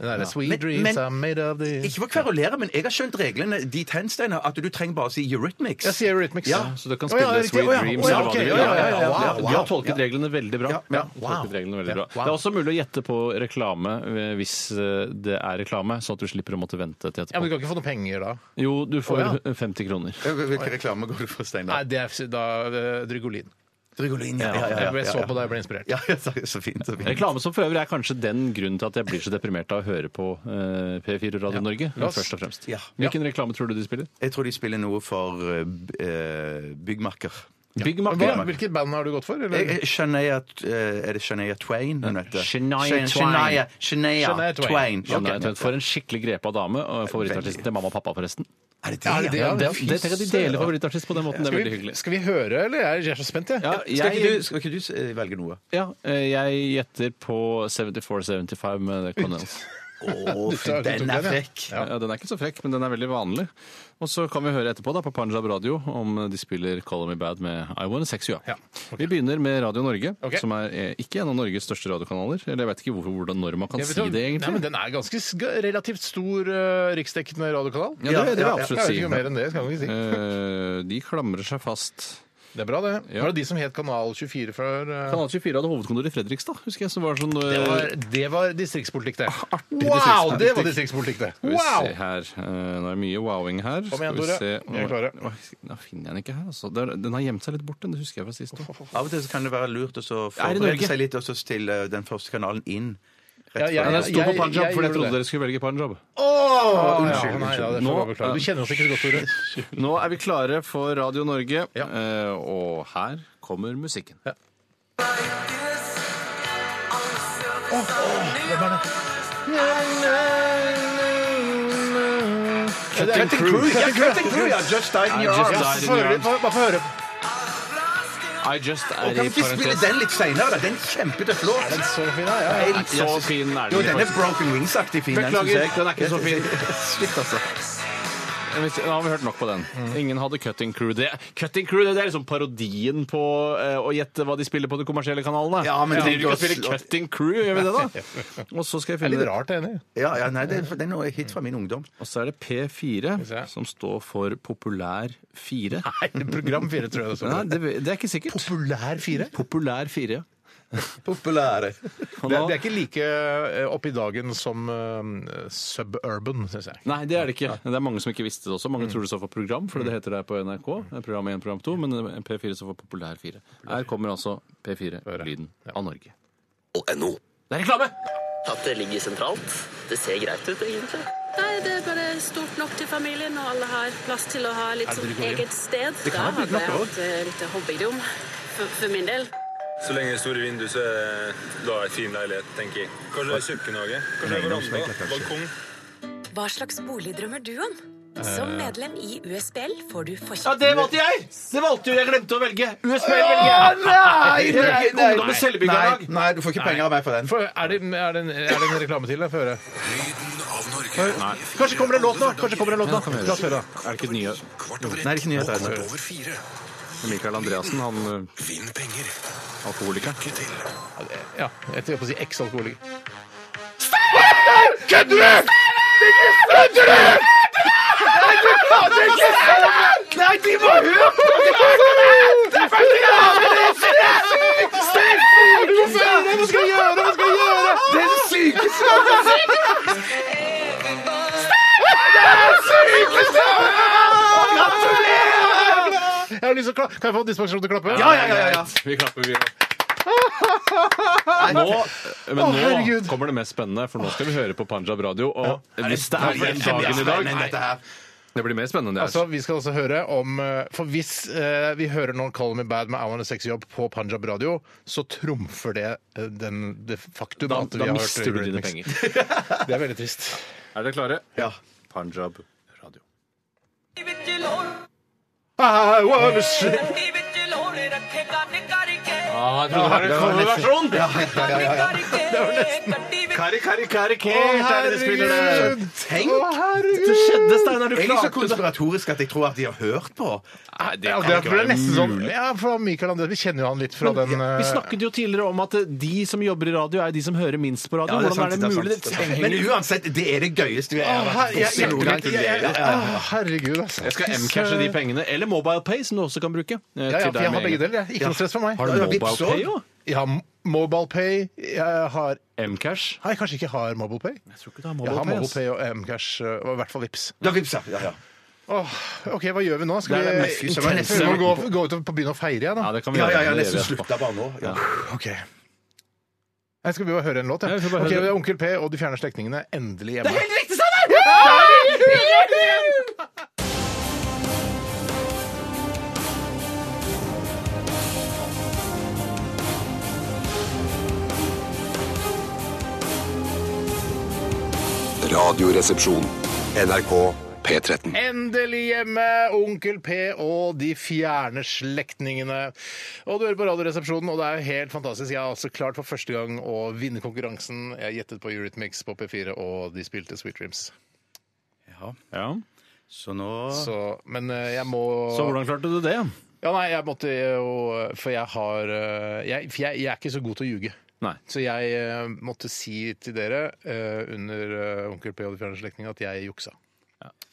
[SPEAKER 4] Den derre Sweet
[SPEAKER 5] Men-
[SPEAKER 4] dreams
[SPEAKER 5] men-
[SPEAKER 4] are made of the
[SPEAKER 5] Ikke for å kverulere, men jeg har skjønt reglene dit hen, Steinar, at du trenger bare å si Eurythmics.
[SPEAKER 4] Jeg sier Eurythmics.
[SPEAKER 5] Ja,
[SPEAKER 6] Så du kan
[SPEAKER 4] Å, ja,
[SPEAKER 6] spille
[SPEAKER 4] riktig.
[SPEAKER 6] Sweet
[SPEAKER 4] Å, ja.
[SPEAKER 6] Dreams
[SPEAKER 4] Å, ja,
[SPEAKER 6] eller hva
[SPEAKER 4] ok.
[SPEAKER 6] du vil.
[SPEAKER 4] Ja, ja, ja, ja,
[SPEAKER 5] ja.
[SPEAKER 6] Du har tolket reglene veldig bra.
[SPEAKER 5] Ja, ja.
[SPEAKER 6] Du har tolket reglene veldig bra.
[SPEAKER 4] Ja, wow.
[SPEAKER 6] Det er også mulig å gjette på reklame eh, hvis eh, det er reklame, sånn at du slipper å måtte vente til
[SPEAKER 4] Ja, men Du kan
[SPEAKER 6] etterpå.
[SPEAKER 4] ikke få noe penger da?
[SPEAKER 6] Jo, du får
[SPEAKER 4] Å,
[SPEAKER 6] 50 kroner.
[SPEAKER 5] Hvilke reklame går du for,
[SPEAKER 4] Nei,
[SPEAKER 5] Steinar?
[SPEAKER 4] det er da eh, Drygolin.
[SPEAKER 5] Drygolin, ja. ja, ja, ja,
[SPEAKER 4] Jeg så
[SPEAKER 5] ja.
[SPEAKER 4] på deg og ble inspirert.
[SPEAKER 5] Ja, ja, så så fint. Så fint.
[SPEAKER 6] Reklame som for øvrig er kanskje den grunnen til at jeg blir så deprimert av å høre på eh, P4 Radio Norge.
[SPEAKER 4] La oss-
[SPEAKER 6] først og fremst.
[SPEAKER 5] Ja.
[SPEAKER 6] Hvilken reklame tror du de spiller?
[SPEAKER 5] Jeg tror de spiller noe for eh, b- eh, byggmakker.
[SPEAKER 4] Men
[SPEAKER 6] Byggmakker.
[SPEAKER 4] hva, hvilket band har du gått for?
[SPEAKER 5] Jeg-
[SPEAKER 4] Eller?
[SPEAKER 5] jeg- Shania eh, Er det Shania Twain hun heter?
[SPEAKER 6] Shania
[SPEAKER 5] Shania-
[SPEAKER 6] Twain.
[SPEAKER 5] Shania, Shania
[SPEAKER 4] Shania Twain.
[SPEAKER 5] Twain.
[SPEAKER 6] Ja, nei,
[SPEAKER 5] Ok.
[SPEAKER 6] jeg vet, For en skikkelig grepa dame. og Favorittartisten til mamma og pappa, forresten.
[SPEAKER 5] Er det
[SPEAKER 4] Er det det?
[SPEAKER 5] det?
[SPEAKER 4] Ja,
[SPEAKER 6] Ja, det,
[SPEAKER 4] fy
[SPEAKER 6] det, tenk at De deler
[SPEAKER 4] søren.
[SPEAKER 6] favorittartist på den måten. Det er
[SPEAKER 4] Skal
[SPEAKER 6] veldig
[SPEAKER 4] vi,
[SPEAKER 6] hyggelig.
[SPEAKER 4] skal vi høre, eller? Jeg er- Jeg er så spent, jeg.
[SPEAKER 6] Ja,
[SPEAKER 5] Skal ikke du,
[SPEAKER 6] jeg,
[SPEAKER 5] skal ikke du s- eh, velge noe?
[SPEAKER 6] ja, eh, jeg gjetter på 74-75 med The Connells.
[SPEAKER 5] Å,
[SPEAKER 4] Du tar- du
[SPEAKER 5] for den
[SPEAKER 4] tok
[SPEAKER 5] er
[SPEAKER 4] den, ja.
[SPEAKER 5] frekk.
[SPEAKER 6] Ja. den er ikke så frekk, men den er veldig vanlig. Og så kan vi høre etterpå da, på Panjab Radio om de spiller Call Me Bad med I Wanna Sex You Up.
[SPEAKER 4] Ja,
[SPEAKER 6] Vi begynner med Radio Norge,
[SPEAKER 4] Ok.
[SPEAKER 6] som er eh, ikke en av Norges største radiokanaler. Eller jeg vet ikke hvorfor, hvordan, når man kan
[SPEAKER 4] Jeg vet
[SPEAKER 6] si
[SPEAKER 4] ikke om-
[SPEAKER 6] det, egentlig.
[SPEAKER 4] Nei, men Den er ganske sk- relativt stor eh, riksdekkende radiokanal.
[SPEAKER 6] Ja, det, det vil jeg
[SPEAKER 5] Ja,
[SPEAKER 4] Jeg
[SPEAKER 6] absolutt
[SPEAKER 4] vet ikke
[SPEAKER 6] si.
[SPEAKER 4] mer enn det. skal jeg ikke si.
[SPEAKER 6] Eh, de klamrer seg fast.
[SPEAKER 4] Det er bra, det.
[SPEAKER 6] Ja.
[SPEAKER 4] Var det de som het Kanal 24 før? eh,
[SPEAKER 6] Kanal 24 hadde hovedkontor i Fredrikstad, husker jeg. Som var sånn,
[SPEAKER 4] Det var, det var distriktspolitikk, det. Wow, det var Ah, distriktspolitikk, det!
[SPEAKER 6] Skal vi
[SPEAKER 4] Wow!
[SPEAKER 6] se her. Eh, Nå er det mye wowing her.
[SPEAKER 4] Kom igjen,
[SPEAKER 6] Skal vi
[SPEAKER 4] Tore.
[SPEAKER 6] se-
[SPEAKER 4] Vi er klare.
[SPEAKER 6] Oi, Da finner jeg den ikke her, altså. Der- Den har gjemt seg litt bort, den. Det husker jeg fra sist. også.
[SPEAKER 5] Av og til så kan det være lurt å så
[SPEAKER 6] Er det
[SPEAKER 5] forberede
[SPEAKER 6] Norge?
[SPEAKER 5] seg litt og så stille den første kanalen inn.
[SPEAKER 4] Ja, jeg-
[SPEAKER 6] Nei, den sto på
[SPEAKER 4] jeg-
[SPEAKER 6] Panjab,
[SPEAKER 4] jeg
[SPEAKER 6] for jeg
[SPEAKER 4] gjorde
[SPEAKER 6] trodde
[SPEAKER 4] det.
[SPEAKER 6] dere skulle velge Panjab.
[SPEAKER 4] Åh, Ah,
[SPEAKER 6] unnskyld,
[SPEAKER 4] ja, nei,
[SPEAKER 6] unnskyld.
[SPEAKER 4] ja, det får
[SPEAKER 6] Nå-
[SPEAKER 4] jeg beklage. Du kjenner oss ikke så godt, Tore.
[SPEAKER 6] Nå er vi klare for Radio Norge,
[SPEAKER 4] Ja.
[SPEAKER 6] eh, og her kommer musikken.
[SPEAKER 4] Cutting Crew. Cutting Crew.
[SPEAKER 5] Just died in your
[SPEAKER 6] just
[SPEAKER 5] arms.
[SPEAKER 4] Ja,
[SPEAKER 6] died.
[SPEAKER 4] få høre litt, bare få høre.
[SPEAKER 6] I just er
[SPEAKER 5] Kan vi ikke spille den litt seinere? da? Den er kjempetøff låt.
[SPEAKER 4] Den er så fin, ja, ja. ja.
[SPEAKER 5] Helt-
[SPEAKER 6] Så fin er
[SPEAKER 5] Jo,
[SPEAKER 6] den.
[SPEAKER 5] den er
[SPEAKER 6] faktisk.
[SPEAKER 5] Broken Wings-aktig fin. den,
[SPEAKER 6] Beklager,
[SPEAKER 5] synes jeg.
[SPEAKER 6] den er ikke så fin.
[SPEAKER 5] Shit, altså.
[SPEAKER 6] Hvis- Nå har vi hørt nok på den. Ingen hadde Cutting Crew. Det, cutting crew, det er liksom parodien på eh, å gjette hva de spiller på de kommersielle kanalene.
[SPEAKER 5] Ja, men
[SPEAKER 6] vi driver
[SPEAKER 5] tenk
[SPEAKER 6] ikke og
[SPEAKER 5] oss-
[SPEAKER 6] spiller Cutting Crew, gjør vi det da? Og så skal jeg
[SPEAKER 4] Det er
[SPEAKER 6] finne
[SPEAKER 4] litt rart, det, enig.
[SPEAKER 5] Ja, ja, nei, det er, det er noe hit fra min ungdom.
[SPEAKER 6] Og så er det P4,
[SPEAKER 4] vi se.
[SPEAKER 6] som står for Populær 4.
[SPEAKER 4] Nei, Program 4, tror jeg det
[SPEAKER 6] Nei,
[SPEAKER 4] står.
[SPEAKER 6] det, det er ikke sikkert.
[SPEAKER 4] Populær 4?
[SPEAKER 6] Populær 4, ja.
[SPEAKER 5] Populære.
[SPEAKER 6] Og
[SPEAKER 4] Det,
[SPEAKER 6] nå-
[SPEAKER 4] det er ikke like eh, opp i dagen som eh, suburban, syns jeg.
[SPEAKER 6] Nei, det er det ikke. Det er mange som ikke visste det også.
[SPEAKER 4] Mm.
[SPEAKER 6] Mange tror det står for program, for det heter det på NRK. Program 1, program 2, men P4 står for Populær 4. Her kommer altså P4, lyden av Norge.
[SPEAKER 1] NO.
[SPEAKER 6] Det er reklame!
[SPEAKER 2] At det ligger sentralt. Det ser greit ut, egentlig.
[SPEAKER 9] Nei, det er bare stort nok til familien, og alle har plass til å ha litt sånn eget sted. Det kan da hadde jeg hatt eh, litt hobbyrom, for, for min del.
[SPEAKER 10] Så lenge det er store vinduer, så er det da en fin leilighet, tenker jeg. Kanskje det er kjøkkenhage? Kanskje det er veranda? Balkong?
[SPEAKER 9] Hva slags bolig drømmer du om? Som medlem i USBL får du forkjøpt...
[SPEAKER 6] Ja, det valgte jeg! Det valgte jo jeg glemte å velge. USBL velger jeg.
[SPEAKER 5] Nei, nei, nei,
[SPEAKER 6] Ungdom med selvbyggerlag.
[SPEAKER 5] nei, nei, du får ikke penger av meg for den.
[SPEAKER 4] For, er, det, er, det en, er det en reklame til? Jeg får høre.
[SPEAKER 1] Lyden av Norge.
[SPEAKER 4] Kanskje kommer det en låt nå? Kanskje kommer det en låt nå? La oss høre, da.
[SPEAKER 6] Er det ikke den nye
[SPEAKER 1] Kvart over ett.
[SPEAKER 5] Nei, det er ikke nyheter.
[SPEAKER 1] og kvart over fire.
[SPEAKER 6] Michael Andreassen, han ø,
[SPEAKER 1] Vinn penger.
[SPEAKER 6] alkoholikeren?
[SPEAKER 1] Lykke til.
[SPEAKER 4] Ja, jeg tror jeg på å si eks-alkoholiker. Jeg har lyst til å kla kan jeg få dispensasjon til å klappe?
[SPEAKER 5] Ja, ja, ja, ja.
[SPEAKER 6] Vi klapper, vi òg. Nå, men
[SPEAKER 4] Å,
[SPEAKER 6] nå
[SPEAKER 4] herregud.
[SPEAKER 6] kommer det mest spennende, for nå skal vi høre på Panjab radio. Og hvis det er
[SPEAKER 5] Nei,
[SPEAKER 6] den dagen i dag
[SPEAKER 5] men dette her.
[SPEAKER 6] Det blir mer spennende enn det er.
[SPEAKER 4] Altså, Vi skal også høre om eh, For hvis eh, vi hører noen Call Me Bad med I Want A Sexy Job på Punjab Radio, så trumfer det eh, den, det faktum
[SPEAKER 6] Da,
[SPEAKER 4] at vi
[SPEAKER 6] da
[SPEAKER 4] har hørt
[SPEAKER 6] mister du dine
[SPEAKER 4] Eurythmics.
[SPEAKER 6] penger.
[SPEAKER 4] Det er veldig trist.
[SPEAKER 6] Er dere klare?
[SPEAKER 5] Ja.
[SPEAKER 6] Panjab radio.
[SPEAKER 9] Ah,
[SPEAKER 4] I wanna see-
[SPEAKER 6] Ah, jeg trodde det var en coverversjon!
[SPEAKER 5] Ja, ja, ja, ja, ja.
[SPEAKER 4] Det var nesten
[SPEAKER 6] Kari, kari,
[SPEAKER 4] Å,
[SPEAKER 6] karikert er det de spiller
[SPEAKER 4] herregud!
[SPEAKER 6] det.
[SPEAKER 5] Tenk!
[SPEAKER 4] Å, herregud!
[SPEAKER 6] Det skjedde, Steinar. Du
[SPEAKER 5] Jeg er så
[SPEAKER 6] klarte det.
[SPEAKER 5] konspiratorisk at jeg tror at de har hørt på.
[SPEAKER 6] Nei, det
[SPEAKER 4] Ja,
[SPEAKER 6] kan
[SPEAKER 4] det
[SPEAKER 6] ikke
[SPEAKER 4] ble
[SPEAKER 6] være
[SPEAKER 4] nesten sånn
[SPEAKER 6] mulig.
[SPEAKER 4] Ja, for Michael André, vi kjenner jo han litt fra
[SPEAKER 6] Men
[SPEAKER 4] den eh,
[SPEAKER 6] vi snakket jo tidligere om at eh, de som jobber i radio, er de som hører minst på radio.
[SPEAKER 5] Ja, det er
[SPEAKER 6] Hvordan er
[SPEAKER 5] sant,
[SPEAKER 6] det
[SPEAKER 5] det er
[SPEAKER 6] mulig?
[SPEAKER 5] sant, det er sant. Men uansett, det er det gøyeste vi
[SPEAKER 4] Å,
[SPEAKER 5] har
[SPEAKER 4] her, jeg, jeg, jeg, jeg, jeg,
[SPEAKER 5] vært
[SPEAKER 4] å, herregud, altså.
[SPEAKER 6] Jeg skal M-cashe de pengene. Eller MobilePay, som du også kan bruke. eh,
[SPEAKER 4] Ja, ja,
[SPEAKER 6] til
[SPEAKER 4] for
[SPEAKER 6] deg
[SPEAKER 4] jeg
[SPEAKER 6] med
[SPEAKER 4] har begge
[SPEAKER 6] en gang.
[SPEAKER 4] deler. jeg. Ikke noe stress for meg.
[SPEAKER 6] Har
[SPEAKER 5] Ja,
[SPEAKER 6] du
[SPEAKER 5] ja, Vipps
[SPEAKER 6] MobilePay
[SPEAKER 5] også?
[SPEAKER 6] òg?
[SPEAKER 4] Jeg har MobilePay. Jeg har
[SPEAKER 6] M-cash?
[SPEAKER 4] Nei, kanskje ikke har MobilePay.
[SPEAKER 6] Jeg tror ikke du har
[SPEAKER 4] Jeg har
[SPEAKER 6] MobilePay. ass.
[SPEAKER 4] MobilePay og Mcash, eh, og i hvert fall Vipps.
[SPEAKER 5] Ja, Vipps, ja. ja, ja.
[SPEAKER 4] Åh, OK, hva gjør vi nå? Skal
[SPEAKER 6] Det er det
[SPEAKER 4] vi
[SPEAKER 5] mest intense-
[SPEAKER 4] Vi må gå, gå ut og begynne å feire igjen,
[SPEAKER 6] Ja,
[SPEAKER 4] da?
[SPEAKER 6] det kan vi
[SPEAKER 5] Ja, ja,
[SPEAKER 6] gjøre.
[SPEAKER 5] ja,
[SPEAKER 6] Det
[SPEAKER 5] nesten
[SPEAKER 6] gjør vi.
[SPEAKER 5] slutta bare nå. Ja.
[SPEAKER 4] OK. Nei, skal vi bare høre en låt, ja?
[SPEAKER 6] Ja, vi får bare
[SPEAKER 4] Ok,
[SPEAKER 6] høre
[SPEAKER 4] det
[SPEAKER 6] det.
[SPEAKER 4] er Onkel P og De fjerne slektningene endelig hjemme.
[SPEAKER 1] Radioresepsjon. NRK P13.
[SPEAKER 4] Endelig hjemme, Onkel P og de fjerne slektningene. Og du hører på Radioresepsjonen, og det er jo helt fantastisk. Jeg har altså klart for første gang å vinne konkurransen. Jeg gjettet på Eurythmics på P4, og de spilte Sweet Dreams.
[SPEAKER 6] Ja.
[SPEAKER 5] Så nå
[SPEAKER 4] Så, men eh, jeg må
[SPEAKER 6] Så hvordan klarte du det?
[SPEAKER 4] Ja, nei, jeg måtte jo For jeg har eh, jeg, For jeg, jeg er ikke så god til å ljuge.
[SPEAKER 6] Nei.
[SPEAKER 4] Så jeg eh, måtte si til dere eh, under eh, Onkel P og de fjerne slektningene at jeg juksa.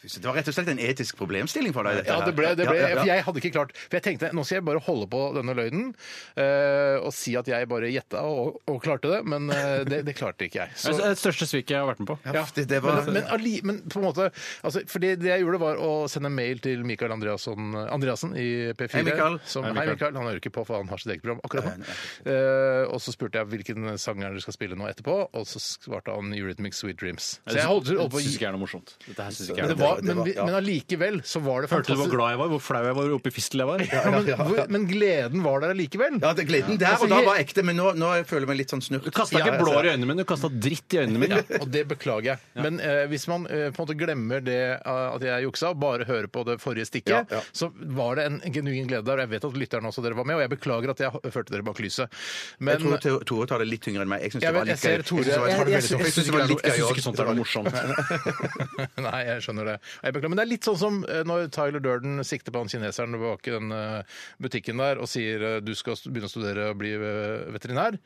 [SPEAKER 5] Det var rett og slett en etisk problemstilling for deg. dette
[SPEAKER 4] Ja,
[SPEAKER 5] her.
[SPEAKER 4] det ble, det ble,
[SPEAKER 5] Ja, ja, ja.
[SPEAKER 4] For jeg hadde ikke klart For jeg tenkte, nå skal jeg bare holde på denne løgnen eh, og si at jeg bare gjetta og, og klarte det, men eh, det, det klarte ikke jeg. Så,
[SPEAKER 6] Det er det største sviket jeg har vært med på.
[SPEAKER 5] Ja, det, det var...
[SPEAKER 4] men, alli, men på en måte altså, For det, det jeg gjorde, var å sende en mail til Mikael Andreasson, Andreassen i P4.
[SPEAKER 5] Hei, Mikael.
[SPEAKER 4] Som,
[SPEAKER 6] Hei,
[SPEAKER 4] hei,
[SPEAKER 6] Mikael.
[SPEAKER 4] Mikael. Han hører ikke på, for han har sitt eget program akkurat nå. Eh, og så spurte jeg hvilken sang er det du skal spille nå etterpå, og så svarte han Eurythmic Sweet Dreams. Så jeg holdt, holdt på å
[SPEAKER 6] Det synes
[SPEAKER 4] gi
[SPEAKER 6] ikke er noe morsomt. Dette her synes ikke
[SPEAKER 4] men det var,
[SPEAKER 6] er noe morsomt.
[SPEAKER 4] men, vi- men allikevel så var det
[SPEAKER 6] Hørte du hvor
[SPEAKER 4] fantastisk.
[SPEAKER 6] glad jeg var, hvor flau jeg var, hvor oppe i fistel jeg var?
[SPEAKER 4] Ja, men, hvor- men gleden var der allikevel.
[SPEAKER 5] Ja, det gleden der
[SPEAKER 4] Altså,
[SPEAKER 5] og da
[SPEAKER 4] jeg-
[SPEAKER 5] var ekte, men nå, nå føler jeg meg litt sånn snurt.
[SPEAKER 6] Du kasta
[SPEAKER 5] Ja,
[SPEAKER 6] ikke
[SPEAKER 5] jeg ser
[SPEAKER 6] blår i
[SPEAKER 5] det.
[SPEAKER 6] øynene mine, du kasta dritt i øynene mine.
[SPEAKER 4] Og det beklager jeg. Men eh, hvis man eh, på en måte glemmer det eh, at jeg juksa, og bare hører på det forrige stikket,
[SPEAKER 5] Ja, ja.
[SPEAKER 4] så var det en genuin glede der. Og jeg vet at lytterne også dere var med, og jeg beklager at jeg h- førte dere bak lyset. Men
[SPEAKER 5] Jeg tror Theo- Tore tar det litt tyngre enn meg. Jeg syns
[SPEAKER 4] Jeg
[SPEAKER 5] det
[SPEAKER 4] vet-
[SPEAKER 5] var
[SPEAKER 4] jeg
[SPEAKER 5] litt
[SPEAKER 4] ser
[SPEAKER 5] gøy.
[SPEAKER 4] Tore-
[SPEAKER 5] synes det var
[SPEAKER 4] jeg-
[SPEAKER 5] veldig
[SPEAKER 4] jeg- jeg
[SPEAKER 5] gøy. Jeg
[SPEAKER 4] synes
[SPEAKER 5] synes
[SPEAKER 4] ikke
[SPEAKER 5] det var
[SPEAKER 4] det er
[SPEAKER 5] litt
[SPEAKER 4] noe-
[SPEAKER 6] Jeg
[SPEAKER 5] gøy
[SPEAKER 6] syns
[SPEAKER 5] også.
[SPEAKER 6] ikke sånt er noe morsomt.
[SPEAKER 4] Nei, jeg skjønner det. Jeg beklager. Men det er litt sånn som eh, når Tyler Durden sikter på han kineseren bak i den eh, butikken der og sier eh, du skal st- begynne å studere og bli eh, veterinær,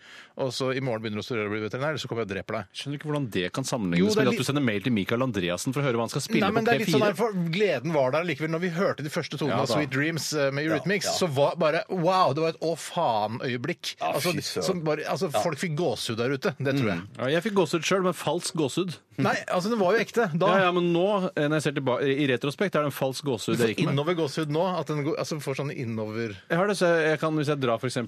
[SPEAKER 4] og så i morgen begynner du å studere og bli veterinær, eller så kommer jeg og dreper deg.
[SPEAKER 6] Skjønner ikke hvordan det kan
[SPEAKER 4] Jo,
[SPEAKER 6] sammenlignes
[SPEAKER 4] det er
[SPEAKER 6] med at
[SPEAKER 4] litt-
[SPEAKER 6] du sender mail til Michael Andreassen for å høre hva han skal spille
[SPEAKER 4] Nei, men
[SPEAKER 6] på
[SPEAKER 4] det er litt sånn
[SPEAKER 6] P4.
[SPEAKER 4] der, for Gleden var der likevel. Når vi hørte de første tonene
[SPEAKER 6] Ja,
[SPEAKER 4] av
[SPEAKER 6] da.
[SPEAKER 4] Sweet Dreams eh, med Eurythmics, så var bare wow! Det var et å faen-øyeblikk.
[SPEAKER 5] Ja, fy
[SPEAKER 4] altså,
[SPEAKER 5] søren.
[SPEAKER 4] som bare- altså, Folk fikk gåsehud der ute. Det tror jeg.
[SPEAKER 6] Ja, jeg fikk gåsehud sjøl, men falsk gåsehud.
[SPEAKER 4] Nei, altså, den var jo ekte da.
[SPEAKER 6] Ja, ja, men nå, eh, når jeg ser tilbake, i retrospekt, er det en falsk gåsehud jeg gikk med.
[SPEAKER 4] Innover gåsehud nå. At den går, altså, får sånn innover
[SPEAKER 6] Jeg har det, så jeg kan, Hvis jeg drar f.eks.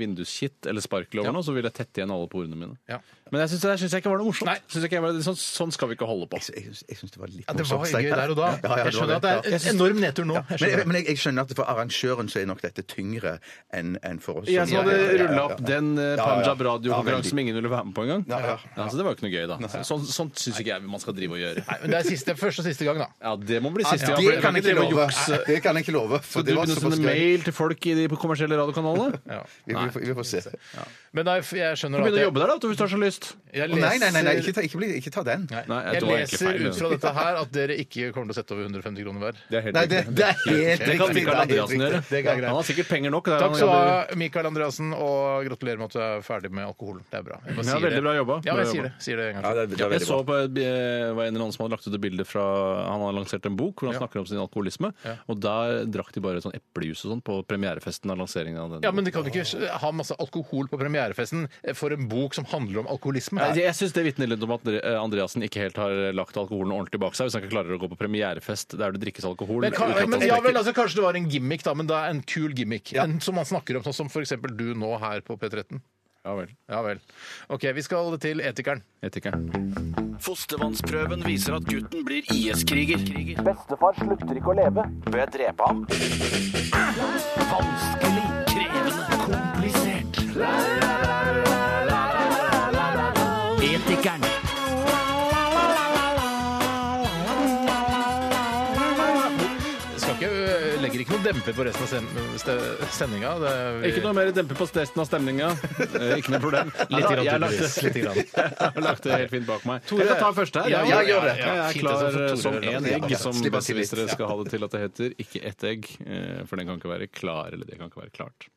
[SPEAKER 6] vinduskitt eller sparkel over nå, så vil jeg tette igjen alle porene mine.
[SPEAKER 4] Ja.
[SPEAKER 6] Men jeg syns det der synes jeg ikke var noe morsomt.
[SPEAKER 4] Nei.
[SPEAKER 6] Synes jeg ikke jeg var, sånn, sånn skal vi ikke holde på.
[SPEAKER 5] Jeg syns- Jeg syns det var litt
[SPEAKER 4] ja, Det var gøy
[SPEAKER 5] morsomt, Steinar.
[SPEAKER 4] der og da.
[SPEAKER 5] Ja, ja, ja,
[SPEAKER 4] Jeg skjønner
[SPEAKER 5] var
[SPEAKER 4] at det
[SPEAKER 5] det,
[SPEAKER 4] er en enorm nedtur nå. Jeg
[SPEAKER 5] ja. Men, jeg,
[SPEAKER 4] skjønner det.
[SPEAKER 5] men jeg, jeg skjønner at for arrangøren så er nok dette tyngre enn enn for oss.
[SPEAKER 6] Jeg som
[SPEAKER 5] Ja,
[SPEAKER 6] hadde
[SPEAKER 5] ja, ja, ja,
[SPEAKER 6] rulla
[SPEAKER 5] ja.
[SPEAKER 6] opp den eh,
[SPEAKER 5] Ja, ja.
[SPEAKER 6] Punjab radiokonkurransen
[SPEAKER 5] Ja,
[SPEAKER 6] som ingen ville være med på engang.
[SPEAKER 5] Ja, ja.
[SPEAKER 6] Ja, så det var jo ikke noe gøy, da. Så- Sånn, sånt syns ikke jeg man skal drive og gjøre.
[SPEAKER 4] Nei, men det er siste, første og siste gang, da.
[SPEAKER 6] Ja, det må bli siste
[SPEAKER 4] Ja,
[SPEAKER 6] gang.
[SPEAKER 5] Det
[SPEAKER 6] for
[SPEAKER 5] kan
[SPEAKER 6] vi
[SPEAKER 5] jeg ikke
[SPEAKER 6] drive og
[SPEAKER 5] love.
[SPEAKER 6] jukse.
[SPEAKER 5] Det kan jeg ikke love. For
[SPEAKER 6] Så du
[SPEAKER 5] det var
[SPEAKER 6] begynner å
[SPEAKER 5] såpass
[SPEAKER 6] sende
[SPEAKER 5] gøy.
[SPEAKER 6] mail til folk i de kommersielle radiokanalene?
[SPEAKER 4] Ja.
[SPEAKER 5] Vi, vi, får- vi får se.
[SPEAKER 4] Men nei, jeg skjønner
[SPEAKER 6] Du begynner å
[SPEAKER 4] jeg,
[SPEAKER 6] jobbe der, da, hvis du har så lyst.
[SPEAKER 4] jeg
[SPEAKER 5] Å,
[SPEAKER 4] leser
[SPEAKER 5] Nei, nei, nei, nei ikke, ta, ikke, bli, ikke ta den.
[SPEAKER 4] Nei,
[SPEAKER 6] Nei,
[SPEAKER 4] jeg
[SPEAKER 6] det var egentlig
[SPEAKER 4] leser
[SPEAKER 6] feil.
[SPEAKER 4] ut fra dette her at dere ikke kommer til å sette over 150 kroner hver.
[SPEAKER 6] Det er helt
[SPEAKER 5] Nei, det, det er helt
[SPEAKER 6] Det kan Mikael
[SPEAKER 5] riktig. det er helt
[SPEAKER 6] Andreassen gjøre.
[SPEAKER 5] riktig.
[SPEAKER 4] Det er greit.
[SPEAKER 6] Han har sikkert penger nok. det er
[SPEAKER 4] Takk
[SPEAKER 6] han
[SPEAKER 4] skal du ha,
[SPEAKER 6] jobber-
[SPEAKER 4] Mikael Andreassen, og gratulerer med at du er ferdig med alkoholen. Det er bra. Jeg bare
[SPEAKER 6] Ja,
[SPEAKER 4] sier
[SPEAKER 6] veldig
[SPEAKER 4] det.
[SPEAKER 6] bra jobba.
[SPEAKER 4] Ja,
[SPEAKER 6] Bra
[SPEAKER 4] jeg sier
[SPEAKER 6] jobba.
[SPEAKER 4] det. Sier det en gang.
[SPEAKER 5] Ja, det er, det
[SPEAKER 6] Jeg
[SPEAKER 5] er veldig
[SPEAKER 6] så
[SPEAKER 5] bra.
[SPEAKER 6] på et, eh, var en eller annen som hadde lagt ut et bilde fra Han har lansert en bok hvor han snakker om sin alkoholisme. Og der drakk de bare sånn eplejus og sånn på premierefesten av lanseringen av den.
[SPEAKER 4] Ja, men de kan jo ikke ha masse alkohol på premierefesten for en bok som handler om alkoholisme.
[SPEAKER 6] Nei, Jeg syns det vitner litt om at Andre- eh, Andreassen ikke helt har lagt alkoholen ordentlig bak seg. Hvis han ikke klarer å gå på premierefest der det drikkes alkohol.
[SPEAKER 4] Men, kan,
[SPEAKER 6] uten at
[SPEAKER 4] men
[SPEAKER 6] han
[SPEAKER 4] ja vel,
[SPEAKER 6] drikker.
[SPEAKER 4] altså Kanskje det var en gimmick, da, men det er en kul gimmick. En, som man snakker om, sånn som f.eks. du nå her på P13.
[SPEAKER 6] Ja vel.
[SPEAKER 4] Ja vel. OK, vi skal til Etikeren.
[SPEAKER 6] Jeg vet ikke.
[SPEAKER 3] Fostervannsprøven viser at gutten blir IS-kriger.
[SPEAKER 2] Bestefar slutter ikke å leve. Bør jeg drepe ham? Vanskelig, krevende, komplisert. Etikeren.
[SPEAKER 4] Skal ikke, ø, legger blir ikke noe demper på resten av sen- ste- sendinga. Det- vi-
[SPEAKER 6] Ikke noe mer dempe på resten av stemninga. Eh, Ikke noe problem.
[SPEAKER 4] Litt grann,
[SPEAKER 6] jeg har lagt
[SPEAKER 4] tydeligvis. Litt grann.
[SPEAKER 6] det- jeg har lagt det helt fint bak meg.
[SPEAKER 4] Tore-
[SPEAKER 6] jeg kan ta første her.
[SPEAKER 4] Ja,
[SPEAKER 5] ja, gjør det.
[SPEAKER 6] Jeg er
[SPEAKER 4] Fint, altså, for
[SPEAKER 6] klar
[SPEAKER 4] Tore
[SPEAKER 6] som
[SPEAKER 4] Lang.
[SPEAKER 6] en
[SPEAKER 4] Ja,
[SPEAKER 6] egg,
[SPEAKER 4] ja.
[SPEAKER 6] som
[SPEAKER 5] Slipp oss til litt.
[SPEAKER 6] besserwissere skal ha det til at det heter. Ikke ett egg, eh, for den kan ikke være klar, eller det kan ikke være klart.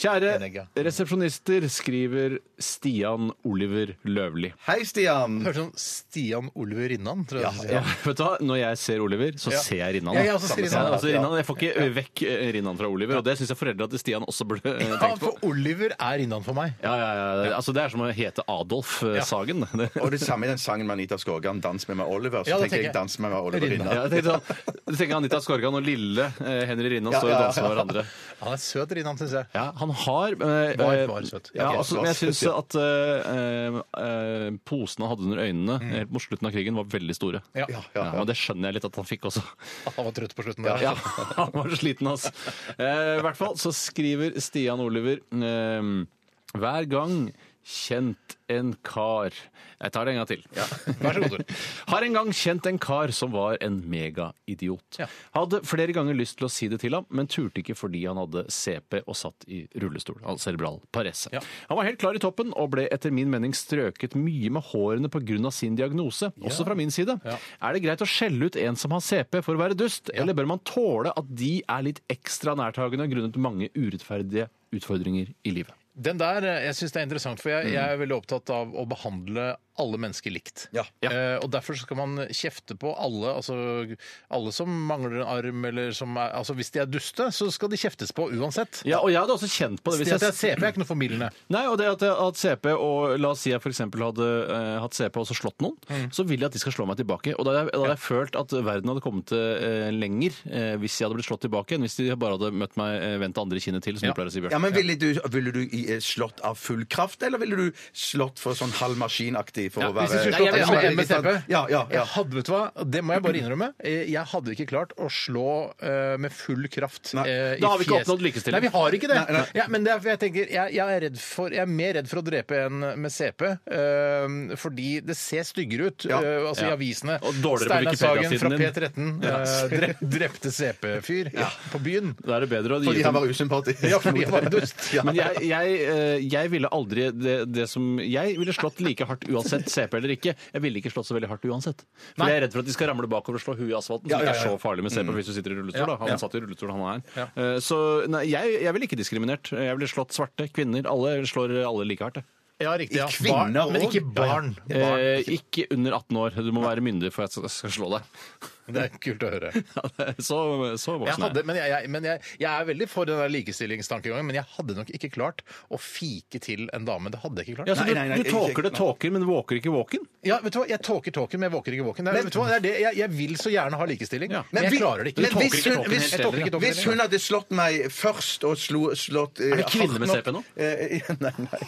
[SPEAKER 4] En egg, ja.
[SPEAKER 6] Kjære resepsjonister, skriver Stian Oliver Løvli.
[SPEAKER 5] Hei, Stian.
[SPEAKER 4] Høres ut som sånn Stian Oliver Rinnan, tror jeg.
[SPEAKER 6] Ja, vet du hva? Når jeg ser Oliver, så
[SPEAKER 4] Ja.
[SPEAKER 6] ser jeg Rinnan.
[SPEAKER 4] Ja, jeg også ser Rinnan.
[SPEAKER 6] Ja, altså, Rinnan. Jeg får ikke vekk eh, Rinnan fra Oliver, og det syns jeg foreldra til Stian også burde eh,
[SPEAKER 4] Ja,
[SPEAKER 6] tenkt på.
[SPEAKER 4] for Oliver er Rinnan for meg.
[SPEAKER 6] Ja, ja, ja. Altså, det er som å hete Adolf eh, Sagen. Det.
[SPEAKER 5] Og det samme i den sangen med Anita Skorgan, 'Dans med meg, Oliver'. Så
[SPEAKER 4] Ja, da tenker
[SPEAKER 5] tenker
[SPEAKER 4] jeg,
[SPEAKER 5] jeg 'Dans med meg, Oliver'
[SPEAKER 4] Rinna.
[SPEAKER 5] innan.
[SPEAKER 6] Ja, jeg tenkte sånn, du tenker Anita Skorgan og lille eh, Henry Rinnan står og danser med hverandre.
[SPEAKER 4] Han er søt, Rinnan, syns jeg.
[SPEAKER 6] Ja, han har eh,
[SPEAKER 4] Var-
[SPEAKER 6] eh,
[SPEAKER 4] var søt.
[SPEAKER 6] Ja,
[SPEAKER 5] Ok,
[SPEAKER 6] altså,
[SPEAKER 5] var
[SPEAKER 6] men jeg
[SPEAKER 5] søt,
[SPEAKER 6] syns
[SPEAKER 5] ja.
[SPEAKER 6] at eh, eh, posene han hadde under øynene helt mot slutten av krigen, var veldig store.
[SPEAKER 4] Ja.
[SPEAKER 5] Ja,
[SPEAKER 6] Ja,
[SPEAKER 5] ja, ja.
[SPEAKER 6] og det skjønner jeg litt at han fikk også.
[SPEAKER 4] Han var trøtt på slutten der. altså.
[SPEAKER 6] Ja, han var sliten, altså. Eh, I hvert fall så skriver Stian Oliver eh, Hver gang kjent en kar Jeg tar det en gang til.
[SPEAKER 4] Vær så god, Tor.
[SPEAKER 6] Har en gang kjent en kar som var en megaidiot.
[SPEAKER 4] Ja.
[SPEAKER 6] Hadde flere ganger lyst til å si det til ham, men turte ikke fordi han hadde CP og satt i rullestol. Altså cerebral parese.
[SPEAKER 4] Ja.
[SPEAKER 6] Han var helt klar i toppen og ble etter min mening strøket mye med hårene pga. sin diagnose, også fra min side.
[SPEAKER 4] Ja.
[SPEAKER 6] Er det greit å skjelle ut en som har CP for å være dust, eller bør man tåle at de er litt ekstra nærtagende grunnet mange urettferdige utfordringer i livet?
[SPEAKER 4] Den der, eh, jeg synes det er interessant, for jeg, jeg er veldig opptatt av å behandle alle mennesker likt.
[SPEAKER 5] Ja.
[SPEAKER 6] Ja.
[SPEAKER 4] Eh, og derfor skal man kjefte på alle, altså alle som mangler en arm, eller som er Altså hvis de er duste, så skal de kjeftes på uansett.
[SPEAKER 6] Ja, og jeg hadde også kjent på det.
[SPEAKER 4] Hvis
[SPEAKER 6] hvis
[SPEAKER 4] jeg
[SPEAKER 6] jeg...
[SPEAKER 4] er CP, er ikke noe formildende.
[SPEAKER 6] Nei, og det at, at CP, og la oss si jeg f.eks. hadde eh, hatt CP og så slått noen,
[SPEAKER 5] Mm.
[SPEAKER 6] så vil jeg at de skal slå meg tilbake. Og da hadde jeg, da hadde jeg følt at verden hadde kommet eh, lenger eh, hvis jeg hadde blitt slått tilbake, enn hvis de bare hadde møtt meg eh, vendt det andre kinnet til,
[SPEAKER 4] Ja.
[SPEAKER 6] som du pleier å si,
[SPEAKER 5] Ja,
[SPEAKER 6] Bjørn.
[SPEAKER 5] men ville du, ville du i- eh, slått av full kraft, eller ville du slått for sånn halv maskinaktig for
[SPEAKER 4] Ja,
[SPEAKER 5] å være
[SPEAKER 4] hvis du skulle
[SPEAKER 5] Nei,
[SPEAKER 4] slått meg
[SPEAKER 5] jeg vet
[SPEAKER 4] som
[SPEAKER 5] ikke,
[SPEAKER 4] en med
[SPEAKER 5] litt sånn-
[SPEAKER 4] CP
[SPEAKER 5] Ja, ja, ja.
[SPEAKER 4] Jeg hadde, vet du hva, Det må jeg bare innrømme. Eh, Jeg hadde ikke klart å slå eh, med full kraft
[SPEAKER 5] Nei,
[SPEAKER 4] eh, i
[SPEAKER 6] da har vi ikke
[SPEAKER 4] fjes.
[SPEAKER 6] oppnådd likestilling.
[SPEAKER 4] Nei, vi har ikke det. Ja, men det er, for jeg, tenker, jeg, jeg, er redd for, jeg er mer redd for å drepe en med CP, eh, fordi det ser styggere ut
[SPEAKER 5] Ja.
[SPEAKER 4] eh, altså
[SPEAKER 6] Ja.
[SPEAKER 4] i avisene.
[SPEAKER 6] Og dårligere på
[SPEAKER 4] Sagen fra
[SPEAKER 6] Wikipedia-siden
[SPEAKER 4] P13 eh, drep, drepte CP-fyr på byen.
[SPEAKER 6] Da er det bedre å gi
[SPEAKER 5] Fordi han
[SPEAKER 6] dem
[SPEAKER 5] var usympatisk.
[SPEAKER 4] Ja, fordi han var dust.
[SPEAKER 5] Ja.
[SPEAKER 6] Men jeg, jeg, eh, jeg ville aldri det, det som Jeg ville slått like hardt uansett CP eller ikke. Jeg ville ikke slått så veldig hardt uansett. For jeg er redd for at de skal ramle bakover og slå huet i asfalten.
[SPEAKER 4] Ja,
[SPEAKER 6] Som
[SPEAKER 4] ja,
[SPEAKER 6] ikke er
[SPEAKER 4] ja.
[SPEAKER 6] så farlig med CP hvis du sitter i rullestol. Da. Han
[SPEAKER 4] Ja.
[SPEAKER 6] satt i rullestol, han er.
[SPEAKER 4] Ja.
[SPEAKER 6] Eh, Så nei, jeg, jeg ville ikke diskriminert. Jeg ville slått svarte, kvinner. Alle slår alle like hardt. jeg.
[SPEAKER 4] Ja, riktig. Ja.
[SPEAKER 5] Kvinner
[SPEAKER 4] barn, men
[SPEAKER 5] og-
[SPEAKER 4] ikke barn. barn.
[SPEAKER 6] Eh, ikke under 18 år. Du må være myndig for at jeg skal- skal slå deg.
[SPEAKER 4] Det er kult å høre.
[SPEAKER 6] Ja, det er Så, så
[SPEAKER 4] Jeg
[SPEAKER 6] voksen er
[SPEAKER 4] hadde,
[SPEAKER 6] jeg.
[SPEAKER 4] men jeg, jeg, men jeg, jeg er veldig for den der likestillingstankegangen, men jeg hadde nok ikke klart å fike til en dame. Det hadde jeg ikke klart.
[SPEAKER 6] Ja, så
[SPEAKER 5] Nei,
[SPEAKER 6] du,
[SPEAKER 5] nei, nei,
[SPEAKER 6] du
[SPEAKER 5] ikke-
[SPEAKER 6] tåker det tåker, men våker ikke våken?
[SPEAKER 4] Ja, vet du hva? Jeg tåker tåken, men jeg våker ikke våken. Det er, vet du hva? Det er det. Jeg, jeg vil så gjerne ha likestilling,
[SPEAKER 6] Ja.
[SPEAKER 4] men jeg
[SPEAKER 5] vi-
[SPEAKER 4] klarer det ikke.
[SPEAKER 5] Men
[SPEAKER 4] Jeg
[SPEAKER 5] hvis
[SPEAKER 4] tåker
[SPEAKER 5] hun,
[SPEAKER 4] ikke
[SPEAKER 5] hvis,
[SPEAKER 4] tåken, jeg tåker ikke tåken
[SPEAKER 5] hvis hun hadde slått meg først og slo, slått eh,
[SPEAKER 6] Er det kvinne med CP nå?
[SPEAKER 5] Nei, nei.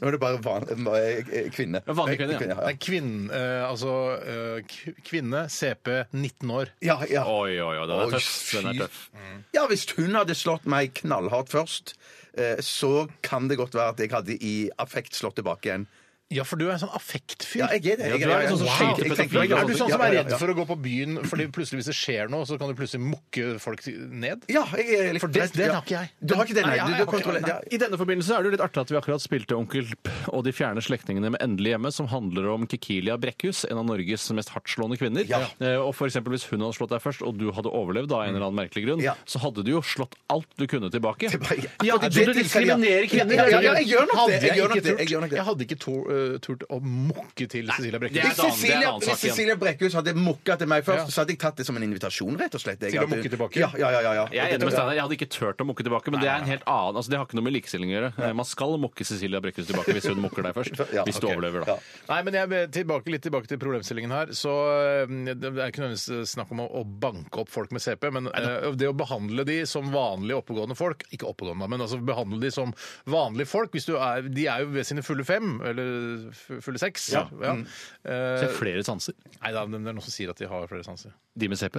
[SPEAKER 5] Nå er det bare van, eh, kvinne.
[SPEAKER 6] Ja, vanlig kvinne, ja.
[SPEAKER 4] Det er kvinne, eh, altså eh, k- kvinne, CP, 19 år.
[SPEAKER 5] Ja, ja.
[SPEAKER 6] Oi, oi, oi, den
[SPEAKER 5] Oi,
[SPEAKER 6] er tøff. Den
[SPEAKER 5] fy.
[SPEAKER 6] er tøff.
[SPEAKER 5] Ja, hvis hun hadde slått meg knallhardt først, eh, så kan det godt være at jeg hadde i affekt slått tilbake igjen.
[SPEAKER 4] Ja, for du er en sånn affektfyr.
[SPEAKER 5] Ja, jeg er det. Jeg,
[SPEAKER 6] Ja, du er en sånn som skyter
[SPEAKER 5] jeg
[SPEAKER 6] på
[SPEAKER 5] tenker-
[SPEAKER 6] pedofile,
[SPEAKER 5] Ja,
[SPEAKER 4] Er du sånn
[SPEAKER 5] ja,
[SPEAKER 4] som er
[SPEAKER 5] ja,
[SPEAKER 4] redd
[SPEAKER 5] ja.
[SPEAKER 4] for å gå på byen fordi plutselig hvis det skjer noe, så kan du plutselig mukke folk ned?
[SPEAKER 5] Ja, jeg er litt
[SPEAKER 4] For det-
[SPEAKER 5] redd,
[SPEAKER 4] den
[SPEAKER 5] ja.
[SPEAKER 4] har ikke jeg.
[SPEAKER 5] Du har ikke den,
[SPEAKER 4] Nei,
[SPEAKER 5] nei?
[SPEAKER 4] jeg-
[SPEAKER 5] Du,
[SPEAKER 4] jeg
[SPEAKER 5] du
[SPEAKER 4] har ikke-
[SPEAKER 5] kontrollerer ja.
[SPEAKER 6] I denne forbindelse er det jo litt artig at vi akkurat spilte Onkel P og De fjerne slektningene med Endelig hjemme, som handler om Kikilia Brekkhus, en av Norges mest hardtslående kvinner.
[SPEAKER 5] Ja.
[SPEAKER 6] Eh, Og for eksempel, Hvis hun hadde slått deg først, og du hadde overlevd, av en eller annen merkelig grunn,
[SPEAKER 5] Ja.
[SPEAKER 6] så hadde du jo slått alt du kunne tilbake.
[SPEAKER 5] Tilbake.
[SPEAKER 6] Ja,
[SPEAKER 5] Ja,
[SPEAKER 6] du,
[SPEAKER 5] det
[SPEAKER 6] du diskriminerer
[SPEAKER 5] tilfellet, ja.
[SPEAKER 6] kvinner.
[SPEAKER 5] Ja, ja, ja, jeg gjør nok
[SPEAKER 4] Hadde
[SPEAKER 5] det, jeg gjør nok
[SPEAKER 4] ikke
[SPEAKER 5] det,
[SPEAKER 4] turt-
[SPEAKER 5] jeg gjør nok det.
[SPEAKER 4] Jeg hadde ikke to- eh, turt å mukke til Cecilia Brekke.
[SPEAKER 6] det er en annen- det
[SPEAKER 5] Hvis
[SPEAKER 6] er en
[SPEAKER 5] Cecilia,
[SPEAKER 6] annen
[SPEAKER 5] hvis
[SPEAKER 6] sak igjen.
[SPEAKER 5] Cecilia Brekkhus hadde mukka til meg først,
[SPEAKER 4] Ja.
[SPEAKER 5] så hadde jeg tatt det som en invitasjon, rett og slett. Jeg
[SPEAKER 4] Til å
[SPEAKER 5] hadde-
[SPEAKER 4] mukke tilbake?
[SPEAKER 5] Ja, ja, ja. ja, ja.
[SPEAKER 6] Jeg er enig med Steinar. Jeg hadde ikke turt å mukke tilbake, men det er en helt annen altså, Det har ikke noe med likestilling å gjøre. Eh, Man skal mukke Cecilia Brekkhus tilbake hvis hun mukker deg først.
[SPEAKER 5] Ja,
[SPEAKER 6] Hvis du
[SPEAKER 5] ok.
[SPEAKER 6] overlever, da.
[SPEAKER 5] Ja.
[SPEAKER 4] Nei, men jeg vil tilbake, litt tilbake til problemstillingen her. Så eh, Det er ikke nødvendigvis eh, snakk om å, å banke opp folk med CP, men eh, det å behandle de som vanlige oppegående folk Ikke oppegående, men altså behandle de som vanlige folk. Hvis du er, de er jo ved sine fulle fem, eller fu- fulle seks.
[SPEAKER 6] Ja.
[SPEAKER 5] Mm.
[SPEAKER 4] Eh,
[SPEAKER 6] Så er det flere sanser.
[SPEAKER 4] nei da, men det er noen som sier at de har flere sanser. Eh,
[SPEAKER 6] De med CP.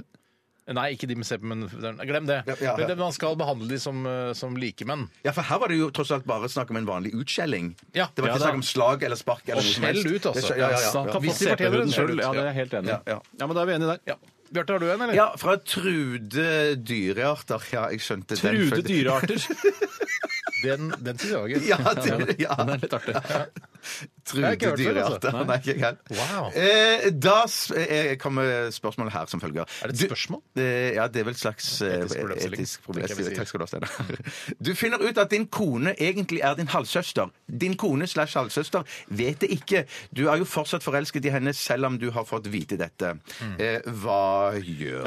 [SPEAKER 4] Nei, ikke de med CP, men glem det.
[SPEAKER 5] Ja, ja, ja.
[SPEAKER 4] Men det- Man skal behandle de som, eh, som likemenn.
[SPEAKER 5] Ja, for her var det jo tross alt bare snakk om en vanlig utskjelling.
[SPEAKER 4] Ja.
[SPEAKER 5] det var
[SPEAKER 4] Ja,
[SPEAKER 5] ikke
[SPEAKER 4] da.
[SPEAKER 5] snakk om slag eller spark. Eller
[SPEAKER 4] Og
[SPEAKER 5] noe som helst.
[SPEAKER 4] skjell ut, altså.
[SPEAKER 5] Det skjell- Ja, ja,
[SPEAKER 6] Så han
[SPEAKER 5] ja.
[SPEAKER 6] kan få
[SPEAKER 4] Hvis de fortjener
[SPEAKER 6] CP-huden
[SPEAKER 4] det, så er det
[SPEAKER 6] sjøl.
[SPEAKER 4] ut.
[SPEAKER 6] Ja, det er jeg helt enig i.
[SPEAKER 5] Ja, ja.
[SPEAKER 6] Ja, men da er vi enige der.
[SPEAKER 4] Ja. Bjarte, har du en, eller?
[SPEAKER 5] Ja, fra Trude Dyrearter. Ja, jeg skjønte den.
[SPEAKER 6] Trude
[SPEAKER 5] følte-
[SPEAKER 6] dyrearter.
[SPEAKER 4] Den, den syns jeg var gøy.
[SPEAKER 5] Ja, Trude, ja.
[SPEAKER 6] Den er litt artig.
[SPEAKER 5] Trude
[SPEAKER 4] ikke hørt før, altså.
[SPEAKER 5] Dyrearter. Nei, ikke jeg heller.
[SPEAKER 4] Wow.
[SPEAKER 5] Eh, da s- eh, kommer spørsmålet her som følger.
[SPEAKER 4] Er det et
[SPEAKER 5] Du-
[SPEAKER 4] spørsmål?
[SPEAKER 5] Eh, ja, det er vel et slags eh,
[SPEAKER 4] Etisk problemstilling.
[SPEAKER 5] etisk
[SPEAKER 4] tenker jeg vi
[SPEAKER 5] problemstilling.
[SPEAKER 4] sier.
[SPEAKER 5] Takk skal du ha, Steinar. Du finner ut at din kone egentlig er din halvsøster. Din kone slash halvsøster vet det ikke. Du er jo fortsatt forelsket i henne selv om du har fått vite dette.
[SPEAKER 4] Hmm.
[SPEAKER 5] Eh, hva gjør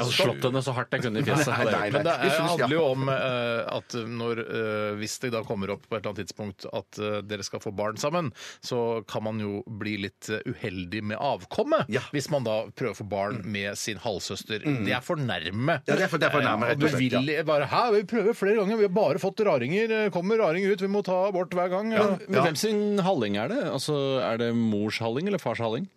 [SPEAKER 6] Jeg
[SPEAKER 5] du?
[SPEAKER 6] har slått henne så hardt jeg kunne i fjeset.
[SPEAKER 5] Nei, nei,
[SPEAKER 4] Men det
[SPEAKER 5] Jeg
[SPEAKER 4] er,
[SPEAKER 5] synes-
[SPEAKER 4] handler jo om eh, at når, eh, hvis det da kommer opp på et eller annet tidspunkt at eh, dere skal få barn sammen, så kan man jo bli litt eh, uheldig med avkommet
[SPEAKER 5] Ja. Mm.
[SPEAKER 4] hvis man da prøver å få barn med sin halvsøster. Det er for nærme.
[SPEAKER 5] Ja, det er for- det er for nærme,
[SPEAKER 4] Eh,
[SPEAKER 5] rett og
[SPEAKER 4] og du
[SPEAKER 5] slett,
[SPEAKER 4] vil bare Hæ, vi prøver flere ganger, vi har bare fått raringer. eh, Kommer raringer ut, vi må ta abort hver gang. eh.
[SPEAKER 6] Men hvem sin halling er det? Altså, Er det mors halling eller fars halling?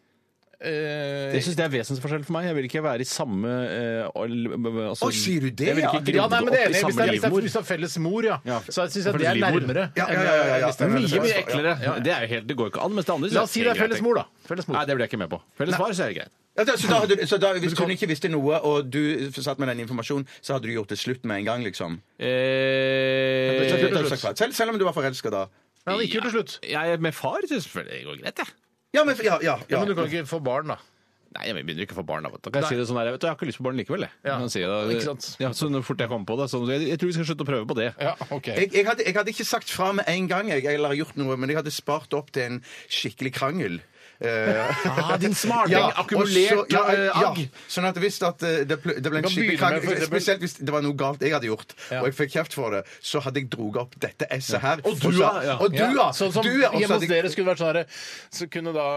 [SPEAKER 4] Eh,
[SPEAKER 6] Jeg synes Det er vesensforskjell for meg. Jeg vil ikke være i samme eh, al- altså,
[SPEAKER 5] Å, sier du det,
[SPEAKER 6] Jeg vil
[SPEAKER 5] ja?
[SPEAKER 6] ikke grodde
[SPEAKER 4] Ja, nei, men det er
[SPEAKER 6] opp
[SPEAKER 4] enig. Hvis
[SPEAKER 6] i
[SPEAKER 4] det
[SPEAKER 6] samme
[SPEAKER 4] er, hvis det er,
[SPEAKER 6] livmor.
[SPEAKER 4] hvis det er felles mor, ja,
[SPEAKER 6] Ja.
[SPEAKER 4] så syns jeg det
[SPEAKER 6] Felles
[SPEAKER 4] er
[SPEAKER 6] livmor.
[SPEAKER 4] nærmere.
[SPEAKER 5] Ja, ja, ja, ja, ja.
[SPEAKER 4] Hvis det er
[SPEAKER 5] Mye,
[SPEAKER 4] felles-
[SPEAKER 6] Mye mye eklere. Det er jo helt, det går jo ikke an. Mens det andre
[SPEAKER 4] La oss si det er felles mor, da. Felles mor.
[SPEAKER 6] Nei, det blir jeg ikke med på. Felles far, så er det greit.
[SPEAKER 5] Ja, da, så da, hadde du- så da, hvis hun ikke visste noe, og du satt med den informasjonen, så hadde du gjort det slutt med en gang, liksom?
[SPEAKER 6] Eh,
[SPEAKER 4] Rett og slett.
[SPEAKER 5] Selv, selv om du var forelska da?
[SPEAKER 4] Men han gikk jo til slutt.
[SPEAKER 6] jeg med far syns det går greit, jeg.
[SPEAKER 5] Ja, men ja, ja, ja.
[SPEAKER 4] Ja, men du kan ikke få barn, da.
[SPEAKER 6] Nei, jeg begynner ikke å få barn. Da vet du. Da kan
[SPEAKER 4] Nei.
[SPEAKER 6] jeg si det sånn her, jeg, vet, du, jeg har ikke lyst på barn likevel, jeg.
[SPEAKER 4] Ja.
[SPEAKER 6] Kan jeg si det.
[SPEAKER 4] Ikke sant.
[SPEAKER 6] Ja, så fort jeg kommer på det. Så jeg, jeg tror vi skal slutte å prøve på det.
[SPEAKER 4] Ja, ok.
[SPEAKER 5] Jeg, jeg, hadde, jeg hadde ikke sagt fra med en gang, jeg, eller gjort noe, men jeg hadde spart opp til en skikkelig krangel. Eh,
[SPEAKER 6] Ah, din smarting!
[SPEAKER 5] og så- ja,
[SPEAKER 4] eh,
[SPEAKER 5] ja, Sånn at hvis at eh, det, ble- det ble en
[SPEAKER 4] Du kan
[SPEAKER 5] skikkelig
[SPEAKER 4] begynne med-
[SPEAKER 5] krangel, spesielt hvis det var noe galt jeg hadde gjort,
[SPEAKER 4] Ja.
[SPEAKER 5] og jeg fikk kjeft for det, så hadde jeg droget opp dette esset her.
[SPEAKER 6] Og du,
[SPEAKER 5] sa-
[SPEAKER 6] ja.
[SPEAKER 5] Og du, ja!
[SPEAKER 4] Sånn som
[SPEAKER 5] Du, ja, og så
[SPEAKER 4] hjemme
[SPEAKER 5] hadde
[SPEAKER 4] hos
[SPEAKER 5] jeg-
[SPEAKER 4] dere skulle vært sånn herre, så kunne da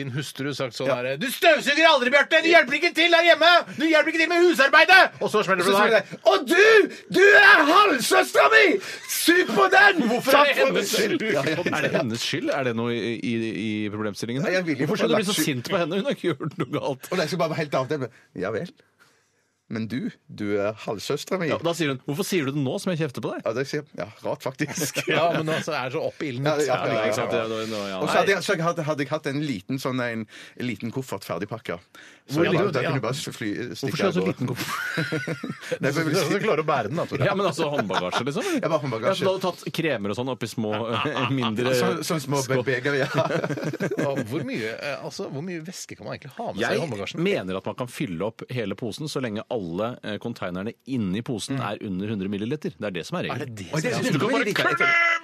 [SPEAKER 4] din hustru sagt sånn
[SPEAKER 5] Ja.
[SPEAKER 4] herre Du støvsuger aldri, Bjarte! Du hjelper ikke til her hjemme! Du hjelper ikke til med husarbeidet! Og så smeller
[SPEAKER 5] Så
[SPEAKER 4] det sånn.
[SPEAKER 5] sier
[SPEAKER 4] der.
[SPEAKER 5] jeg, Og du! Du er halvsøstera mi! Sug på den!
[SPEAKER 4] Hvorfor er det
[SPEAKER 5] Takk for-
[SPEAKER 4] hennes skyld?
[SPEAKER 5] Ja, ja, ja.
[SPEAKER 6] Er det hennes skyld? Er det noe i, i, i problemstillingen?
[SPEAKER 5] Nei,
[SPEAKER 6] her?
[SPEAKER 5] jeg vil jo
[SPEAKER 6] Hvorfor skal
[SPEAKER 5] få
[SPEAKER 6] du bli så
[SPEAKER 5] lagt skyld-
[SPEAKER 6] sint på henne? Hun har ikke gjort noe galt.
[SPEAKER 5] Og det skal bare være helt annet. Ja vel. Men du, du er halvsøstera mi.
[SPEAKER 6] Ja, da sier hun 'Hvorfor sier du det nå som jeg kjefter på deg?'
[SPEAKER 5] Ja, det sier, ja, rart faktisk.
[SPEAKER 4] Ja, men altså, det er så opp i ilden.
[SPEAKER 5] Ja, ja, ja, ja,
[SPEAKER 6] ikke sant? Det
[SPEAKER 5] ja.
[SPEAKER 6] er noe- noe- ja,
[SPEAKER 5] Og så
[SPEAKER 6] nei.
[SPEAKER 5] hadde jeg, så jeg hadde, hadde jeg hatt en liten sånn en, en liten koffert ferdigpakka. Så
[SPEAKER 4] Hvor
[SPEAKER 5] jeg
[SPEAKER 4] ligger det,
[SPEAKER 5] bare, da kunne
[SPEAKER 4] ja?
[SPEAKER 5] jeg bare fly, stikke
[SPEAKER 6] Hvorfor skal du ha så
[SPEAKER 5] av gårde.
[SPEAKER 6] liten koffert?
[SPEAKER 5] Nei, for jeg
[SPEAKER 4] Du
[SPEAKER 5] vil
[SPEAKER 4] skal
[SPEAKER 5] si-
[SPEAKER 4] klare å bære den, da, Tore.
[SPEAKER 6] Ja, men altså håndbagasje, liksom? eller?
[SPEAKER 5] Ja, bare håndbagasje.
[SPEAKER 6] Ja, så du hadde tatt kremer og sånn oppi små, eh, mindre
[SPEAKER 5] Sånn sånn små be- beger, ja.
[SPEAKER 4] Og Hvor mye, eh, altså, hvor mye væske kan man egentlig ha med seg i
[SPEAKER 6] Jeg
[SPEAKER 4] håndbagasjen?
[SPEAKER 6] mener at man kan fylle opp hele posen så lenge alle eh, konteinerne inni posen er under 100 milliliter. Det er det som er
[SPEAKER 4] Er det
[SPEAKER 6] regelen.
[SPEAKER 4] det
[SPEAKER 5] Og det
[SPEAKER 4] som
[SPEAKER 5] Mm. er 100 milliliter. Jeg trodde-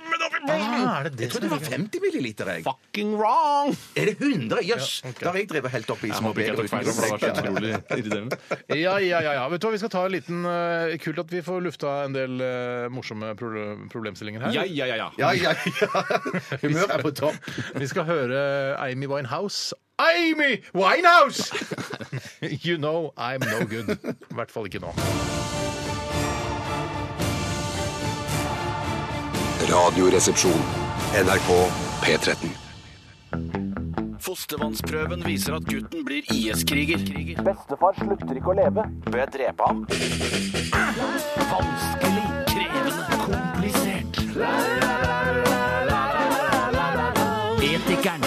[SPEAKER 4] Ah, er det det
[SPEAKER 5] Jeg trodde det var 50 milliliter, jeg.
[SPEAKER 6] Fucking wrong!
[SPEAKER 5] Er det 100? Jøss! Da har jeg drevet helt opp i
[SPEAKER 6] Jeg
[SPEAKER 5] små
[SPEAKER 6] håper ikke
[SPEAKER 5] beger.
[SPEAKER 6] jeg tok feil. for Det var så utrolig irriterende.
[SPEAKER 4] Ja, ja, ja, ja. Vet du hva, vi skal ta en liten eh, Kult at vi får lufta en del eh, morsomme pro problemstillinger her.
[SPEAKER 6] Ja, ja, ja, ja.
[SPEAKER 5] Ja, ja, ja. Humøret er på topp.
[SPEAKER 4] Vi skal høre Amy Winehouse. Amy Winehouse! You know I'm no good. I hvert fall ikke nå.
[SPEAKER 1] Radioresepsjon. NRK P13.
[SPEAKER 3] Fostervannsprøven viser at gutten blir IS-kriger.
[SPEAKER 2] Bestefar slutter ikke å leve. Bør jeg drepe ham? Vanskelig, krevende, komplisert. Etikeren.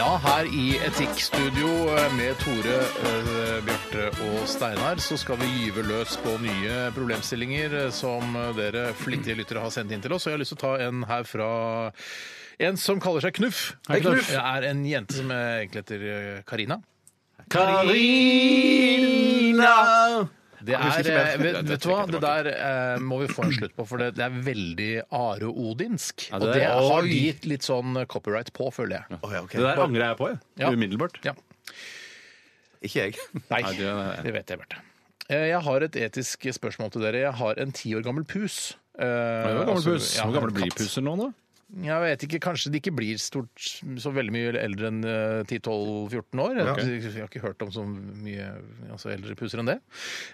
[SPEAKER 4] Ja, her i Etikkstudio eh, med Tore, eh, Bjarte og Steinar så skal vi gyve løs på nye problemstillinger eh, som eh, dere flittige lyttere har sendt inn til oss. Og jeg har lyst til å ta en her fra en som kaller seg Knuff.
[SPEAKER 6] Hei, Knuff.
[SPEAKER 4] Det er en jente som eh, egentlig heter eh, Karina.
[SPEAKER 6] Karina!
[SPEAKER 4] Det
[SPEAKER 6] husker
[SPEAKER 4] er,
[SPEAKER 6] ikke mer.
[SPEAKER 4] eh, vet, vet du hva, det
[SPEAKER 6] Jeg
[SPEAKER 4] der
[SPEAKER 6] trekker
[SPEAKER 4] eh, må vi få en slutt på, for det, det er veldig Are Odinsk.
[SPEAKER 6] Ja, det
[SPEAKER 4] og
[SPEAKER 6] er-
[SPEAKER 4] det har
[SPEAKER 6] Oi.
[SPEAKER 4] de gitt litt sånn copyright på, føler jeg.
[SPEAKER 5] Å, ja, ok.
[SPEAKER 6] Det der angrer jeg på, jeg.
[SPEAKER 4] Ja.
[SPEAKER 6] Umiddelbart.
[SPEAKER 4] Ja.
[SPEAKER 5] Ikke jeg.
[SPEAKER 4] Nei,
[SPEAKER 6] Nei,
[SPEAKER 4] det,
[SPEAKER 6] det- nei.
[SPEAKER 4] vet jeg, Bjarte. Eh, Jeg har et etisk spørsmål til dere. Jeg har en ti år gammel pus. Eh,
[SPEAKER 6] Hvor gammel
[SPEAKER 4] altså,
[SPEAKER 6] pus?
[SPEAKER 4] ja,
[SPEAKER 6] Hvor gammel
[SPEAKER 4] en
[SPEAKER 6] blir
[SPEAKER 4] katt.
[SPEAKER 6] puser nå, da?
[SPEAKER 4] Jeg vet ikke, Kanskje de ikke blir stort så veldig mye eldre enn eh, 10-12-14 år. Jeg, jeg har ikke hørt om så mye altså, eldre puser enn det.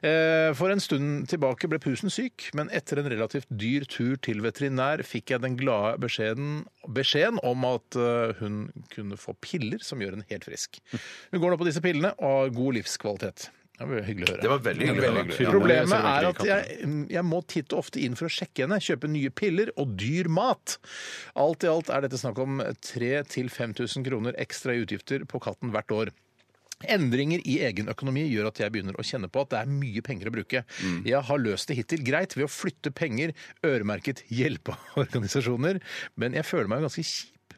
[SPEAKER 4] Eh, For en stund tilbake ble pusen syk, men etter en relativt dyr tur til veterinær fikk jeg den glade beskjeden, beskjeden om at eh, hun kunne få piller som gjør henne helt frisk. Hun går nå på disse pillene og har god livskvalitet. Det var hyggelig å høre.
[SPEAKER 5] Det var veldig hyggelig. å høre.
[SPEAKER 6] Ja,
[SPEAKER 4] Problemet
[SPEAKER 6] det
[SPEAKER 4] er
[SPEAKER 6] ser
[SPEAKER 4] at
[SPEAKER 6] veldig
[SPEAKER 4] jeg, jeg må titt og ofte inn for å sjekke henne, kjøpe nye piller og dyr mat. Alt i alt er dette snakk om 3000-5000 kroner ekstra i utgifter på katten hvert år. Endringer i egen økonomi gjør at jeg begynner å kjenne på at det er mye penger å bruke. Jeg har løst det hittil greit ved å flytte penger øremerket hjelpeorganisasjoner, men jeg føler meg jo ganske kjip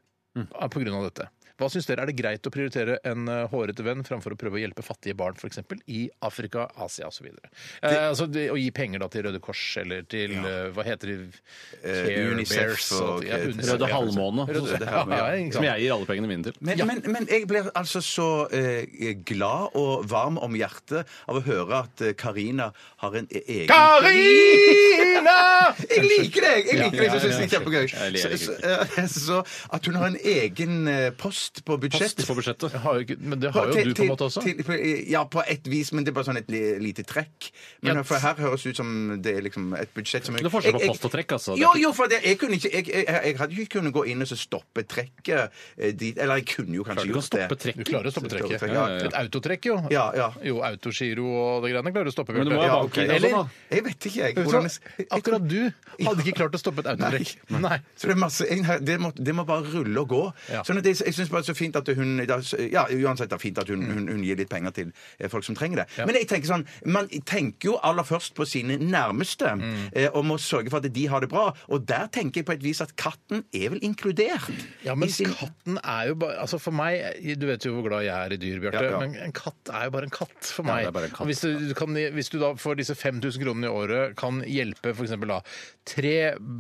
[SPEAKER 4] av- på grunn av dette. Hva syns dere, er det greit å prioritere en eh, hårete venn framfor å prøve å hjelpe fattige barn f.eks. i Afrika, Asia osv.? Eh, altså, det- å gi penger da til Røde Kors eller til eh, hva heter de Care
[SPEAKER 5] Eh, UNICEF
[SPEAKER 4] Bears og-
[SPEAKER 5] og-
[SPEAKER 4] ja, UNICEF,
[SPEAKER 6] Røde
[SPEAKER 4] ja.
[SPEAKER 6] Halvmåne,
[SPEAKER 4] Røde-
[SPEAKER 5] ja, ja,
[SPEAKER 4] ja, ikke sant.
[SPEAKER 6] som jeg gir alle pengene mine til.
[SPEAKER 5] Men, men, men jeg blir altså så eh, glad og varm om hjertet av å høre at eh, Karina har en e- egen
[SPEAKER 4] Karina!
[SPEAKER 5] Jeg liker deg! Jeg liker deg, så synes jeg det
[SPEAKER 6] Jeg
[SPEAKER 5] er kjempegøy.
[SPEAKER 6] liker
[SPEAKER 5] Så,
[SPEAKER 6] det
[SPEAKER 5] så, eh, så at hun har en egen eh, post på budsjett
[SPEAKER 6] Post på budsjettet.
[SPEAKER 4] Jeg har jo ikke, men det har jo
[SPEAKER 5] til-
[SPEAKER 4] du på en måte også.
[SPEAKER 5] til- til- på- ja, på et vis, men det er bare sånn et li- lite trekk. Men
[SPEAKER 4] Ja.
[SPEAKER 5] for her høres det ut som det er liksom et budsjett som
[SPEAKER 6] Det er forskjell på post og trekk, altså. Det er
[SPEAKER 5] Jo,
[SPEAKER 6] ikke-
[SPEAKER 5] jo, for det, jeg, kunne ikke, jeg, jeg, jeg hadde jo ikke kunnet gå inn og så stoppe trekket eh, dit. Eller jeg kunne jo kanskje
[SPEAKER 6] Du kan
[SPEAKER 5] gjort det.
[SPEAKER 6] stoppe
[SPEAKER 4] Du
[SPEAKER 6] trekket.
[SPEAKER 4] klarer å stoppe trekket.
[SPEAKER 5] Ja, ja,
[SPEAKER 6] ja.
[SPEAKER 4] Et autotrekk, jo.
[SPEAKER 5] Ja, ja.
[SPEAKER 4] Jo, autogiro og det greiene klarer du å stoppe.
[SPEAKER 6] Men du
[SPEAKER 4] Bjarte.
[SPEAKER 6] må jo ha
[SPEAKER 5] Ja,
[SPEAKER 6] bank
[SPEAKER 5] ok.
[SPEAKER 6] i det
[SPEAKER 4] Eller-
[SPEAKER 6] også, da.
[SPEAKER 5] Jeg vet ikke, jeg.
[SPEAKER 4] Vet du
[SPEAKER 5] Hvordan,
[SPEAKER 4] hva? Akkurat du hadde ikke klart å stoppe et autotrekk. Nei.
[SPEAKER 5] så det, er masse, jeg- det, må, det må bare rulle og gå.
[SPEAKER 4] Ja.
[SPEAKER 5] Sånn at jeg, jeg syns bare det er så fint at hun da- Ja, uansett det er fint at hun, hun, hun gir litt penger til eh, folk som trenger det. Men jeg tenker sånn, man tenker jo aller først på sine nærmeste eh, og må sørge for at de har det bra. Og der tenker jeg på et vis at katten er vel inkludert.
[SPEAKER 4] Ja, men
[SPEAKER 5] i sin-
[SPEAKER 4] katten er jo bare altså For meg Du vet jo hvor glad jeg er i dyr, Bjarte.
[SPEAKER 5] Ja, ja.
[SPEAKER 4] Men en katt er jo bare en katt for
[SPEAKER 6] Ja,
[SPEAKER 4] meg.
[SPEAKER 6] det er bare en katt.
[SPEAKER 4] Og hvis, du, du kan, hvis du da for disse 5000 kronene i året kan hjelpe f.eks. da tre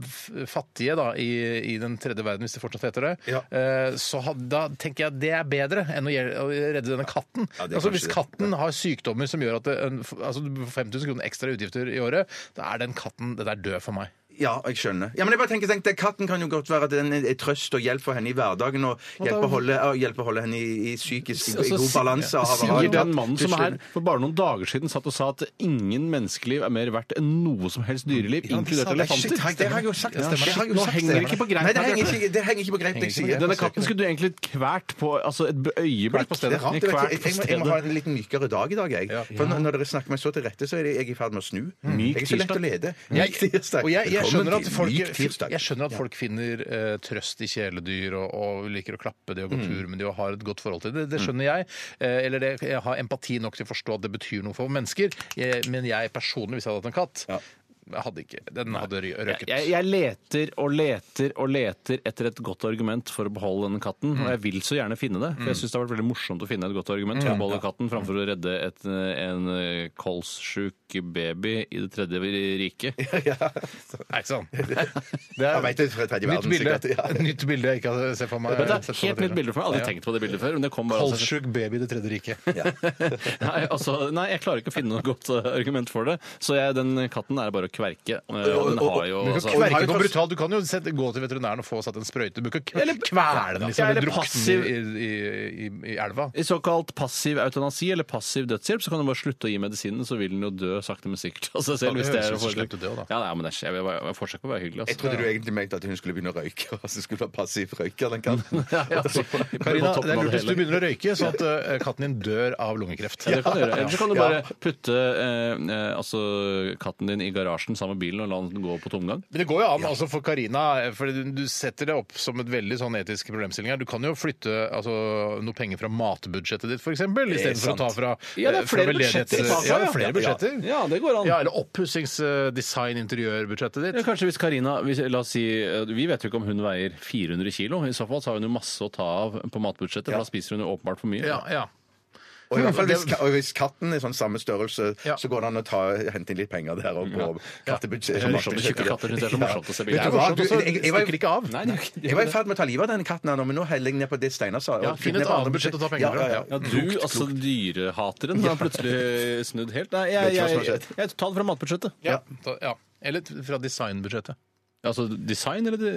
[SPEAKER 4] f- fattige da i, i den tredje verden, hvis det fortsatt heter det,
[SPEAKER 5] Ja.
[SPEAKER 4] eh, så had, da tenker jeg at det er bedre enn å, gjel- å redde denne katten.
[SPEAKER 5] Ja, det er
[SPEAKER 4] altså
[SPEAKER 5] kanskje
[SPEAKER 4] Hvis
[SPEAKER 5] det.
[SPEAKER 4] katten har sykdommer som gjør at det, en, altså, du får 5000 kroner ekstra i utgifter i året, da er den katten den er død for meg.
[SPEAKER 5] Ja, jeg skjønner. Ja, men jeg bare tenker, tenk, det- Katten kan jo godt være at den er trøst og hjelp for henne i hverdagen og hjelpe å holde, å hjelpe å holde henne i, i psykisk i,
[SPEAKER 6] Altså,
[SPEAKER 5] god
[SPEAKER 6] si-
[SPEAKER 5] balanse. og ha- ha-
[SPEAKER 6] Sier den mannen som
[SPEAKER 5] Til
[SPEAKER 6] her
[SPEAKER 5] slutt.
[SPEAKER 6] for bare noen dager siden satt og sa at ingen menneskeliv er mer verdt enn noe som helst dyreliv, inkludert
[SPEAKER 5] Det er
[SPEAKER 6] elefanter.
[SPEAKER 5] shit, Det har jeg jo sagt.
[SPEAKER 6] Ja,
[SPEAKER 5] Det har
[SPEAKER 6] shit,
[SPEAKER 5] jeg jo
[SPEAKER 6] nå
[SPEAKER 5] sagt,
[SPEAKER 6] henger det ikke på greip.
[SPEAKER 5] Nei, det henger ikke, det henger ikke på greip. det jeg sier.
[SPEAKER 6] Denne katten skulle du egentlig kvært på altså et b- øyeblikk.
[SPEAKER 5] Det er rart. Jeg, vet,
[SPEAKER 6] Kvært på
[SPEAKER 5] ikke. jeg, må, jeg må ha
[SPEAKER 6] stedet.
[SPEAKER 5] en litt mykere dag i dag, jeg. For når- når dere snakker meg så til rette, så er det- jeg er i ferd med å snu.
[SPEAKER 6] Myk
[SPEAKER 5] Jeg er så lett å
[SPEAKER 6] tirsdag.
[SPEAKER 5] lede.
[SPEAKER 4] Jeg,
[SPEAKER 5] Myk tirsdag.
[SPEAKER 4] Mm. og jeg, jeg,
[SPEAKER 5] Velkommen
[SPEAKER 4] skjønner at
[SPEAKER 5] til
[SPEAKER 4] folk,
[SPEAKER 5] myk tirsdag.
[SPEAKER 4] jeg skjønner at folk finner eh, trøst i kjæledyr og, og liker å klappe de og
[SPEAKER 6] Mm.
[SPEAKER 4] gå tur med de og har et godt forhold til det. Det skjønner jeg. Eh, eller det, jeg har empati nok til å forstå at det betyr noe for mennesker. Jeg, men jeg personlig, hvis jeg hadde hatt en katt jeg hadde ikke, Den hadde rø- røket.
[SPEAKER 6] Jeg, jeg leter og leter og leter etter et godt argument for å beholde denne katten.
[SPEAKER 4] Mm.
[SPEAKER 6] Og jeg vil så gjerne finne det, for jeg syns det har vært veldig morsomt å finne et godt argument
[SPEAKER 4] Mm.
[SPEAKER 6] for å beholde katten framfor å redde et, en eh, kolssjuk baby i det tredje riket.
[SPEAKER 4] Nei, ikke sant?
[SPEAKER 5] Jeg vet det fra tredje
[SPEAKER 4] Nytt
[SPEAKER 5] verden,
[SPEAKER 4] bilde.
[SPEAKER 5] sikkert. Ja.
[SPEAKER 4] Nytt bilde jeg ikke hadde sett for meg.
[SPEAKER 6] Dette
[SPEAKER 4] sett
[SPEAKER 6] er
[SPEAKER 4] for meg
[SPEAKER 6] helt nytt
[SPEAKER 4] tidligere.
[SPEAKER 6] bilde for meg. Jeg har aldri
[SPEAKER 4] Ja.
[SPEAKER 6] tenkt på det bildet før. Men det kom bare altså,
[SPEAKER 4] Kolsjuk baby i Det tredje riket.
[SPEAKER 6] nei, altså, nei, jeg klarer ikke å finne noe godt eh, argument for det. Så jeg, den katten er bare å kverke. eh, Og den har jo
[SPEAKER 4] Du kan
[SPEAKER 6] altså,
[SPEAKER 4] kverke den på brutalt. Du kan jo sette, gå til veterinæren og få satt en sprøyte. Du kan ikke
[SPEAKER 6] Eller-
[SPEAKER 4] kvele den liksom,
[SPEAKER 6] Ja,
[SPEAKER 4] eller
[SPEAKER 6] eller
[SPEAKER 4] drukne
[SPEAKER 6] passiv-
[SPEAKER 4] den i, i, i, i elva.
[SPEAKER 6] I såkalt passiv eutanasi eller passiv dødshjelp så kan du bare slutte å gi medisinen, så vil den jo dø sakte, men sikkert av seg selv.
[SPEAKER 4] Ja, det
[SPEAKER 6] hvis det
[SPEAKER 4] høres ut
[SPEAKER 6] er
[SPEAKER 4] som
[SPEAKER 6] foretrekk.
[SPEAKER 4] slutt å dø, da.
[SPEAKER 6] Ja, nei, men det er, jeg, vil bare- jeg forsøker på å være hyggelig.
[SPEAKER 5] Jeg
[SPEAKER 6] Altså.
[SPEAKER 5] trodde du egentlig mente at hun skulle begynne å røyke, og så skulle hun være passiv røyker, den katten.
[SPEAKER 6] Ja, ja, altså,
[SPEAKER 4] Karina,
[SPEAKER 6] på toppen
[SPEAKER 4] det er
[SPEAKER 6] av
[SPEAKER 4] lurt hvis du
[SPEAKER 6] hele.
[SPEAKER 4] begynner å røyke, sånn at eh, katten din dør av lungekreft.
[SPEAKER 6] Ja, det kan du gjøre. Eller så kan du
[SPEAKER 5] Ja.
[SPEAKER 6] bare putte eh, eh, altså, katten din i garasjen sammen med bilen og la den gå på tomgang.
[SPEAKER 4] Men det går jo an altså for Karina, for du du setter det opp som et veldig sånn etisk problemstilling her. Du kan jo flytte altså, noe penger fra matbudsjettet ditt, f.eks., istedenfor å
[SPEAKER 5] sant.
[SPEAKER 4] ta fra
[SPEAKER 6] Ja, det er
[SPEAKER 4] eh, fra
[SPEAKER 6] flere
[SPEAKER 4] veldedighets-
[SPEAKER 6] budsjetter i fasa,
[SPEAKER 4] Ja, det
[SPEAKER 6] ja.
[SPEAKER 4] er flere budsjetter.
[SPEAKER 6] Ja, det går an.
[SPEAKER 4] Ja, eller oppussings-design-interiørbudsjettet ditt.
[SPEAKER 6] Ja, kanskje hvis Karina hvis, La oss si eh, Vi vet jo ikke om hun veier 400 kilo. I så fall så har hun jo masse å ta av på matbudsjettet, for da spiser hun jo åpenbart for mye.
[SPEAKER 4] Ja, ja.
[SPEAKER 5] Og, i hvert fall hvis, ka- og hvis katten er sånn samme størrelse,
[SPEAKER 4] Ja.
[SPEAKER 5] så går det an å ta, hente inn litt penger der og på kattebudsjettet.
[SPEAKER 6] Det er morsomt. Tjukke katter synes det er så morsomt å se bilder av.
[SPEAKER 5] Vet du hva?
[SPEAKER 4] Morsomt, og
[SPEAKER 5] Du,
[SPEAKER 4] så
[SPEAKER 5] jeg, jeg, jeg, var-
[SPEAKER 4] stikker det ikke av.
[SPEAKER 6] Nei, det er jo ikke- det er
[SPEAKER 5] jeg
[SPEAKER 6] jo
[SPEAKER 5] var i ferd med å ta livet av denne katten, her nå, men nå heller jeg ned på det Steinar sa.
[SPEAKER 4] Ja,
[SPEAKER 5] Og
[SPEAKER 4] finn
[SPEAKER 5] ned
[SPEAKER 4] et
[SPEAKER 5] på
[SPEAKER 4] annet
[SPEAKER 5] andre
[SPEAKER 4] budsjett å ta penger
[SPEAKER 5] Ja,
[SPEAKER 4] fra.
[SPEAKER 5] ja, ja.
[SPEAKER 6] Ja, du, altså dyrehateren, har plutselig snudd helt. Nei,
[SPEAKER 5] Vet
[SPEAKER 6] jeg,
[SPEAKER 5] ikke hva som
[SPEAKER 6] jeg,
[SPEAKER 5] har
[SPEAKER 6] jeg,
[SPEAKER 5] skjedd.
[SPEAKER 6] tar det fra matbudsjettet.
[SPEAKER 4] Ja. ta- ja. Eller t- fra designbudsjettet.
[SPEAKER 6] Altså design, eller det?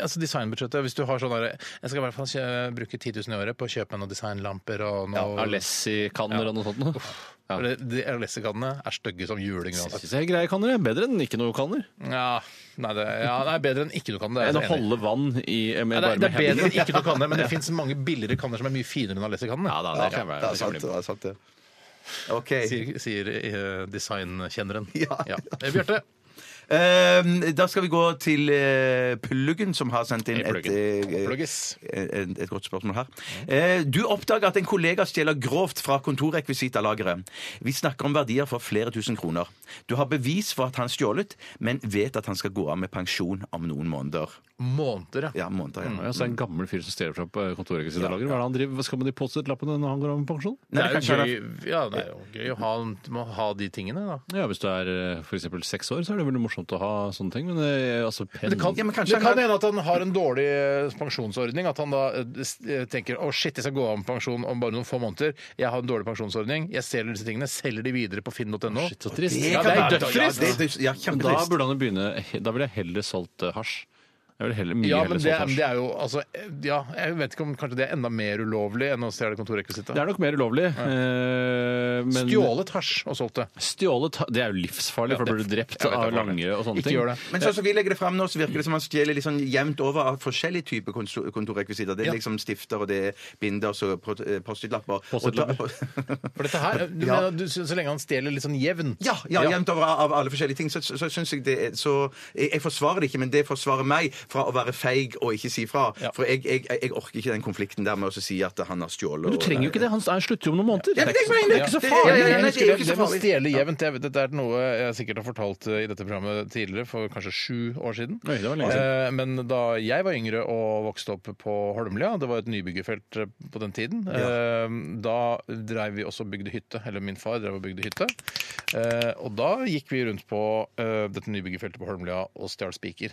[SPEAKER 4] Altså designbudsjettet, Hvis du har sånn der, Jeg skal i hvert fall kjø- bruke 10 000 i året på å kjøpe meg noen designlamper og
[SPEAKER 6] Ja,
[SPEAKER 4] noe
[SPEAKER 6] Alessi-kanner og noe sånt. noe. Ja.
[SPEAKER 4] For det- De Alessi-kannene er stygge som juling.
[SPEAKER 6] Jeg
[SPEAKER 4] uansett.
[SPEAKER 6] synes jeg er greie kanner. jeg. Bedre enn ikke noe kanner.
[SPEAKER 4] Ja, nei, det, ja, det er bedre enn ikke du kan det. er jeg
[SPEAKER 6] Enn
[SPEAKER 4] så
[SPEAKER 6] å
[SPEAKER 4] enig i.
[SPEAKER 6] holde vann i med
[SPEAKER 4] Nei, det, er-
[SPEAKER 6] varme
[SPEAKER 4] det er bedre enn
[SPEAKER 6] hender.
[SPEAKER 4] ikke du kan det, men det fins mange billigere kanner som er mye finere enn Alessi-kannene.
[SPEAKER 6] Ja, da, det kan jeg være-
[SPEAKER 5] Det er sant, det er sant, det. OK.
[SPEAKER 4] Sier, sier eh, designkjenneren.
[SPEAKER 5] Ja.
[SPEAKER 4] Eh, Bjarte.
[SPEAKER 5] Eh, Da skal vi gå til eh, Pluggen, som har sendt inn
[SPEAKER 6] Hei,
[SPEAKER 5] et,
[SPEAKER 6] Pluggen.
[SPEAKER 5] eh,
[SPEAKER 4] Plugges.
[SPEAKER 5] eh, et godt spørsmål her. Eh, Du oppdager at en kollega stjeler grovt fra kontorrekvisitalageret. Vi snakker om verdier for flere tusen kroner. Du har bevis for at han stjålet, men vet at han skal gå av med pensjon om noen måneder.
[SPEAKER 4] Måneder, ja.
[SPEAKER 5] Ja, måneder,
[SPEAKER 4] Mm.
[SPEAKER 5] ja.
[SPEAKER 6] Ja, så er det en gammel fyr som stjeler fra eh, kontorrekvisitalageret. Hva er det han driver? Hva skal man de påstå til lappene når han går av med pensjon?
[SPEAKER 4] Det er
[SPEAKER 5] det
[SPEAKER 4] jo
[SPEAKER 5] kan
[SPEAKER 4] gøy, ja, det er jo gøy å ha, må ha de tingene, da.
[SPEAKER 6] Ja, Hvis du er f.eks. seks år, så er det veldig morsomt å ha sånne ting. Men eh, altså penn
[SPEAKER 4] Det kan,
[SPEAKER 5] Ja, men kanskje
[SPEAKER 4] det kan
[SPEAKER 5] han-
[SPEAKER 4] hende at han har en dårlig eh, pensjonsordning. At han da eh, s- eh, tenker å shit, jeg skal gå av med pensjon om bare noen få måneder. Jeg har en dårlig pensjonsordning. Jeg selger disse tingene. Selger de videre på finn.no.
[SPEAKER 6] Shit, så trist.
[SPEAKER 4] Ja, det er dødstrist.
[SPEAKER 5] Ja, det er døds- ja,
[SPEAKER 6] Men da
[SPEAKER 5] kjempetrist.
[SPEAKER 6] burde han jo begynne Da ville jeg heller solgt eh, hasj. Jeg ville heller, mye
[SPEAKER 4] Ja, men
[SPEAKER 6] heller
[SPEAKER 4] det,
[SPEAKER 6] solgt hasj.
[SPEAKER 4] det er jo altså eh, Ja, jeg vet ikke om kanskje det er enda mer ulovlig enn å stjele
[SPEAKER 6] Det
[SPEAKER 4] kontorrekvisitta.
[SPEAKER 6] er nok mer ulovlig. eh, men-
[SPEAKER 4] Stjålet hasj og solgt det.
[SPEAKER 6] Stjålet ha- Det er jo livsfarlig, for da blir du drept
[SPEAKER 4] jeg vet
[SPEAKER 6] av
[SPEAKER 4] det er farlig.
[SPEAKER 6] lange og sånne
[SPEAKER 4] Ikke
[SPEAKER 6] ting.
[SPEAKER 4] gjør det.
[SPEAKER 5] Men sånn som vi legger det fram nå, så virker det som han stjeler litt sånn jevnt over av forskjellige typer kontor- kontorrekvisitter. Det er liksom stifter, og det er binder, og så pro- eh, Post-It-lapper. Og da-
[SPEAKER 4] For dette her, du
[SPEAKER 5] Ja.
[SPEAKER 4] mener, du, så så lenge han stjeler litt sånn jevnt
[SPEAKER 5] Ja, ja, jevnt over av alle forskjellige ting. Så, så, så syns jeg det er Så jeg, jeg forsvarer det ikke, men det forsvarer meg fra å være feig og ikke si fra.
[SPEAKER 4] Ja.
[SPEAKER 5] For jeg, jeg, jeg orker ikke den konflikten der med å si at han har stjålet.
[SPEAKER 6] Men du
[SPEAKER 5] og-
[SPEAKER 6] trenger jo ikke det. Han er- slutter jo om noen måneder.
[SPEAKER 5] Ja, men det er ikke-
[SPEAKER 6] ikke så
[SPEAKER 5] det-
[SPEAKER 6] farlig.
[SPEAKER 5] ja, ja, ja,
[SPEAKER 4] Jeg
[SPEAKER 5] nei,
[SPEAKER 4] husker
[SPEAKER 5] det er jo
[SPEAKER 4] det,
[SPEAKER 5] ikke så
[SPEAKER 4] det med å
[SPEAKER 5] farlig.
[SPEAKER 4] stjele jevnt, jeg vet- dette er noe jeg sikkert har fortalt eh, i dette programmet tidligere, for kanskje sju år siden.
[SPEAKER 6] Oi, det var lenge
[SPEAKER 4] Eh, Men da jeg var yngre og vokste opp på Holmlia, det var et nybyggefelt eh, på den tiden, eh, da dreiv vi også og bygde hytte, eller min far drev og bygde hytte. Eh, Og da gikk vi rundt på eh, dette nybyggefeltet på Holmlia og stjal spiker.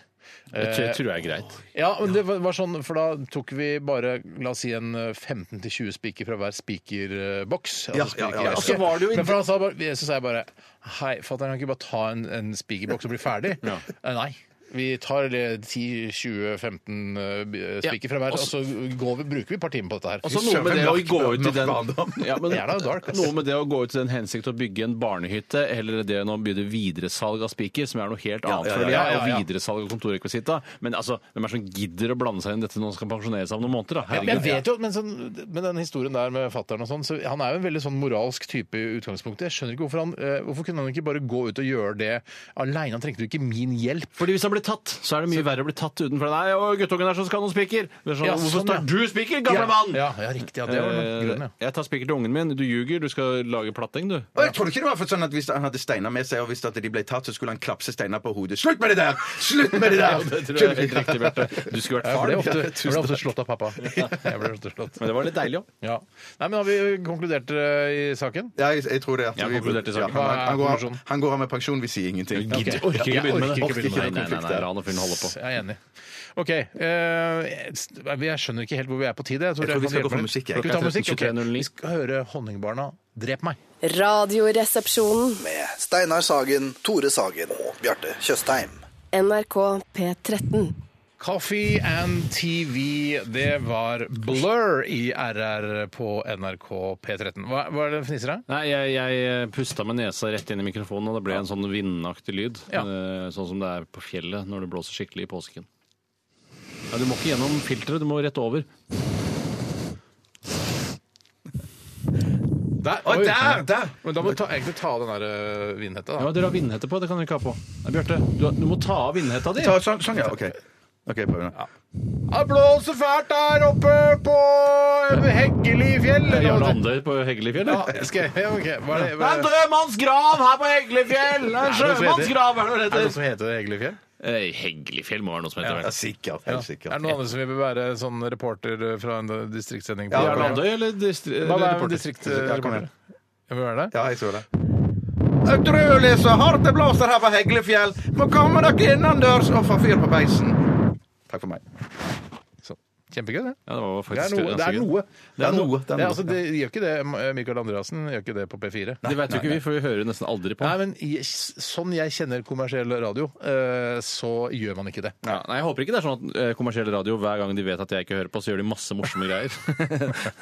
[SPEAKER 6] Det tror- tror jeg er greit.
[SPEAKER 4] Ja, men det var var sånn, for da tok vi bare la oss si en eh, 15-20 spiker fra hver spikerboks. Altså
[SPEAKER 5] Ja, ja, ja, ja.
[SPEAKER 6] Og så var det jo
[SPEAKER 4] Men for han sa bare, så sa jeg bare Hei, fatter'n, kan ikke bare ta en, en spikerboks og bli ferdig? Eh, Nei. Vi tar eh, 10-20-15 eh, spiker fra hver, og så går vi, bruker vi et par timer på dette her.
[SPEAKER 6] Og så noe med det å
[SPEAKER 5] Mørk-
[SPEAKER 6] gå ut i
[SPEAKER 5] mørk
[SPEAKER 6] den
[SPEAKER 5] barndom.
[SPEAKER 6] ja, men,
[SPEAKER 4] Det er da dark, ass.
[SPEAKER 6] Noe med det å gå ut i den hensikt å bygge en barnehytte, heller det enn å begynne videresalg av spiker, som er noe helt annet
[SPEAKER 5] ja,
[SPEAKER 6] for
[SPEAKER 5] ja,
[SPEAKER 6] det,
[SPEAKER 4] ja, ja, ja.
[SPEAKER 6] og videresalg av kontorrekvisitta. Men altså, hvem er det som gidder å blande seg inn i dette når man skal pensjonere seg om noen måneder? Da?
[SPEAKER 4] Men jeg
[SPEAKER 6] Herregud.
[SPEAKER 4] vet jo, men, sånn, men den historien der med fatteren og sånn, så han er jo en veldig sånn moralsk type i utgangspunktet. Jeg skjønner ikke hvorfor han eh, Hvorfor kunne han ikke bare gå ut og gjøre det aleine? Han trengte jo ikke min hjelp.
[SPEAKER 6] Fordi hvis han blir tatt, så er det mye verre å bli tatt utenfor. Nei, og guttungen der som skal ha noen spiker. Det er Sånn,
[SPEAKER 4] Ja,
[SPEAKER 6] hvorfor
[SPEAKER 4] sånn,
[SPEAKER 6] står
[SPEAKER 4] ja.
[SPEAKER 6] du spiker, gamle mann?
[SPEAKER 4] Ja, ja, riktig. Ja, det var nok grunnen, ja.
[SPEAKER 6] Eh, Jeg tar spiker til ungen min. Du ljuger, du skal lage platting, du.
[SPEAKER 5] Og jeg tror ikke det var for sånn at Hvis han hadde steiner med seg, og hvis at de ble tatt, så skulle han klapse steiner på hodet. Slutt med det der! Slutt med det der!
[SPEAKER 6] Det tror jeg er helt riktig, Bjarte. Du skulle vært
[SPEAKER 4] Jeg
[SPEAKER 6] far.
[SPEAKER 4] ble
[SPEAKER 6] du.
[SPEAKER 4] ofte, jeg ble ofte slått av pappa. Jeg ble ofte slått.
[SPEAKER 6] Men det var litt deilig òg.
[SPEAKER 4] Ja. Nei, men Har vi konkludert eh, i saken?
[SPEAKER 5] Ja, jeg, jeg tror det. at
[SPEAKER 6] Jeg har
[SPEAKER 5] vi-
[SPEAKER 6] konkludert i saken.
[SPEAKER 5] Ja, han, han,
[SPEAKER 4] Hva er
[SPEAKER 5] går,
[SPEAKER 4] konklusjonen?
[SPEAKER 5] han går av med pensjon, vi sier ingenting.
[SPEAKER 6] Gidder orker ikke
[SPEAKER 4] Jeg
[SPEAKER 6] begynne med det.
[SPEAKER 4] orker ikke begynne
[SPEAKER 6] Nei,
[SPEAKER 4] med
[SPEAKER 6] nei,
[SPEAKER 4] det.
[SPEAKER 6] nei, nei, ran og fyren holder på.
[SPEAKER 4] Jeg er enig. OK. eh, jeg skjønner ikke helt hvor vi er på tid. Jeg,
[SPEAKER 5] Jeg tror
[SPEAKER 4] dere
[SPEAKER 5] vi
[SPEAKER 4] kan
[SPEAKER 5] skal gå
[SPEAKER 4] hjelpe
[SPEAKER 5] for
[SPEAKER 4] meg.
[SPEAKER 5] musikk, jeg.
[SPEAKER 4] Skal vi ta musikk? Ok.
[SPEAKER 6] 23.09.
[SPEAKER 4] Vi skal høre Honningbarna 'Drep meg'.
[SPEAKER 7] Radioresepsjonen.
[SPEAKER 8] Med Steinar Sagen, Tore Sagen og Bjarte Tjøstheim.
[SPEAKER 7] NRK P13.
[SPEAKER 4] Coffee and TV, det var Blur i RR på NRK P13. Hva, hva er det fniser av?
[SPEAKER 6] Nei, jeg, jeg pusta med nesa rett inn i mikrofonen, og det ble en sånn vindaktig lyd.
[SPEAKER 4] Ja.
[SPEAKER 6] Eh, Sånn som det er på fjellet når det blåser skikkelig i påsken. Ja, du må ikke gjennom filteret, du må rett over.
[SPEAKER 4] Der!
[SPEAKER 5] Å, der, der!
[SPEAKER 4] Men da må du ta, egentlig ta av den der eh, vindhetta, da.
[SPEAKER 6] Ja, Dere har vindhette på, det kan dere ikke ha på. Nei, Bjarte, du, du må ta av vindhetta di.
[SPEAKER 5] Ta, sånn, sånn, ja. OK. Ok, prøv nå.
[SPEAKER 4] Det blåser fælt der oppe på Heggeli fjell.
[SPEAKER 6] Det er Jarle Andøy på Heggelifjell.
[SPEAKER 4] Ja,
[SPEAKER 6] eller?
[SPEAKER 4] skal jeg, ja, ok. Hva er det,
[SPEAKER 6] Det
[SPEAKER 4] hva
[SPEAKER 6] er
[SPEAKER 4] er
[SPEAKER 6] en
[SPEAKER 4] det?
[SPEAKER 6] død manns grav her på Heggelifjell! Det er
[SPEAKER 4] Er
[SPEAKER 6] en
[SPEAKER 4] det noe som heter-
[SPEAKER 6] sjømanns grav, er det
[SPEAKER 4] Er det
[SPEAKER 6] det
[SPEAKER 4] noe
[SPEAKER 6] heter?
[SPEAKER 4] som heter Heggelifjell?
[SPEAKER 6] Eh, Heggelifjell må være noe som heter
[SPEAKER 5] Ja,
[SPEAKER 6] det.
[SPEAKER 5] sikkert.
[SPEAKER 4] Ja.
[SPEAKER 5] Helt
[SPEAKER 4] Er
[SPEAKER 5] sikkert.
[SPEAKER 4] det noen andre som vil være sånn reporter fra en distriktssending? på-
[SPEAKER 6] Jarle Andøy eller
[SPEAKER 4] Hva
[SPEAKER 6] distri- eller
[SPEAKER 4] er en
[SPEAKER 6] reporter?
[SPEAKER 5] Ja, kom
[SPEAKER 4] distriktsreporter?
[SPEAKER 5] igjen.
[SPEAKER 4] Jeg vil være det.
[SPEAKER 5] Ja, jeg så det. Autrøleser, hardt det blåser her på Heglefjell. Må komme dere innendørs og få fyr på peisen. Takk for meg.
[SPEAKER 4] Sånn. Kjempegøy, det.
[SPEAKER 6] Ja, det var
[SPEAKER 4] Det er
[SPEAKER 6] faktisk
[SPEAKER 4] noe. Det er
[SPEAKER 6] ganske gøy.
[SPEAKER 4] noe.
[SPEAKER 5] Det er noe. Det
[SPEAKER 4] Det,
[SPEAKER 5] er
[SPEAKER 4] er,
[SPEAKER 5] noe.
[SPEAKER 4] altså, det gjør ikke det Michael Andreassen. Gjør ikke det på P4.
[SPEAKER 6] Det vet jo ikke vi, for vi hører jo nesten aldri på.
[SPEAKER 4] Nei, men i- sånn jeg kjenner kommersiell radio, eh, så gjør man ikke det.
[SPEAKER 6] Ja, nei, Jeg håper ikke det er sånn at eh, kommersiell radio hver gang de vet at jeg ikke hører på, så gjør de masse morsomme greier.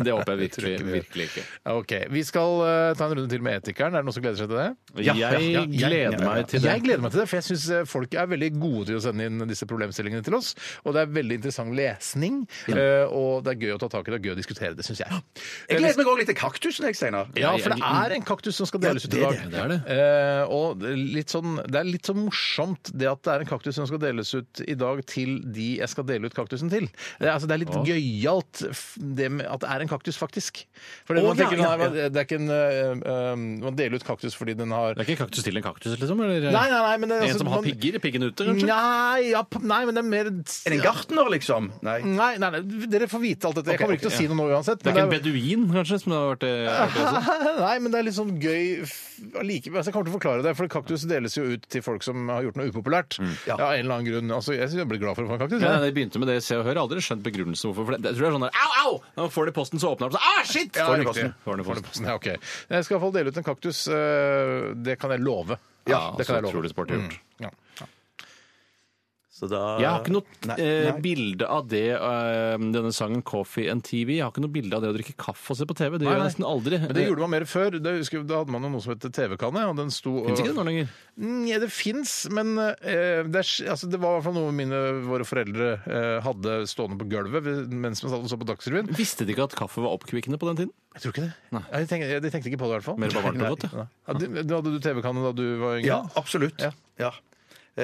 [SPEAKER 6] det håper jeg virkelig, virkelig ikke.
[SPEAKER 4] Ok, Vi skal eh, ta en runde til med Etikeren. Er det noen som gleder seg til det?
[SPEAKER 5] Ja, ja,
[SPEAKER 6] jeg
[SPEAKER 5] ja, ja,
[SPEAKER 6] gleder
[SPEAKER 5] ja, ja.
[SPEAKER 6] meg til det.
[SPEAKER 4] Jeg eh, gleder meg til det, for jeg syns folk er veldig gode til å sende inn disse problemstillingene til oss. Og det er veldig interessant lesning. Eh, og det er gøy å ta tak i det, det er gøy å diskutere det, syns jeg.
[SPEAKER 5] Jeg gleder meg òg litt til kaktusen, jeg, Steinar.
[SPEAKER 4] Ja, for det er en kaktus som skal deles ut i
[SPEAKER 5] det er
[SPEAKER 4] dag.
[SPEAKER 5] det.
[SPEAKER 6] Det er det.
[SPEAKER 4] Eh, og det er litt sånn, det er litt sånn morsomt det at det er en kaktus som skal deles ut i dag til de jeg skal dele ut kaktusen til. Det er, altså, det er litt gøyalt f- det med at det er en kaktus, faktisk. For det,
[SPEAKER 5] Å,
[SPEAKER 4] man
[SPEAKER 5] ja,
[SPEAKER 4] tenker,
[SPEAKER 5] ja,
[SPEAKER 4] nei, det er ikke en eh, eh, Man deler ut kaktus fordi den har
[SPEAKER 6] Det er ikke en kaktus til en kaktus, liksom? Eller,
[SPEAKER 4] Nei, nei, nei, men det er altså-
[SPEAKER 6] en som har
[SPEAKER 4] man-
[SPEAKER 6] pigger? Piggen ute, kanskje?
[SPEAKER 4] Nei, ja, p- nei, men det er mer
[SPEAKER 5] Er det en gartner, liksom? Nei.
[SPEAKER 4] Nei, nei, nei, dere får vite alt dette. Jeg
[SPEAKER 5] Ok,
[SPEAKER 4] kommer ikke til å si noe nå uansett.
[SPEAKER 6] Det er
[SPEAKER 4] men
[SPEAKER 6] ikke en beduin, kanskje? som det har vært eh, det også?
[SPEAKER 4] Nei, men det er litt sånn gøy f- allikevel. Altså, jeg kommer til å forklare det, for kaktus deles jo ut til folk som har gjort noe upopulært. Ja, Av en eller annen grunn. Altså, jeg synes jeg blir glad for å få en kaktus.
[SPEAKER 6] Ja, nei,
[SPEAKER 4] jeg.
[SPEAKER 6] det begynte med det Se og Hør. Jeg har Aldri skjønt begrunnelsen hvorfor. For det, jeg tror det er sånn der, Au, au! Når man får det i posten, så åpner den seg. Ah, shit!
[SPEAKER 4] Ja,
[SPEAKER 6] får den i
[SPEAKER 4] riktig.
[SPEAKER 6] posten. Får den i posten.
[SPEAKER 4] sånn, Ja, ok. Jeg skal i hvert fall dele ut en kaktus. eh, Det kan jeg love.
[SPEAKER 6] Ja,
[SPEAKER 4] det kan jeg love. Mm,
[SPEAKER 6] Utrolig sporty gjort.
[SPEAKER 4] Ja.
[SPEAKER 5] Så da
[SPEAKER 6] Jeg har ikke noe
[SPEAKER 5] Nei,
[SPEAKER 6] eh,
[SPEAKER 5] nei.
[SPEAKER 6] bilde av det eh, denne sangen 'Coffee and TV'. Jeg har ikke noe bilde av det å drikke kaffe og se på TV. Det gjør
[SPEAKER 4] Nei,
[SPEAKER 6] jeg nesten aldri.
[SPEAKER 4] Men det gjorde man mer før. Da, husker, jeg- da hadde man jo noe som het TV-kanne, og den sto
[SPEAKER 6] Eh, Finnes ikke det nå lenger?
[SPEAKER 4] Mm, Ja, det fins, men eh, det, er, s- altså, det var i hvert fall noe mine, våre foreldre eh, hadde stående på gulvet ved- mens man satt og så på Dagsrevyen.
[SPEAKER 6] Visste de ikke at kaffe var oppkvikkende på den tiden?
[SPEAKER 4] Jeg tror ikke det. Ja, de, tenkte, de tenkte ikke på det, i hvert fall.
[SPEAKER 6] Mer bare varmt og godt,
[SPEAKER 4] Nei.
[SPEAKER 6] ja.
[SPEAKER 4] Ja, du, du hadde du TV-kanne da du var yngre?
[SPEAKER 5] Ja, absolutt.
[SPEAKER 4] Ja.
[SPEAKER 5] Ja. Eh,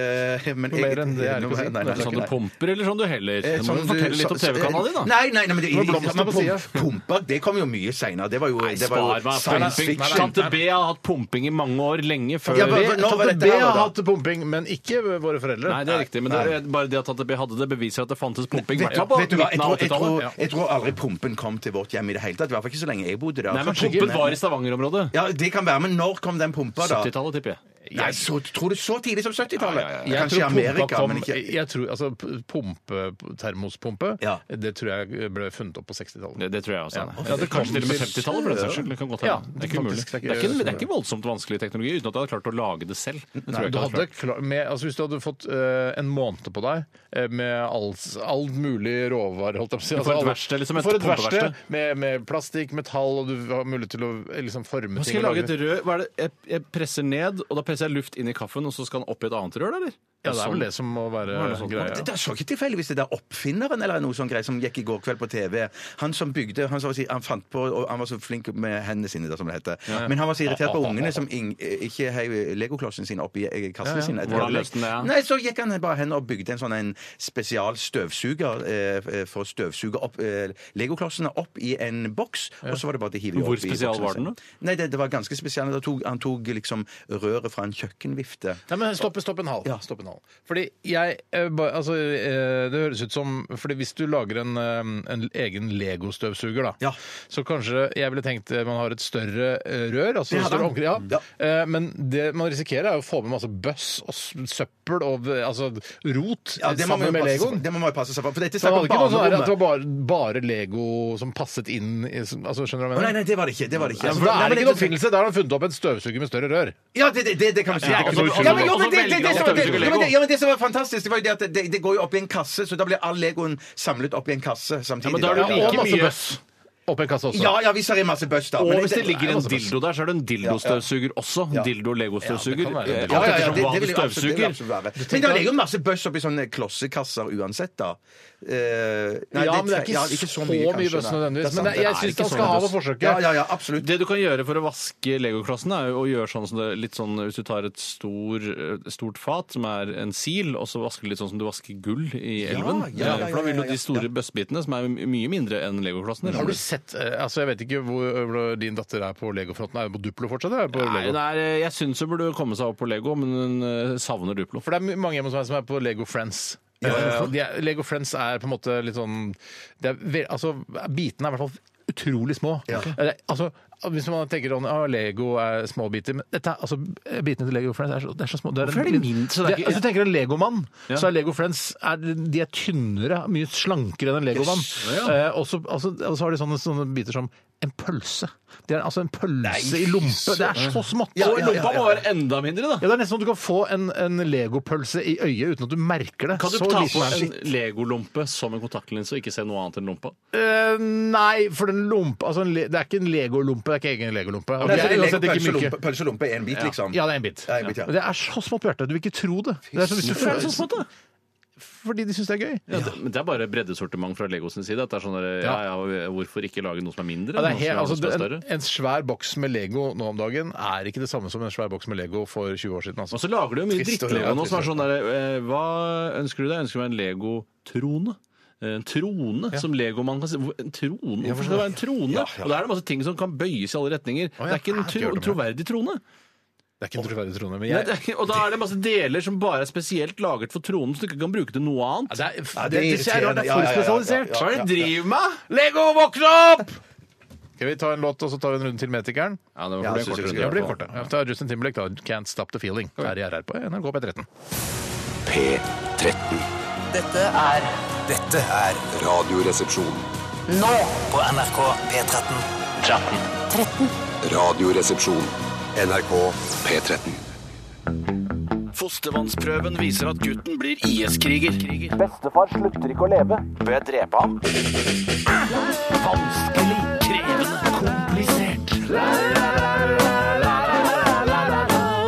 [SPEAKER 5] men
[SPEAKER 4] Noe mer enn det er det ikke å si.
[SPEAKER 5] Nei, nei,
[SPEAKER 4] Det er
[SPEAKER 5] nei,
[SPEAKER 6] Sånn
[SPEAKER 5] nei.
[SPEAKER 6] du pumper, eller sånn du heller?
[SPEAKER 5] Eh,
[SPEAKER 6] Nå
[SPEAKER 5] sånn
[SPEAKER 6] må du
[SPEAKER 5] du-
[SPEAKER 6] fortelle litt om
[SPEAKER 5] så-
[SPEAKER 6] TV-kanalen din, da.
[SPEAKER 5] Nei, nei, nei, men det,
[SPEAKER 4] Det var blomster på
[SPEAKER 5] pump-
[SPEAKER 4] siden.
[SPEAKER 5] Pumpa, det kom jo mye seinere. Det var jo, det var jo
[SPEAKER 6] Spar meg for
[SPEAKER 5] science
[SPEAKER 6] pumping.
[SPEAKER 5] fiction.
[SPEAKER 6] Tante B har hatt pumping i mange år, lenge før
[SPEAKER 5] Ja, men-
[SPEAKER 4] B,
[SPEAKER 5] Nå var
[SPEAKER 4] Tante
[SPEAKER 5] dette
[SPEAKER 4] B
[SPEAKER 5] her,
[SPEAKER 4] har
[SPEAKER 5] da.
[SPEAKER 4] hatt pumping, men ikke våre foreldre.
[SPEAKER 6] Nei, det er riktig, men det er bare det at Tante B hadde det, beviser at det fantes pumping. i
[SPEAKER 5] Vet,
[SPEAKER 6] hvert fall på
[SPEAKER 5] vet du hva, jeg
[SPEAKER 6] midten av
[SPEAKER 5] tror, jeg,
[SPEAKER 6] 80-tallet.
[SPEAKER 5] tror, jeg tror aldri pumpen kom til vårt hjem i det hele tatt. I hvert fall ikke så lenge jeg bodde der.
[SPEAKER 6] Nei, men
[SPEAKER 5] Kanskje
[SPEAKER 6] pumpen
[SPEAKER 5] ikke,
[SPEAKER 6] var i Stavanger-området.
[SPEAKER 5] Ja, Det kan være, men når kom den pumpa, da?
[SPEAKER 6] 70-tallet, tipper jeg.
[SPEAKER 5] Nei, så, tror du så tidlig som 70-tallet?
[SPEAKER 6] Ja, ja, ja.
[SPEAKER 5] Kanskje i
[SPEAKER 4] pumpa
[SPEAKER 5] Amerika,
[SPEAKER 4] kom-
[SPEAKER 5] men ikke
[SPEAKER 4] jeg tror, altså, p- pumpe, termospumpe,
[SPEAKER 5] Ja.
[SPEAKER 4] det tror jeg ble funnet opp på 60-tallet.
[SPEAKER 6] Det, det tror jeg også.
[SPEAKER 4] Ja.
[SPEAKER 6] Anne.
[SPEAKER 4] Ja, det kom
[SPEAKER 6] Kanskje til og med
[SPEAKER 4] til-
[SPEAKER 6] 50-tallet, for den saks skyld. Det kan godt
[SPEAKER 4] Ja,
[SPEAKER 6] hende. det, er ikke umulig.
[SPEAKER 4] faktisk, det er ikke-
[SPEAKER 6] det, er ikke, det er ikke voldsomt vanskelig teknologi uten at jeg hadde klart å lage det selv. Det tror
[SPEAKER 4] Nei, du
[SPEAKER 6] jeg ikke jeg hadde
[SPEAKER 4] hadde
[SPEAKER 6] klart.
[SPEAKER 4] klar, med, altså hvis du hadde fått eh, en måned på deg eh, med all, all mulig råvarer holdt jeg på å si,
[SPEAKER 6] Du får et verksted, liksom, et
[SPEAKER 4] Du får et
[SPEAKER 6] pumpeverksted.
[SPEAKER 4] verksted med, med plastikk, metall, og du har mulighet til å eh, liksom, forme
[SPEAKER 6] Nå
[SPEAKER 4] ting.
[SPEAKER 6] skal jeg
[SPEAKER 4] og
[SPEAKER 6] lage et rør. Hva er det? Jeg, jeg presser ned, og da presser jeg luft inn i kaffen, og så skal den opp i et annet rør, eller?
[SPEAKER 4] Ja, det er vel det som må være
[SPEAKER 6] Var Sånn. det sånn?
[SPEAKER 4] greia.
[SPEAKER 5] Det, det er så ikke tilfeldigvis det der oppfinneren eller noe sånn greie som gikk i går kveld på TV. Han som bygde Han, som var, så- han fant på og Han var så flink med hendene sine, da, som det heter. Men han var så irritert på ungene som ing, ikke heiv legoklossene sine oppi kassene sine. eh, etter
[SPEAKER 6] Hvordan
[SPEAKER 5] alle.
[SPEAKER 6] løste han det, ja?
[SPEAKER 5] Nei, Så gikk han bare hen og bygde en sånn en spesial støvsuger eh, for å støvsuge opp eh, legoklossene opp i en boks, og så var det bare å hive dem
[SPEAKER 6] Hvor
[SPEAKER 5] opp i
[SPEAKER 6] spesial
[SPEAKER 5] boksene
[SPEAKER 6] var den,
[SPEAKER 5] sine.
[SPEAKER 6] da?
[SPEAKER 5] Nei, det, det var ganske spesial. Han tok, han tok liksom røret fra en kjøkkenvifte.
[SPEAKER 4] Nei, men stopp, stopp en hal.
[SPEAKER 5] Ja.
[SPEAKER 4] Stopp en hal. Fordi jeg eh, ba, Altså, eh, det høres ut som Fordi hvis du lager en, eh, en egen Lego-støvsuger, da,
[SPEAKER 5] Ja.
[SPEAKER 4] så kanskje jeg ville tenkt eh, man har et større eh, rør. Altså,
[SPEAKER 5] Det hadde
[SPEAKER 4] større
[SPEAKER 5] han.
[SPEAKER 4] omkring, ja.
[SPEAKER 5] Ja.
[SPEAKER 4] Eh, Men det man risikerer, er jo å få med masse bøss og s- søppel og eh, altså, rot eh,
[SPEAKER 5] Ja, det må
[SPEAKER 4] sammen
[SPEAKER 5] man jo
[SPEAKER 4] med
[SPEAKER 5] passe seg for.
[SPEAKER 4] Legoen.
[SPEAKER 5] Det må man jo passe seg for. For dette
[SPEAKER 4] Så det
[SPEAKER 5] snakker
[SPEAKER 4] hadde ikke
[SPEAKER 5] om
[SPEAKER 4] noe sånn her at
[SPEAKER 5] barnerommet.
[SPEAKER 4] det var bare, bare Lego som passet inn i som- altså, Skjønner du hva
[SPEAKER 5] Å,
[SPEAKER 4] jeg
[SPEAKER 5] Nei,
[SPEAKER 4] mener?
[SPEAKER 5] nei, det var det ikke. Det var det ikke.
[SPEAKER 4] Ja,
[SPEAKER 5] Altså,
[SPEAKER 4] for da
[SPEAKER 5] nei,
[SPEAKER 4] er
[SPEAKER 5] men
[SPEAKER 4] det ikke noen
[SPEAKER 5] det-
[SPEAKER 4] oppfinnelse. Der har han funnet opp en støvsuger med større rør.
[SPEAKER 5] Ja, det, det, det, det kan vi si.
[SPEAKER 6] Ja,
[SPEAKER 5] Det kan
[SPEAKER 6] altså,
[SPEAKER 5] vi si.
[SPEAKER 6] altså,
[SPEAKER 5] Ja, men jo,
[SPEAKER 6] altså,
[SPEAKER 5] men det- det-
[SPEAKER 6] velger
[SPEAKER 5] det
[SPEAKER 6] han
[SPEAKER 5] som var- det-
[SPEAKER 6] støvsuger
[SPEAKER 5] ja, men det-
[SPEAKER 6] Lego?
[SPEAKER 5] ja, men det som var fantastisk, det var jo det at det, det går jo opp i en kasse, så da blir all Legoen samlet opp i en kasse samtidig.
[SPEAKER 6] men da er det
[SPEAKER 5] Ja,
[SPEAKER 6] like
[SPEAKER 4] og masse
[SPEAKER 6] mye.
[SPEAKER 4] bøss. Oppi en kasse også.
[SPEAKER 5] Ja, ja, hvis det er masse bøss, da.
[SPEAKER 6] Og
[SPEAKER 5] Men
[SPEAKER 6] hvis det ligger
[SPEAKER 5] er
[SPEAKER 6] en
[SPEAKER 5] masse bøss.
[SPEAKER 6] dildo der, så er det en dildostøvsuger også. Dildo-legostøvsuger.
[SPEAKER 4] Ja, det kan være.
[SPEAKER 6] Eh,
[SPEAKER 5] Ja,
[SPEAKER 6] Alt
[SPEAKER 5] ja, ja,
[SPEAKER 6] ettersom
[SPEAKER 5] det,
[SPEAKER 6] hva
[SPEAKER 5] det
[SPEAKER 6] du
[SPEAKER 5] vil jo absolutt, det vil
[SPEAKER 6] støvsuger.
[SPEAKER 5] absolutt være. Men det ligger jo masse bøss oppi sånne klossekasser uansett, da. Eh, nei,
[SPEAKER 4] ja, men det er ikke,
[SPEAKER 5] ja,
[SPEAKER 4] så mye,
[SPEAKER 5] kanskje,
[SPEAKER 4] bøss
[SPEAKER 5] nei. Det
[SPEAKER 4] nødvendigvis. Men
[SPEAKER 5] er
[SPEAKER 4] jeg,
[SPEAKER 5] sant,
[SPEAKER 4] jeg
[SPEAKER 5] det er
[SPEAKER 4] syns
[SPEAKER 5] ikke
[SPEAKER 4] han
[SPEAKER 5] så
[SPEAKER 4] skal
[SPEAKER 5] mye
[SPEAKER 4] ha
[SPEAKER 5] bøss.
[SPEAKER 4] det forsøket.
[SPEAKER 5] Ja, ja, ja, absolutt.
[SPEAKER 6] Det du kan gjøre for å vaske legoklossen, er jo å gjøre sånn som det, litt sånn Hvis du tar et stor, stort fat som er en sil, og så vasker du litt sånn som du vasker gull i elven.
[SPEAKER 5] ja, ja,
[SPEAKER 6] for da vil
[SPEAKER 5] ja,
[SPEAKER 6] jo
[SPEAKER 5] ja,
[SPEAKER 6] de store bøssbitene, som er mye mindre enn legoklossen
[SPEAKER 4] Har du sett eh, altså Jeg vet ikke hvor hvor din datter er på legofronten. Er hun på Duplo fortsatt? eller Er hun på
[SPEAKER 6] Nei,
[SPEAKER 4] Lego?
[SPEAKER 6] det er, jeg syns hun burde komme seg opp på Lego, men hun eh, savner Duplo.
[SPEAKER 4] For det er my- mange hjemme hos meg som er på Lego Friends. Eh, de er, Lego Friends er på en måte litt sånn det er, ve- altså, Bitene er i hvert fall utrolig små. Eh, det er- Altså, hvis man tenker sånn, ah, Lego er små biter Men dette er, altså, bitene til Lego Friends er så, det er så små. Det
[SPEAKER 6] Hvorfor er de
[SPEAKER 4] en-
[SPEAKER 6] mindre? Så det er ikke-
[SPEAKER 4] altså, du tenker en Legomann,
[SPEAKER 6] Ja.
[SPEAKER 4] så er Lego Friends er, de er tynnere, mye slankere enn en Legomann. Eh, og så altså, og så har de sånne, sånne biter som en pølse. Det er altså en pølse i lompe. Det er så smått.
[SPEAKER 6] Og lompa må være enda mindre, da!
[SPEAKER 4] Ja, Det er nesten sånn at du kan få en, en legopølse i øyet uten at du merker det.
[SPEAKER 6] Kan du
[SPEAKER 4] Så
[SPEAKER 6] ta
[SPEAKER 4] liten
[SPEAKER 6] på
[SPEAKER 4] er den.
[SPEAKER 6] en legolompe som en kontaktlinse og ikke se noe annet enn lompa?
[SPEAKER 4] Eh, Nei, for den lompa altså en le, Det er ikke en legolompe. Det er ikke egen legolompe.
[SPEAKER 5] Nei, for
[SPEAKER 4] Det er
[SPEAKER 5] det
[SPEAKER 4] uansett
[SPEAKER 5] ligger
[SPEAKER 4] ikke
[SPEAKER 5] pølse og
[SPEAKER 4] myke.
[SPEAKER 5] lompe- Pølse og lompe er en bit, liksom.
[SPEAKER 4] Ja, det er en bit.
[SPEAKER 5] Ja, en bit, ja.
[SPEAKER 4] Og Det er så smått, Bjarte. at Du vil ikke tro det. Det er som hvis du
[SPEAKER 6] Hvorfor er det så smått, da?
[SPEAKER 4] fordi de syns det er gøy.
[SPEAKER 6] Ja, det, men det er bare breddesortiment fra Legos sin side. At det er sånn der, ja, ja, Hvorfor ikke lage noe som er mindre?
[SPEAKER 4] Ja, det er
[SPEAKER 6] enn
[SPEAKER 4] helt,
[SPEAKER 6] noe
[SPEAKER 4] altså,
[SPEAKER 6] som er
[SPEAKER 4] en,
[SPEAKER 6] større?
[SPEAKER 4] en svær boks med Lego nå om dagen er ikke det samme som en svær boks med Lego for 20 år siden.
[SPEAKER 6] Og
[SPEAKER 4] Altså.
[SPEAKER 6] så lager du jo mye
[SPEAKER 4] Trist å
[SPEAKER 6] drittlego
[SPEAKER 4] høre,
[SPEAKER 6] nå som er
[SPEAKER 4] trist å
[SPEAKER 6] sånn der eh, Hva ønsker du deg? Jeg ønsker meg en Lego-trone. Eh, En trone som legomann kan si. Hvor- En trone? Hvorfor skal det være en trone? Og da er det masse ting som kan bøyes i alle retninger.
[SPEAKER 4] ja,
[SPEAKER 6] Det er ikke en
[SPEAKER 4] her
[SPEAKER 6] tro,
[SPEAKER 4] gjør det med.
[SPEAKER 6] troverdig trone.
[SPEAKER 4] Det er ikke en troverdig trone, men
[SPEAKER 6] Nei,
[SPEAKER 4] jeg
[SPEAKER 6] det er, ikke- og da er det masse deler som bare er spesielt laget for tronen, så du ikke kan bruke til noe annet.
[SPEAKER 4] Ja, det er,
[SPEAKER 5] Ja, det er irriterende.
[SPEAKER 4] det er
[SPEAKER 5] Ja,
[SPEAKER 4] for
[SPEAKER 5] ja, ja, ja,
[SPEAKER 4] spesialisert.
[SPEAKER 5] ja, ja, ja.
[SPEAKER 6] driver med?
[SPEAKER 4] Lego, våkne opp! Skal vi ta en låt, og så tar vi en runde til med etikeren?
[SPEAKER 6] Ja, det
[SPEAKER 5] Ja,
[SPEAKER 6] var
[SPEAKER 5] jeg synes
[SPEAKER 6] for
[SPEAKER 5] vi
[SPEAKER 4] Det blir
[SPEAKER 6] det
[SPEAKER 4] kortere. Ja, ta Justin Timberlake, da. Can't Stop The Feeling. Her i RR på NRK P13.
[SPEAKER 1] P13.
[SPEAKER 11] Dette er Dette er
[SPEAKER 1] Radioresepsjon.
[SPEAKER 11] Nå på NRK P13.
[SPEAKER 1] Radioresepsjon. NRK P13.
[SPEAKER 3] Fostervannsprøven viser at gutten blir IS-kriger.
[SPEAKER 11] Bestefar slutter ikke å leve. Bør jeg drepe ham?
[SPEAKER 3] Vanskelig, krevende, komplisert.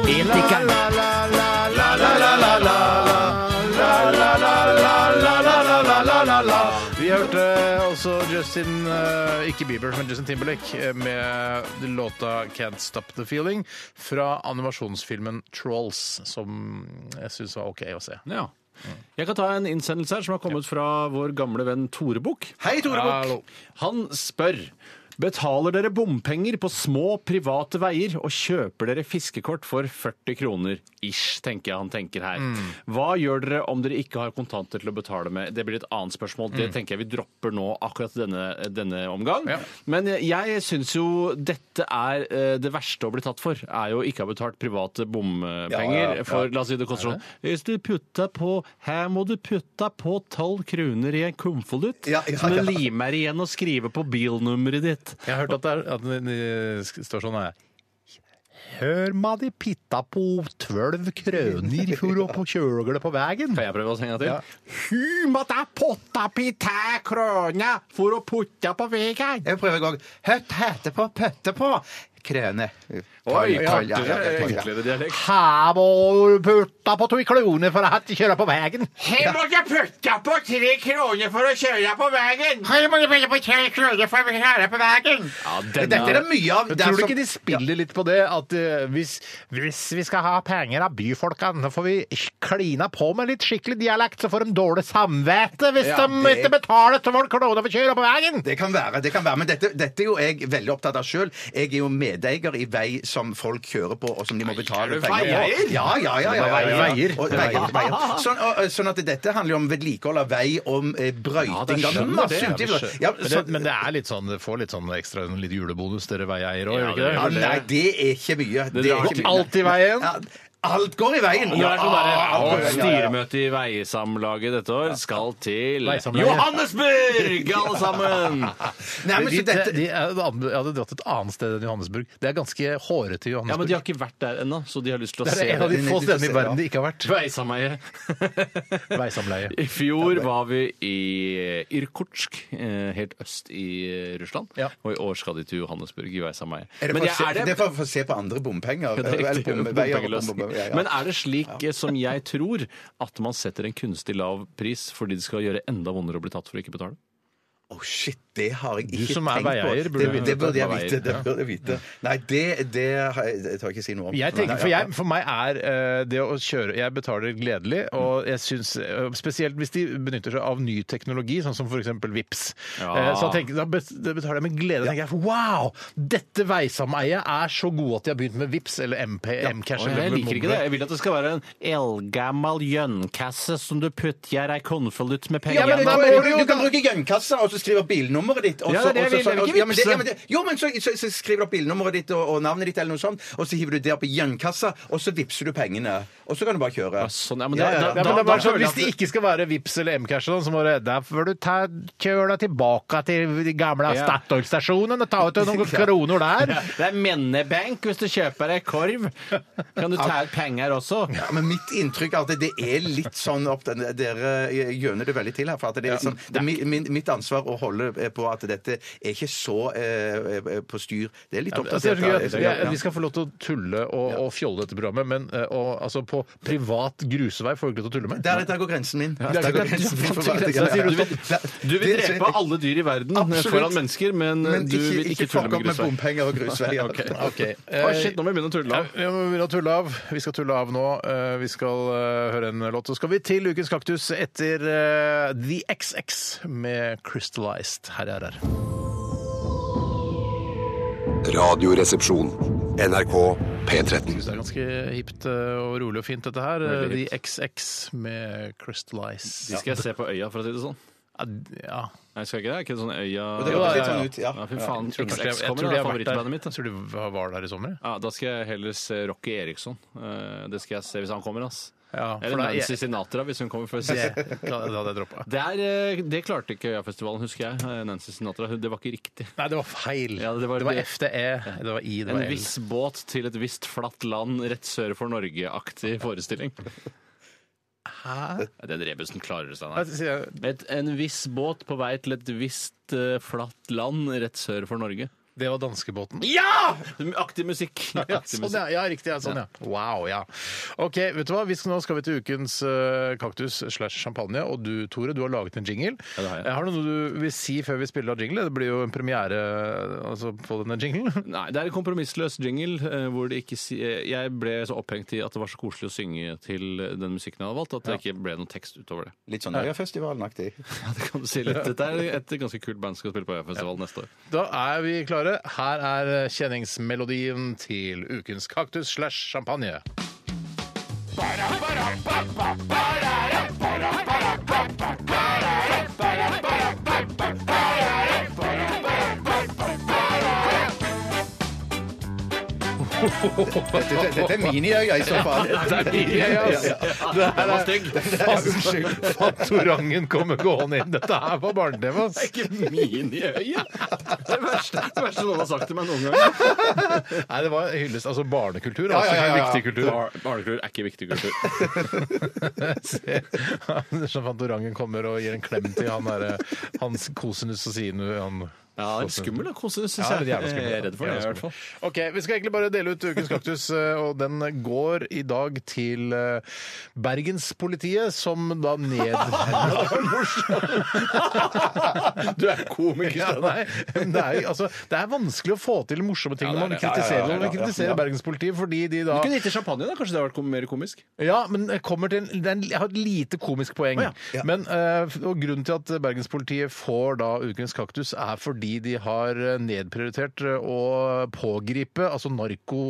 [SPEAKER 3] Etikeren.
[SPEAKER 4] Vi hørte eh, også Justin eh, Ikke Bieber, men Justin Timberlake eh, med låta 'Can't Stop The Feeling' fra animasjonsfilmen 'Trolls', som jeg syns var OK å se.
[SPEAKER 6] Ja. Jeg kan ta en innsendelse her som har kommet fra vår gamle venn Tore Bukk.
[SPEAKER 5] Hei, Tore Bukk!
[SPEAKER 4] Hallo.
[SPEAKER 6] Han spør Betaler dere bompenger på små, private veier og kjøper dere fiskekort for 40 kroner ish, tenker jeg han tenker her.
[SPEAKER 5] Mm.
[SPEAKER 6] Hva gjør dere om dere ikke har kontanter til å betale med? Det blir et annet spørsmål.
[SPEAKER 5] Mm.
[SPEAKER 6] Det tenker jeg vi dropper nå akkurat denne, denne omgang.
[SPEAKER 4] Ja.
[SPEAKER 6] Men jeg syns jo dette er eh, det verste å bli tatt for, er jo ikke å ha betalt private bompenger.
[SPEAKER 5] Ja, ja, ja.
[SPEAKER 6] For la oss si det koster sånn Hvis du putter på Her må du putte på tolv kroner i en konvolutt.
[SPEAKER 5] Ja, ja,
[SPEAKER 6] som en
[SPEAKER 5] ja.
[SPEAKER 6] limer igjen og skriver på bilnummeret ditt.
[SPEAKER 4] Jeg har hørt at det, er, at det- det står sånn her Hør ma de pitta på tølv krøner for å på kjøgle på veien.
[SPEAKER 6] Kan jeg prøve å synge til?
[SPEAKER 4] Ja.
[SPEAKER 6] Hu må ta potta pita krona for å putte på vegen.
[SPEAKER 5] Jeg prøver en gang. Høtt hete på pøtte på krøne.
[SPEAKER 6] Oi,
[SPEAKER 5] Tøll, tøll, ja, ja,
[SPEAKER 6] kortere,
[SPEAKER 5] tøll, ja.
[SPEAKER 6] enklere dialekt.
[SPEAKER 4] Her må du putta på to kroner for å kjøre på veien.
[SPEAKER 6] Her må jeg putte på tre kroner for å kjøre på vegen.
[SPEAKER 4] Her må du putte på tre kroner for å kjøre på veien.
[SPEAKER 6] Ja,
[SPEAKER 5] Dette er det
[SPEAKER 6] denne...
[SPEAKER 5] mye av.
[SPEAKER 4] Men
[SPEAKER 5] Det er
[SPEAKER 4] tror du
[SPEAKER 5] som-
[SPEAKER 4] ikke de spiller litt på det? At eh, hvis, hvis vi skal ha penger av byfolka, nå får vi klina på med litt skikkelig dialekt, så får de dårlig samvittighet hvis
[SPEAKER 5] Ja,
[SPEAKER 4] de
[SPEAKER 5] det-
[SPEAKER 4] ikke betaler tolv kroner for å kjøre på veien!
[SPEAKER 5] Det kan være. det kan være, Men dette, dette er jo jeg veldig opptatt av sjøl. Jeg er jo medeier i vei som folk kjører på, og som de må betale
[SPEAKER 6] du
[SPEAKER 5] penger
[SPEAKER 6] veieier?
[SPEAKER 5] Ja, ja, ja. ja, ja, ja.
[SPEAKER 4] Veier.
[SPEAKER 5] Og, veier, veier. Sånn, og, og, sånn at dette handler jo om vedlikehold av vei, om eh, brøyting
[SPEAKER 6] Ja, det
[SPEAKER 5] av
[SPEAKER 6] skjønner
[SPEAKER 5] masse
[SPEAKER 6] det, jeg
[SPEAKER 5] utgifter. Ja,
[SPEAKER 4] Men det,
[SPEAKER 5] så-
[SPEAKER 4] men det er litt sånn, det får litt sånn ekstra en litt julebonus, dere veieiere òg,
[SPEAKER 6] Ja,
[SPEAKER 4] gjør det
[SPEAKER 6] det
[SPEAKER 5] ja,
[SPEAKER 4] ikke det?
[SPEAKER 6] gjør
[SPEAKER 5] nei, det er ikke mye. Det
[SPEAKER 6] drar
[SPEAKER 5] er ikke
[SPEAKER 6] til
[SPEAKER 5] mye.
[SPEAKER 4] Alt i veien.
[SPEAKER 5] Ja, alt går i veien.
[SPEAKER 6] Det er sånn der,
[SPEAKER 5] Ja, alt går i veien, ja, ja, ja.
[SPEAKER 6] styremøte i Veisamlaget dette år skal til
[SPEAKER 4] Veisamlaget.
[SPEAKER 6] Johannesburg, alle sammen!
[SPEAKER 5] Nei,
[SPEAKER 4] De,
[SPEAKER 5] men så
[SPEAKER 4] de,
[SPEAKER 5] dette...
[SPEAKER 4] de, jeg hadde dratt et annet sted enn Johannesburg. Det er ganske hårete i
[SPEAKER 6] Ja, men
[SPEAKER 4] Johannesburg.
[SPEAKER 6] de har ikke vært der ennå, så de har lyst til å
[SPEAKER 4] det
[SPEAKER 6] se
[SPEAKER 4] er en av de
[SPEAKER 5] de
[SPEAKER 4] få
[SPEAKER 5] nødt til å
[SPEAKER 4] stedene i
[SPEAKER 5] se,
[SPEAKER 4] verden
[SPEAKER 5] ja.
[SPEAKER 4] de ikke har vært.
[SPEAKER 6] Veisameiet.
[SPEAKER 4] Veisamleie.
[SPEAKER 6] I fjor var vi i Irkutsk, eh, helt øst i eh, Russland.
[SPEAKER 4] Ja.
[SPEAKER 6] Og i år skal de til Johannesburg i Veisameiet.
[SPEAKER 5] Er det,
[SPEAKER 6] Men
[SPEAKER 5] for å
[SPEAKER 6] jeg-
[SPEAKER 5] se,
[SPEAKER 6] er
[SPEAKER 5] det... er for å få se på andre bompenger.
[SPEAKER 6] det er
[SPEAKER 5] eller
[SPEAKER 6] riktig,
[SPEAKER 5] bombeveier og
[SPEAKER 6] bompengeløsning.
[SPEAKER 5] bombeveier, ja, ja.
[SPEAKER 6] Men er det slik eh, som jeg tror, at man setter en kunstig lav pris fordi det skal gjøre enda vondere å bli tatt for å ikke betale?
[SPEAKER 5] Å, shit, det har jeg ikke
[SPEAKER 4] som er
[SPEAKER 5] tenkt på.
[SPEAKER 4] veieier, burde
[SPEAKER 5] det,
[SPEAKER 4] vite
[SPEAKER 5] det burde jeg
[SPEAKER 6] hva
[SPEAKER 5] vite. Det burde jeg vite. Nei, det, det har jeg, det tør jeg ikke si noe om.
[SPEAKER 4] Jeg tenker,
[SPEAKER 5] Nei,
[SPEAKER 4] for,
[SPEAKER 5] ja.
[SPEAKER 4] jeg, for meg er eh, det å kjøre Jeg betaler gledelig, og jeg syns eh, Spesielt hvis de benytter seg av ny teknologi, sånn som f.eks. Vips.
[SPEAKER 6] Ja.
[SPEAKER 4] Eh, Så jeg tenker, da bet- da betaler jeg med glede. Da tenker jeg wow! Dette veisameiet er så gode at de har begynt med Vips eller MP, Mcash.
[SPEAKER 6] Å,
[SPEAKER 4] eller
[SPEAKER 6] jeg liker ikke det.
[SPEAKER 4] Mobilpay.
[SPEAKER 6] Jeg vil at det skal være en eldgammel gjønkasse som du putter ei konvolutt med
[SPEAKER 5] Ja,
[SPEAKER 6] penger
[SPEAKER 5] men
[SPEAKER 6] i.
[SPEAKER 5] det,
[SPEAKER 4] men-
[SPEAKER 5] går jo- du kan bruke gønnkassa og så skrive bilnummeret ditt. Og
[SPEAKER 6] Ja,
[SPEAKER 5] så,
[SPEAKER 6] det er det
[SPEAKER 5] og så-
[SPEAKER 6] jeg vil, jeg
[SPEAKER 5] og-
[SPEAKER 6] vil ikke
[SPEAKER 5] ja, men det-
[SPEAKER 6] vipse.
[SPEAKER 5] ja, men det- Jo, men så, så, så skriver du opp bilnummeret ditt og, og navnet ditt, eller noe sånt, og så hiver du det opp i gønnkassa, og så vipser du pengene. Og så kan du bare kjøre.
[SPEAKER 6] Ja, Sånn, ja, men
[SPEAKER 5] Ja,
[SPEAKER 6] da,
[SPEAKER 5] ja, ja.
[SPEAKER 4] Ja, men det er bare sånn,
[SPEAKER 6] føler jeg
[SPEAKER 4] hvis
[SPEAKER 6] at
[SPEAKER 4] det ikke skal være Vips eller Mcash, og sånn, så må det Der får du ta kjøla tilbake til de gamle
[SPEAKER 6] Ja.
[SPEAKER 4] Statoil-stasjonen og ta ut noen kroner der.
[SPEAKER 6] Det er mennebank hvis du kjøper deg korv. Kan du ta ut penger også?
[SPEAKER 5] Ja, men mitt inntrykk er at det liksom- er litt sånn opp den, Dere gjøner det veldig til her. For at det er sånn, det er mi, min, mitt ansvar forsvar og holder på at dette er ikke så eh, eh, på styr. Det er litt
[SPEAKER 4] Ja, men, altså,
[SPEAKER 5] oppdatert.
[SPEAKER 4] jeg tror ikke
[SPEAKER 5] da.
[SPEAKER 4] at- jeg- Vi skal få lov til å tulle og, og fjolle dette programmet, men eh, og, altså, på privat grusevei får vi ikke lov til å tulle med.
[SPEAKER 5] Der, der går grensen min.
[SPEAKER 4] der går grensen min.
[SPEAKER 6] Så sier du, sånn, du vil drepe alle dyr i verden eh,
[SPEAKER 5] Absolutt.
[SPEAKER 6] foran mennesker, men,
[SPEAKER 5] Men
[SPEAKER 6] du
[SPEAKER 5] ikke-
[SPEAKER 6] vil ikke,
[SPEAKER 5] ikke
[SPEAKER 6] tulle
[SPEAKER 5] fuck
[SPEAKER 6] med
[SPEAKER 5] opp med
[SPEAKER 6] grusvei.
[SPEAKER 5] bompenger og grusveier.
[SPEAKER 6] Ok.
[SPEAKER 4] Ok. eh,
[SPEAKER 6] Å, shit, nå må vi begynne å tulle av.
[SPEAKER 4] Ja, Vi må begynne å tulle av. Vi skal tulle av nå. Eh, Vi skal eh, høre en låt. Så skal vi til ukens kaktus etter eh, The XX med Crystallized. Her er her.
[SPEAKER 1] Radioresepsjon. NRK P13.
[SPEAKER 4] Det er ganske hipt eh, og rolig og fint, dette her. Eh,
[SPEAKER 6] Veldig
[SPEAKER 4] The XX med Crystallized.
[SPEAKER 6] De skal jeg se på øya, for å si det sånn.
[SPEAKER 4] Ja, d- ja.
[SPEAKER 6] Nei, skal jeg ikke det? Er ikke det sånn øya
[SPEAKER 5] Og det
[SPEAKER 4] Jo, ja,
[SPEAKER 5] var litt
[SPEAKER 4] ja,
[SPEAKER 5] sånn
[SPEAKER 4] ja.
[SPEAKER 5] ut, ja.
[SPEAKER 6] Ja, fy faen.
[SPEAKER 4] Jeg tror
[SPEAKER 6] XX
[SPEAKER 4] kanskje- jeg
[SPEAKER 6] kommer,
[SPEAKER 4] tror
[SPEAKER 6] det
[SPEAKER 4] de har
[SPEAKER 6] er
[SPEAKER 4] vært der.
[SPEAKER 6] favorittbandet mitt. da.
[SPEAKER 4] Jeg tror de var- var der i sommer.
[SPEAKER 6] Ja, da skal jeg heller se Rocky Eriksson. Eh, Det skal jeg se hvis han kommer, ass.
[SPEAKER 4] Ja, for
[SPEAKER 6] Eller
[SPEAKER 4] da-
[SPEAKER 6] Nancy
[SPEAKER 4] jeg-
[SPEAKER 6] Sinatra, hvis hun kommer først.
[SPEAKER 4] Det, det hadde jeg droppa.
[SPEAKER 6] Det, er, eh, det klarte ikke Øyafestivalen, husker jeg. Eh, Nancy Sinatra. hun- Det var ikke riktig.
[SPEAKER 4] Nei, det var feil.
[SPEAKER 6] Ja, det var-
[SPEAKER 4] det var FDE, det var I, det
[SPEAKER 6] En
[SPEAKER 4] var L.
[SPEAKER 6] viss båt til et visst flatt land rett sør for Norge-aktig forestilling.
[SPEAKER 4] Hæ? Altså-
[SPEAKER 6] Ja, Den rebusen klarer du,
[SPEAKER 4] Hva
[SPEAKER 6] Steinar.
[SPEAKER 4] sier jeg?
[SPEAKER 6] Et, en viss båt på vei til et visst eh, flatt land rett sør for Norge.
[SPEAKER 4] Det var danskebåten.
[SPEAKER 6] Ja! Aktiv musikk.
[SPEAKER 4] Ja,
[SPEAKER 6] Aktiv
[SPEAKER 4] sånn,
[SPEAKER 6] musikk.
[SPEAKER 4] ja. ja, riktig. Ja, sånn, ja. Wow, ja. Ok, vet du hva? Vi skal, nå skal vi til ukens eh, kaktus slash champagne. Og du, Tore, du har laget en jingle.
[SPEAKER 6] Ja, det har jeg.
[SPEAKER 4] Eh, har du noe du vil si før vi spiller av jingle? Det blir jo en premiere eh, altså, på denne jinglen.
[SPEAKER 6] Nei, det er en kompromissløs jingle eh, hvor det ikke si eh, Jeg ble så opphengt i at det var så koselig å synge til den musikken jeg hadde valgt, at det ikke ble noen tekst utover det.
[SPEAKER 5] Litt sånn Øyafestivalen-aktig.
[SPEAKER 6] Ja, det kan du si litt. Dette er et ganske kult band som skal spille på Øyafestivalen neste år.
[SPEAKER 4] Da er vi klare. Her er eh, kjenningsmelodien til ukens kaktus slash champagne.
[SPEAKER 5] Dette, dette er miniøya i så fall.
[SPEAKER 4] Ja, ja, ja. Det her
[SPEAKER 6] var
[SPEAKER 4] er-
[SPEAKER 6] stygg.
[SPEAKER 4] Fa- Unnskyld. Fantorangen kommer gående inn. Dette her var barne-TV, ass.
[SPEAKER 6] Ikke min i øyet! Det er det verste, det verste noen har sagt til meg noen gang.
[SPEAKER 4] Nei, det var hyllest. Altså barnekultur.
[SPEAKER 5] Ja,
[SPEAKER 4] Altså,
[SPEAKER 5] ja, ja, ja.
[SPEAKER 4] Viktig kultur.
[SPEAKER 6] Bar- Barnekultur er ikke viktig kultur.
[SPEAKER 4] Se, Anders og Fantorangen kommer og gir en klem til han der, eh, hans kosinus og sinu. Han.
[SPEAKER 6] Ja, det er skummel, da. Kose, synes
[SPEAKER 4] Ja, det
[SPEAKER 6] jeg.
[SPEAKER 4] er jævla skummelt.
[SPEAKER 6] Jeg er redd for det,
[SPEAKER 4] Jævla
[SPEAKER 6] i hvert fall.
[SPEAKER 4] Ok, Vi skal egentlig bare dele ut ukens kaktus, eh, og den går i dag til eh, Bergenspolitiet, som da ned...
[SPEAKER 6] Du er komiker,
[SPEAKER 4] Ja, nei, men det, er, jo- altså, det er vanskelig å få til morsomme ting
[SPEAKER 6] Ja, det
[SPEAKER 4] når
[SPEAKER 6] er
[SPEAKER 4] man
[SPEAKER 6] det. Ja, ja,
[SPEAKER 4] kritiserer,
[SPEAKER 6] ja, ja,
[SPEAKER 4] når man
[SPEAKER 6] ja, ja.
[SPEAKER 4] kritiserer Bergenspolitiet fordi de da
[SPEAKER 6] Du kunne gitt det champagne, da. Kanskje det hadde vært kom- mer komisk?
[SPEAKER 4] Ja, men jeg kommer til en, det er en, jeg har et lite komisk poeng.
[SPEAKER 6] Å, ja.
[SPEAKER 4] Men eh, og Grunnen til at bergenspolitiet får da ukens kaktus, er fordi de har eh, nedprioritert eh, å pågripe altså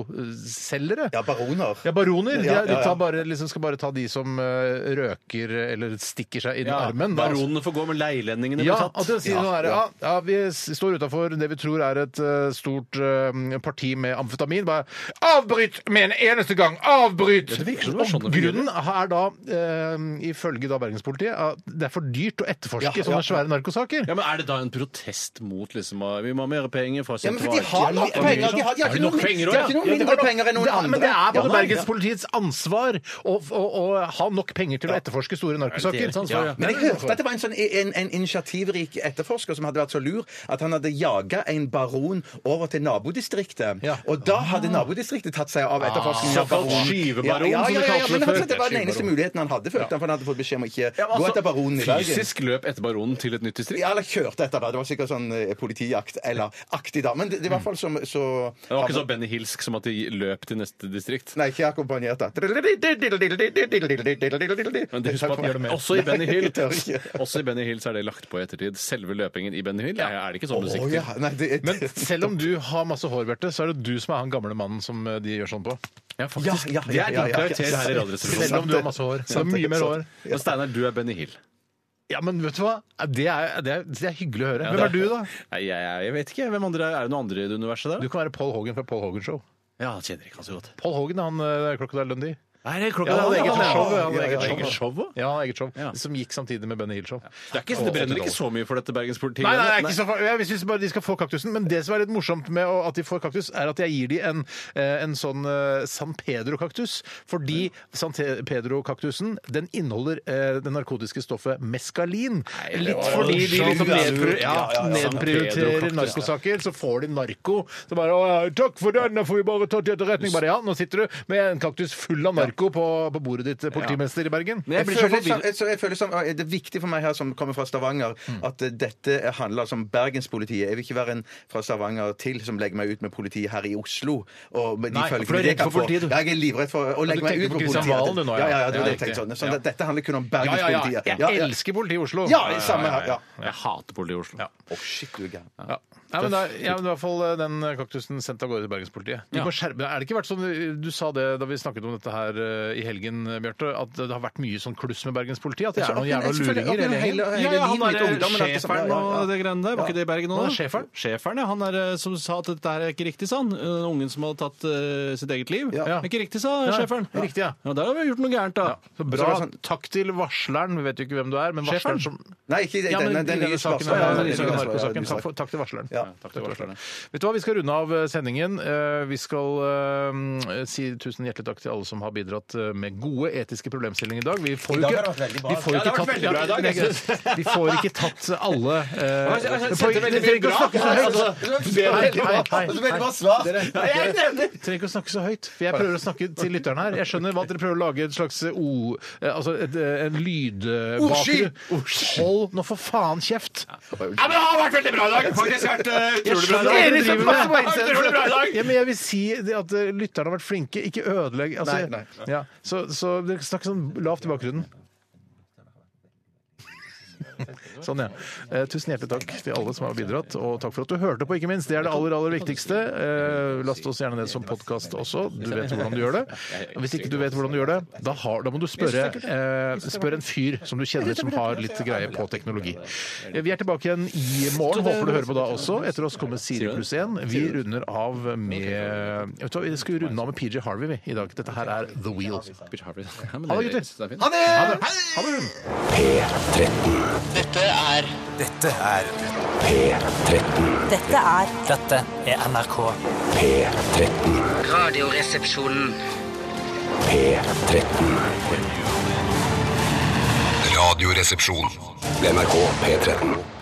[SPEAKER 4] narkoselgere.
[SPEAKER 5] Ja, baroner.
[SPEAKER 4] Ja, baroner. De,
[SPEAKER 5] Ja,
[SPEAKER 4] er-
[SPEAKER 5] ja,
[SPEAKER 4] de
[SPEAKER 5] ja.
[SPEAKER 4] tar bare, liksom skal bare ta de som eh, røker eller stikker seg i den armen. da.
[SPEAKER 6] Baronene får gå, men leilendingene
[SPEAKER 4] Ja,
[SPEAKER 6] blir
[SPEAKER 4] at
[SPEAKER 6] tatt.
[SPEAKER 4] det, sier
[SPEAKER 5] Ja,
[SPEAKER 4] sånn her, ja.
[SPEAKER 5] ja.
[SPEAKER 4] ja, vi s- står utafor det vi tror er et eh, stort eh, parti med amfetamin. Bare avbryt med en eneste gang! Avbryt!
[SPEAKER 6] det virker som det var sånn
[SPEAKER 4] Og
[SPEAKER 6] det
[SPEAKER 4] grunnen er da, eh, ifølge da bergenspolitiet, at det er for dyrt å etterforske
[SPEAKER 5] Ja,
[SPEAKER 4] sånne
[SPEAKER 5] ja.
[SPEAKER 4] svære narkosaker.
[SPEAKER 6] Ja, men Er det da en protest mot liksom å- Vi må ha mer penger fra
[SPEAKER 5] Ja, men for de har nok penger!
[SPEAKER 6] liksom,
[SPEAKER 5] De har, de har ikke noe, min- de har ikke noe mindre penger enn noen
[SPEAKER 4] Ja,
[SPEAKER 5] andre.
[SPEAKER 4] men det er
[SPEAKER 5] Ja,
[SPEAKER 4] både
[SPEAKER 5] nei, ja.
[SPEAKER 4] bergenspolitiets ansvar å, å, å ha nok penger til å etterforske store narkosaker.
[SPEAKER 6] Deres ansvar, ja.
[SPEAKER 5] Men jeg hørte at det var en, sånn, en, en initiativrik etterforsker som hadde vært så lur at han hadde jaga en baron over til nabodistriktet.
[SPEAKER 4] Ja.
[SPEAKER 5] Og da hadde nabodistriktet tatt seg av etterforskningen.
[SPEAKER 6] Ah,
[SPEAKER 5] av
[SPEAKER 6] Såkalt
[SPEAKER 5] baronen.
[SPEAKER 6] skyvebaron,
[SPEAKER 5] ja, ja,
[SPEAKER 6] som
[SPEAKER 5] ja,
[SPEAKER 6] det
[SPEAKER 5] ja,
[SPEAKER 6] kalte
[SPEAKER 5] ja,
[SPEAKER 6] det
[SPEAKER 5] men
[SPEAKER 6] før.
[SPEAKER 5] altså, Det var den eneste muligheten han hadde, følte han, for han hadde fått beskjed om å ikke gå etter baronen i Bergen.
[SPEAKER 6] altså, Fysisk løp etter baronen til et nytt distrikt?
[SPEAKER 5] Ja, eller kjørte etter, da. Det var sikkert sånn eh, politijakt eller aktig, da. Men det, det var i hvert fall som så
[SPEAKER 6] Det var ikke så Benny Hilsk som at de løp til neste distrikt?
[SPEAKER 5] Nei, ikke akkompagnert, da. Men
[SPEAKER 6] Men det husk på at også i Benny Hill
[SPEAKER 5] Jeg tør ikke.
[SPEAKER 6] Også i Benny Hill så er det lagt på i ettertid. Selve løpingen i Benny Hill er er det ikke sånn musikk
[SPEAKER 5] Å,
[SPEAKER 6] til.
[SPEAKER 5] ja. Nei, det,
[SPEAKER 4] Men selv om du har masse hår, Bjarte, så er det du som er han gamle mannen som eh, de gjør sånn på.
[SPEAKER 6] Ja, faktisk.
[SPEAKER 5] Ja, ja,
[SPEAKER 6] Det
[SPEAKER 5] ja,
[SPEAKER 6] er
[SPEAKER 5] ja,
[SPEAKER 6] din
[SPEAKER 5] ja.
[SPEAKER 6] karakter her i Radioresepsjonen.
[SPEAKER 4] Selv om du har masse hår. Så
[SPEAKER 5] Sant det,
[SPEAKER 4] mye mer
[SPEAKER 5] sant
[SPEAKER 4] hår.
[SPEAKER 6] Men Steinar, du er Benny Hill.
[SPEAKER 4] Ja, men vet du hva? Det er, det er, det er hyggelig å høre. Hvem
[SPEAKER 6] det-
[SPEAKER 4] er du, da?
[SPEAKER 6] Nei, jeg, jeg vet ikke. Hvem andre er det noen andre i det universet der?
[SPEAKER 4] Du kan være Paul Hogan fra Paul Hogan Show.
[SPEAKER 6] Ja, han kjenner ikke han så godt.
[SPEAKER 4] Paul Hogan, han eh, Crocodile Dundee.
[SPEAKER 6] Nei, det er klokka
[SPEAKER 4] Ja,
[SPEAKER 6] det
[SPEAKER 4] han
[SPEAKER 6] hadde
[SPEAKER 4] hadde
[SPEAKER 6] eget show.
[SPEAKER 4] show,
[SPEAKER 6] Han hadde
[SPEAKER 4] ja, ja,
[SPEAKER 6] eget
[SPEAKER 4] ja.
[SPEAKER 6] eget show også.
[SPEAKER 4] Ja, eget show.
[SPEAKER 6] Ja.
[SPEAKER 4] Som gikk samtidig med Benny Hill-show.
[SPEAKER 6] Det, er ikke, det brenner ikke så mye for dette bergenspolitiet.
[SPEAKER 4] Nei, nei, det er ikke så far- jeg synes bare de skal få kaktusen. Men det som er litt morsomt med å- at de får kaktus, er at jeg gir de en, eh, en sånn eh, San Pedro-kaktus. Fordi San Te- Pedro-kaktusen den inneholder eh, det narkotiske stoffet meskalin. Litt fordi de liksom nedpri- ja, nedprioriterer narkosaker, så får de narko. Så bare å, 'Takk for den, da får vi bare ta til etterretning'. Bare ja, nå sitter du med en kaktus full av narko på, på bordet ditt, eh, politimester i Bergen.
[SPEAKER 5] Jeg, føler som, jeg, så jeg føler som, Det er viktig for meg her som kommer fra Stavanger, at eh, dette handler som bergenspolitiet. Jeg vil ikke være en fra Stavanger til som legger meg ut med politiet her i Oslo. Og med de
[SPEAKER 4] Nei,
[SPEAKER 5] følgene
[SPEAKER 4] for du er
[SPEAKER 5] det
[SPEAKER 4] redd
[SPEAKER 5] kan
[SPEAKER 4] for
[SPEAKER 5] få.
[SPEAKER 4] politiet, du.
[SPEAKER 5] Ja, jeg er livredd for å legge meg
[SPEAKER 4] tenker
[SPEAKER 5] ut
[SPEAKER 4] på
[SPEAKER 5] med
[SPEAKER 4] Kristian
[SPEAKER 5] politiet.
[SPEAKER 4] Valen, du, nå, ja.
[SPEAKER 5] ja, ja, det var det jeg
[SPEAKER 4] Ja, riktig.
[SPEAKER 5] tenkte. Sånn,
[SPEAKER 4] Ja.
[SPEAKER 5] sånn, at dette handler kun
[SPEAKER 4] Ja,
[SPEAKER 5] om
[SPEAKER 4] ja, ja.
[SPEAKER 5] bergenspolitiet.
[SPEAKER 4] Jeg elsker politiet i Oslo.
[SPEAKER 5] Ja, samme her, ja.
[SPEAKER 6] Jeg hater politiet i Oslo.
[SPEAKER 5] Å, shit, du er gæren.
[SPEAKER 4] Ja. Nei, men da, ja, men i hvert fall eh, den kaktusen sendt av gårde til bergenspolitiet. Du
[SPEAKER 6] Ja.
[SPEAKER 4] må skjerpe deg. Er det ikke vært sånn, Du sa det da vi snakket om dette her eh, i helgen, eh, Bjarte, at det har vært mye sånn kluss med bergenspolitiet? At det er noen jævla luringer hele gjengen?
[SPEAKER 5] hele
[SPEAKER 6] Ja, ja, han
[SPEAKER 5] livet mitt,
[SPEAKER 6] er
[SPEAKER 5] ungdommen, alt det samme.
[SPEAKER 6] sjeferen
[SPEAKER 5] Ja, ja, ja.
[SPEAKER 6] og det greiene der. Var ikke det i Bergen nå?
[SPEAKER 4] Han
[SPEAKER 6] da?
[SPEAKER 4] er sjeferen.
[SPEAKER 6] Sjeferen, ja. Han er, eh, som sa at dette her er ikke riktig, sa han. Eh, Den ungen som hadde tatt eh, sitt eget liv.
[SPEAKER 5] Ja.
[SPEAKER 6] Det er Ikke riktig, sa
[SPEAKER 4] Nei,
[SPEAKER 6] sjeferen.
[SPEAKER 4] riktig, ja.
[SPEAKER 6] ja. Der har vi gjort noe gærent, da.
[SPEAKER 4] Så
[SPEAKER 5] Så
[SPEAKER 4] bra.
[SPEAKER 5] det var sånn-
[SPEAKER 4] Takk til varsleren. Vi vet jo ikke hvem du er, men varsleren
[SPEAKER 6] Sjeferen?
[SPEAKER 4] som
[SPEAKER 5] Nei, ikke i
[SPEAKER 4] Ja, men i
[SPEAKER 5] denne, denne
[SPEAKER 4] denne
[SPEAKER 5] nye
[SPEAKER 4] saken,
[SPEAKER 5] spørsmålet.
[SPEAKER 4] ja,
[SPEAKER 5] Ja,
[SPEAKER 4] i
[SPEAKER 5] denne
[SPEAKER 4] denne narkosaken.
[SPEAKER 5] nye spørsmålet.
[SPEAKER 4] liksom Takk, for, takk til varsleren.
[SPEAKER 5] Ja.
[SPEAKER 4] Takk til varsleren. Vet du hva, Vi skal runde av eh, sendingen. Eh, Vi skal eh, si tusen hjertelig takk til alle som har bidratt eh, med gode etiske problemstillinger i dag. Vi får jo
[SPEAKER 5] dag
[SPEAKER 4] ikke,
[SPEAKER 5] har det vært veldig bra.
[SPEAKER 4] vi får jo
[SPEAKER 5] Ja,
[SPEAKER 4] ikke
[SPEAKER 5] det har
[SPEAKER 4] tatt
[SPEAKER 5] vært veldig bra i dag, jeg
[SPEAKER 4] Vi får ikke tatt alle eh,
[SPEAKER 5] jeg- jeg- jeg
[SPEAKER 4] vi
[SPEAKER 5] setter
[SPEAKER 4] får-
[SPEAKER 5] veldig
[SPEAKER 4] vi trenger ikke å
[SPEAKER 5] mye
[SPEAKER 4] snakke så høyt.
[SPEAKER 5] bra. Altså, det var veldig bra.
[SPEAKER 4] Hei, hei,
[SPEAKER 5] Altså, veldig bra
[SPEAKER 4] hei.
[SPEAKER 5] svar.
[SPEAKER 4] Dere-
[SPEAKER 5] Ja, jeg er
[SPEAKER 4] dere-
[SPEAKER 5] enig.
[SPEAKER 4] dere trenger ikke å snakke så høyt, for jeg prøver å snakke til lytteren her. Jeg skjønner hva dere prøver å lage et slags o... eh, Altså et, eh, en
[SPEAKER 5] Ordsky!
[SPEAKER 4] lydbakgrunn. Hold nå for faen kjeft!
[SPEAKER 10] Ja, men det har vært veldig bra i dag! Faktisk vært eh, utrolig bra i dag.
[SPEAKER 4] Dere som passer på
[SPEAKER 10] Ja, utrolig bra i dag.
[SPEAKER 4] Ja, men jeg vil si det at eh, lytterne har vært flinke. Ikke ødelegg. Altså,
[SPEAKER 5] Nei,
[SPEAKER 4] Ja, så, så dere snakker sånn lavt i bakgrunnen. Sånn, ja. Eh, tusen hjertelig takk til alle som har bidratt, og takk for at du hørte på, ikke minst. Det er det aller, aller viktigste. Eh, last oss gjerne ned som podkast også. Du vet hvordan du gjør det. Og Hvis ikke du vet hvordan du gjør det, da, har, da må du spørre, eh, spørre en fyr som du kjenner som har litt greie på teknologi. Eh, Vi er tilbake igjen i morgen. Håper du hører på da også. Etter oss kommer Siri pluss én. Vi runder av med Vet du hva, vi skal runde av med PJ Harvey vi, i dag. Dette her er The Wheel.
[SPEAKER 6] Ja, men
[SPEAKER 4] Ha det,
[SPEAKER 6] det-
[SPEAKER 4] gutter.
[SPEAKER 6] det er fint.
[SPEAKER 11] Dette er
[SPEAKER 12] Dette er
[SPEAKER 11] Dette er NRK.
[SPEAKER 12] Radioresepsjonen.
[SPEAKER 1] Radioresepsjon. NRK P13.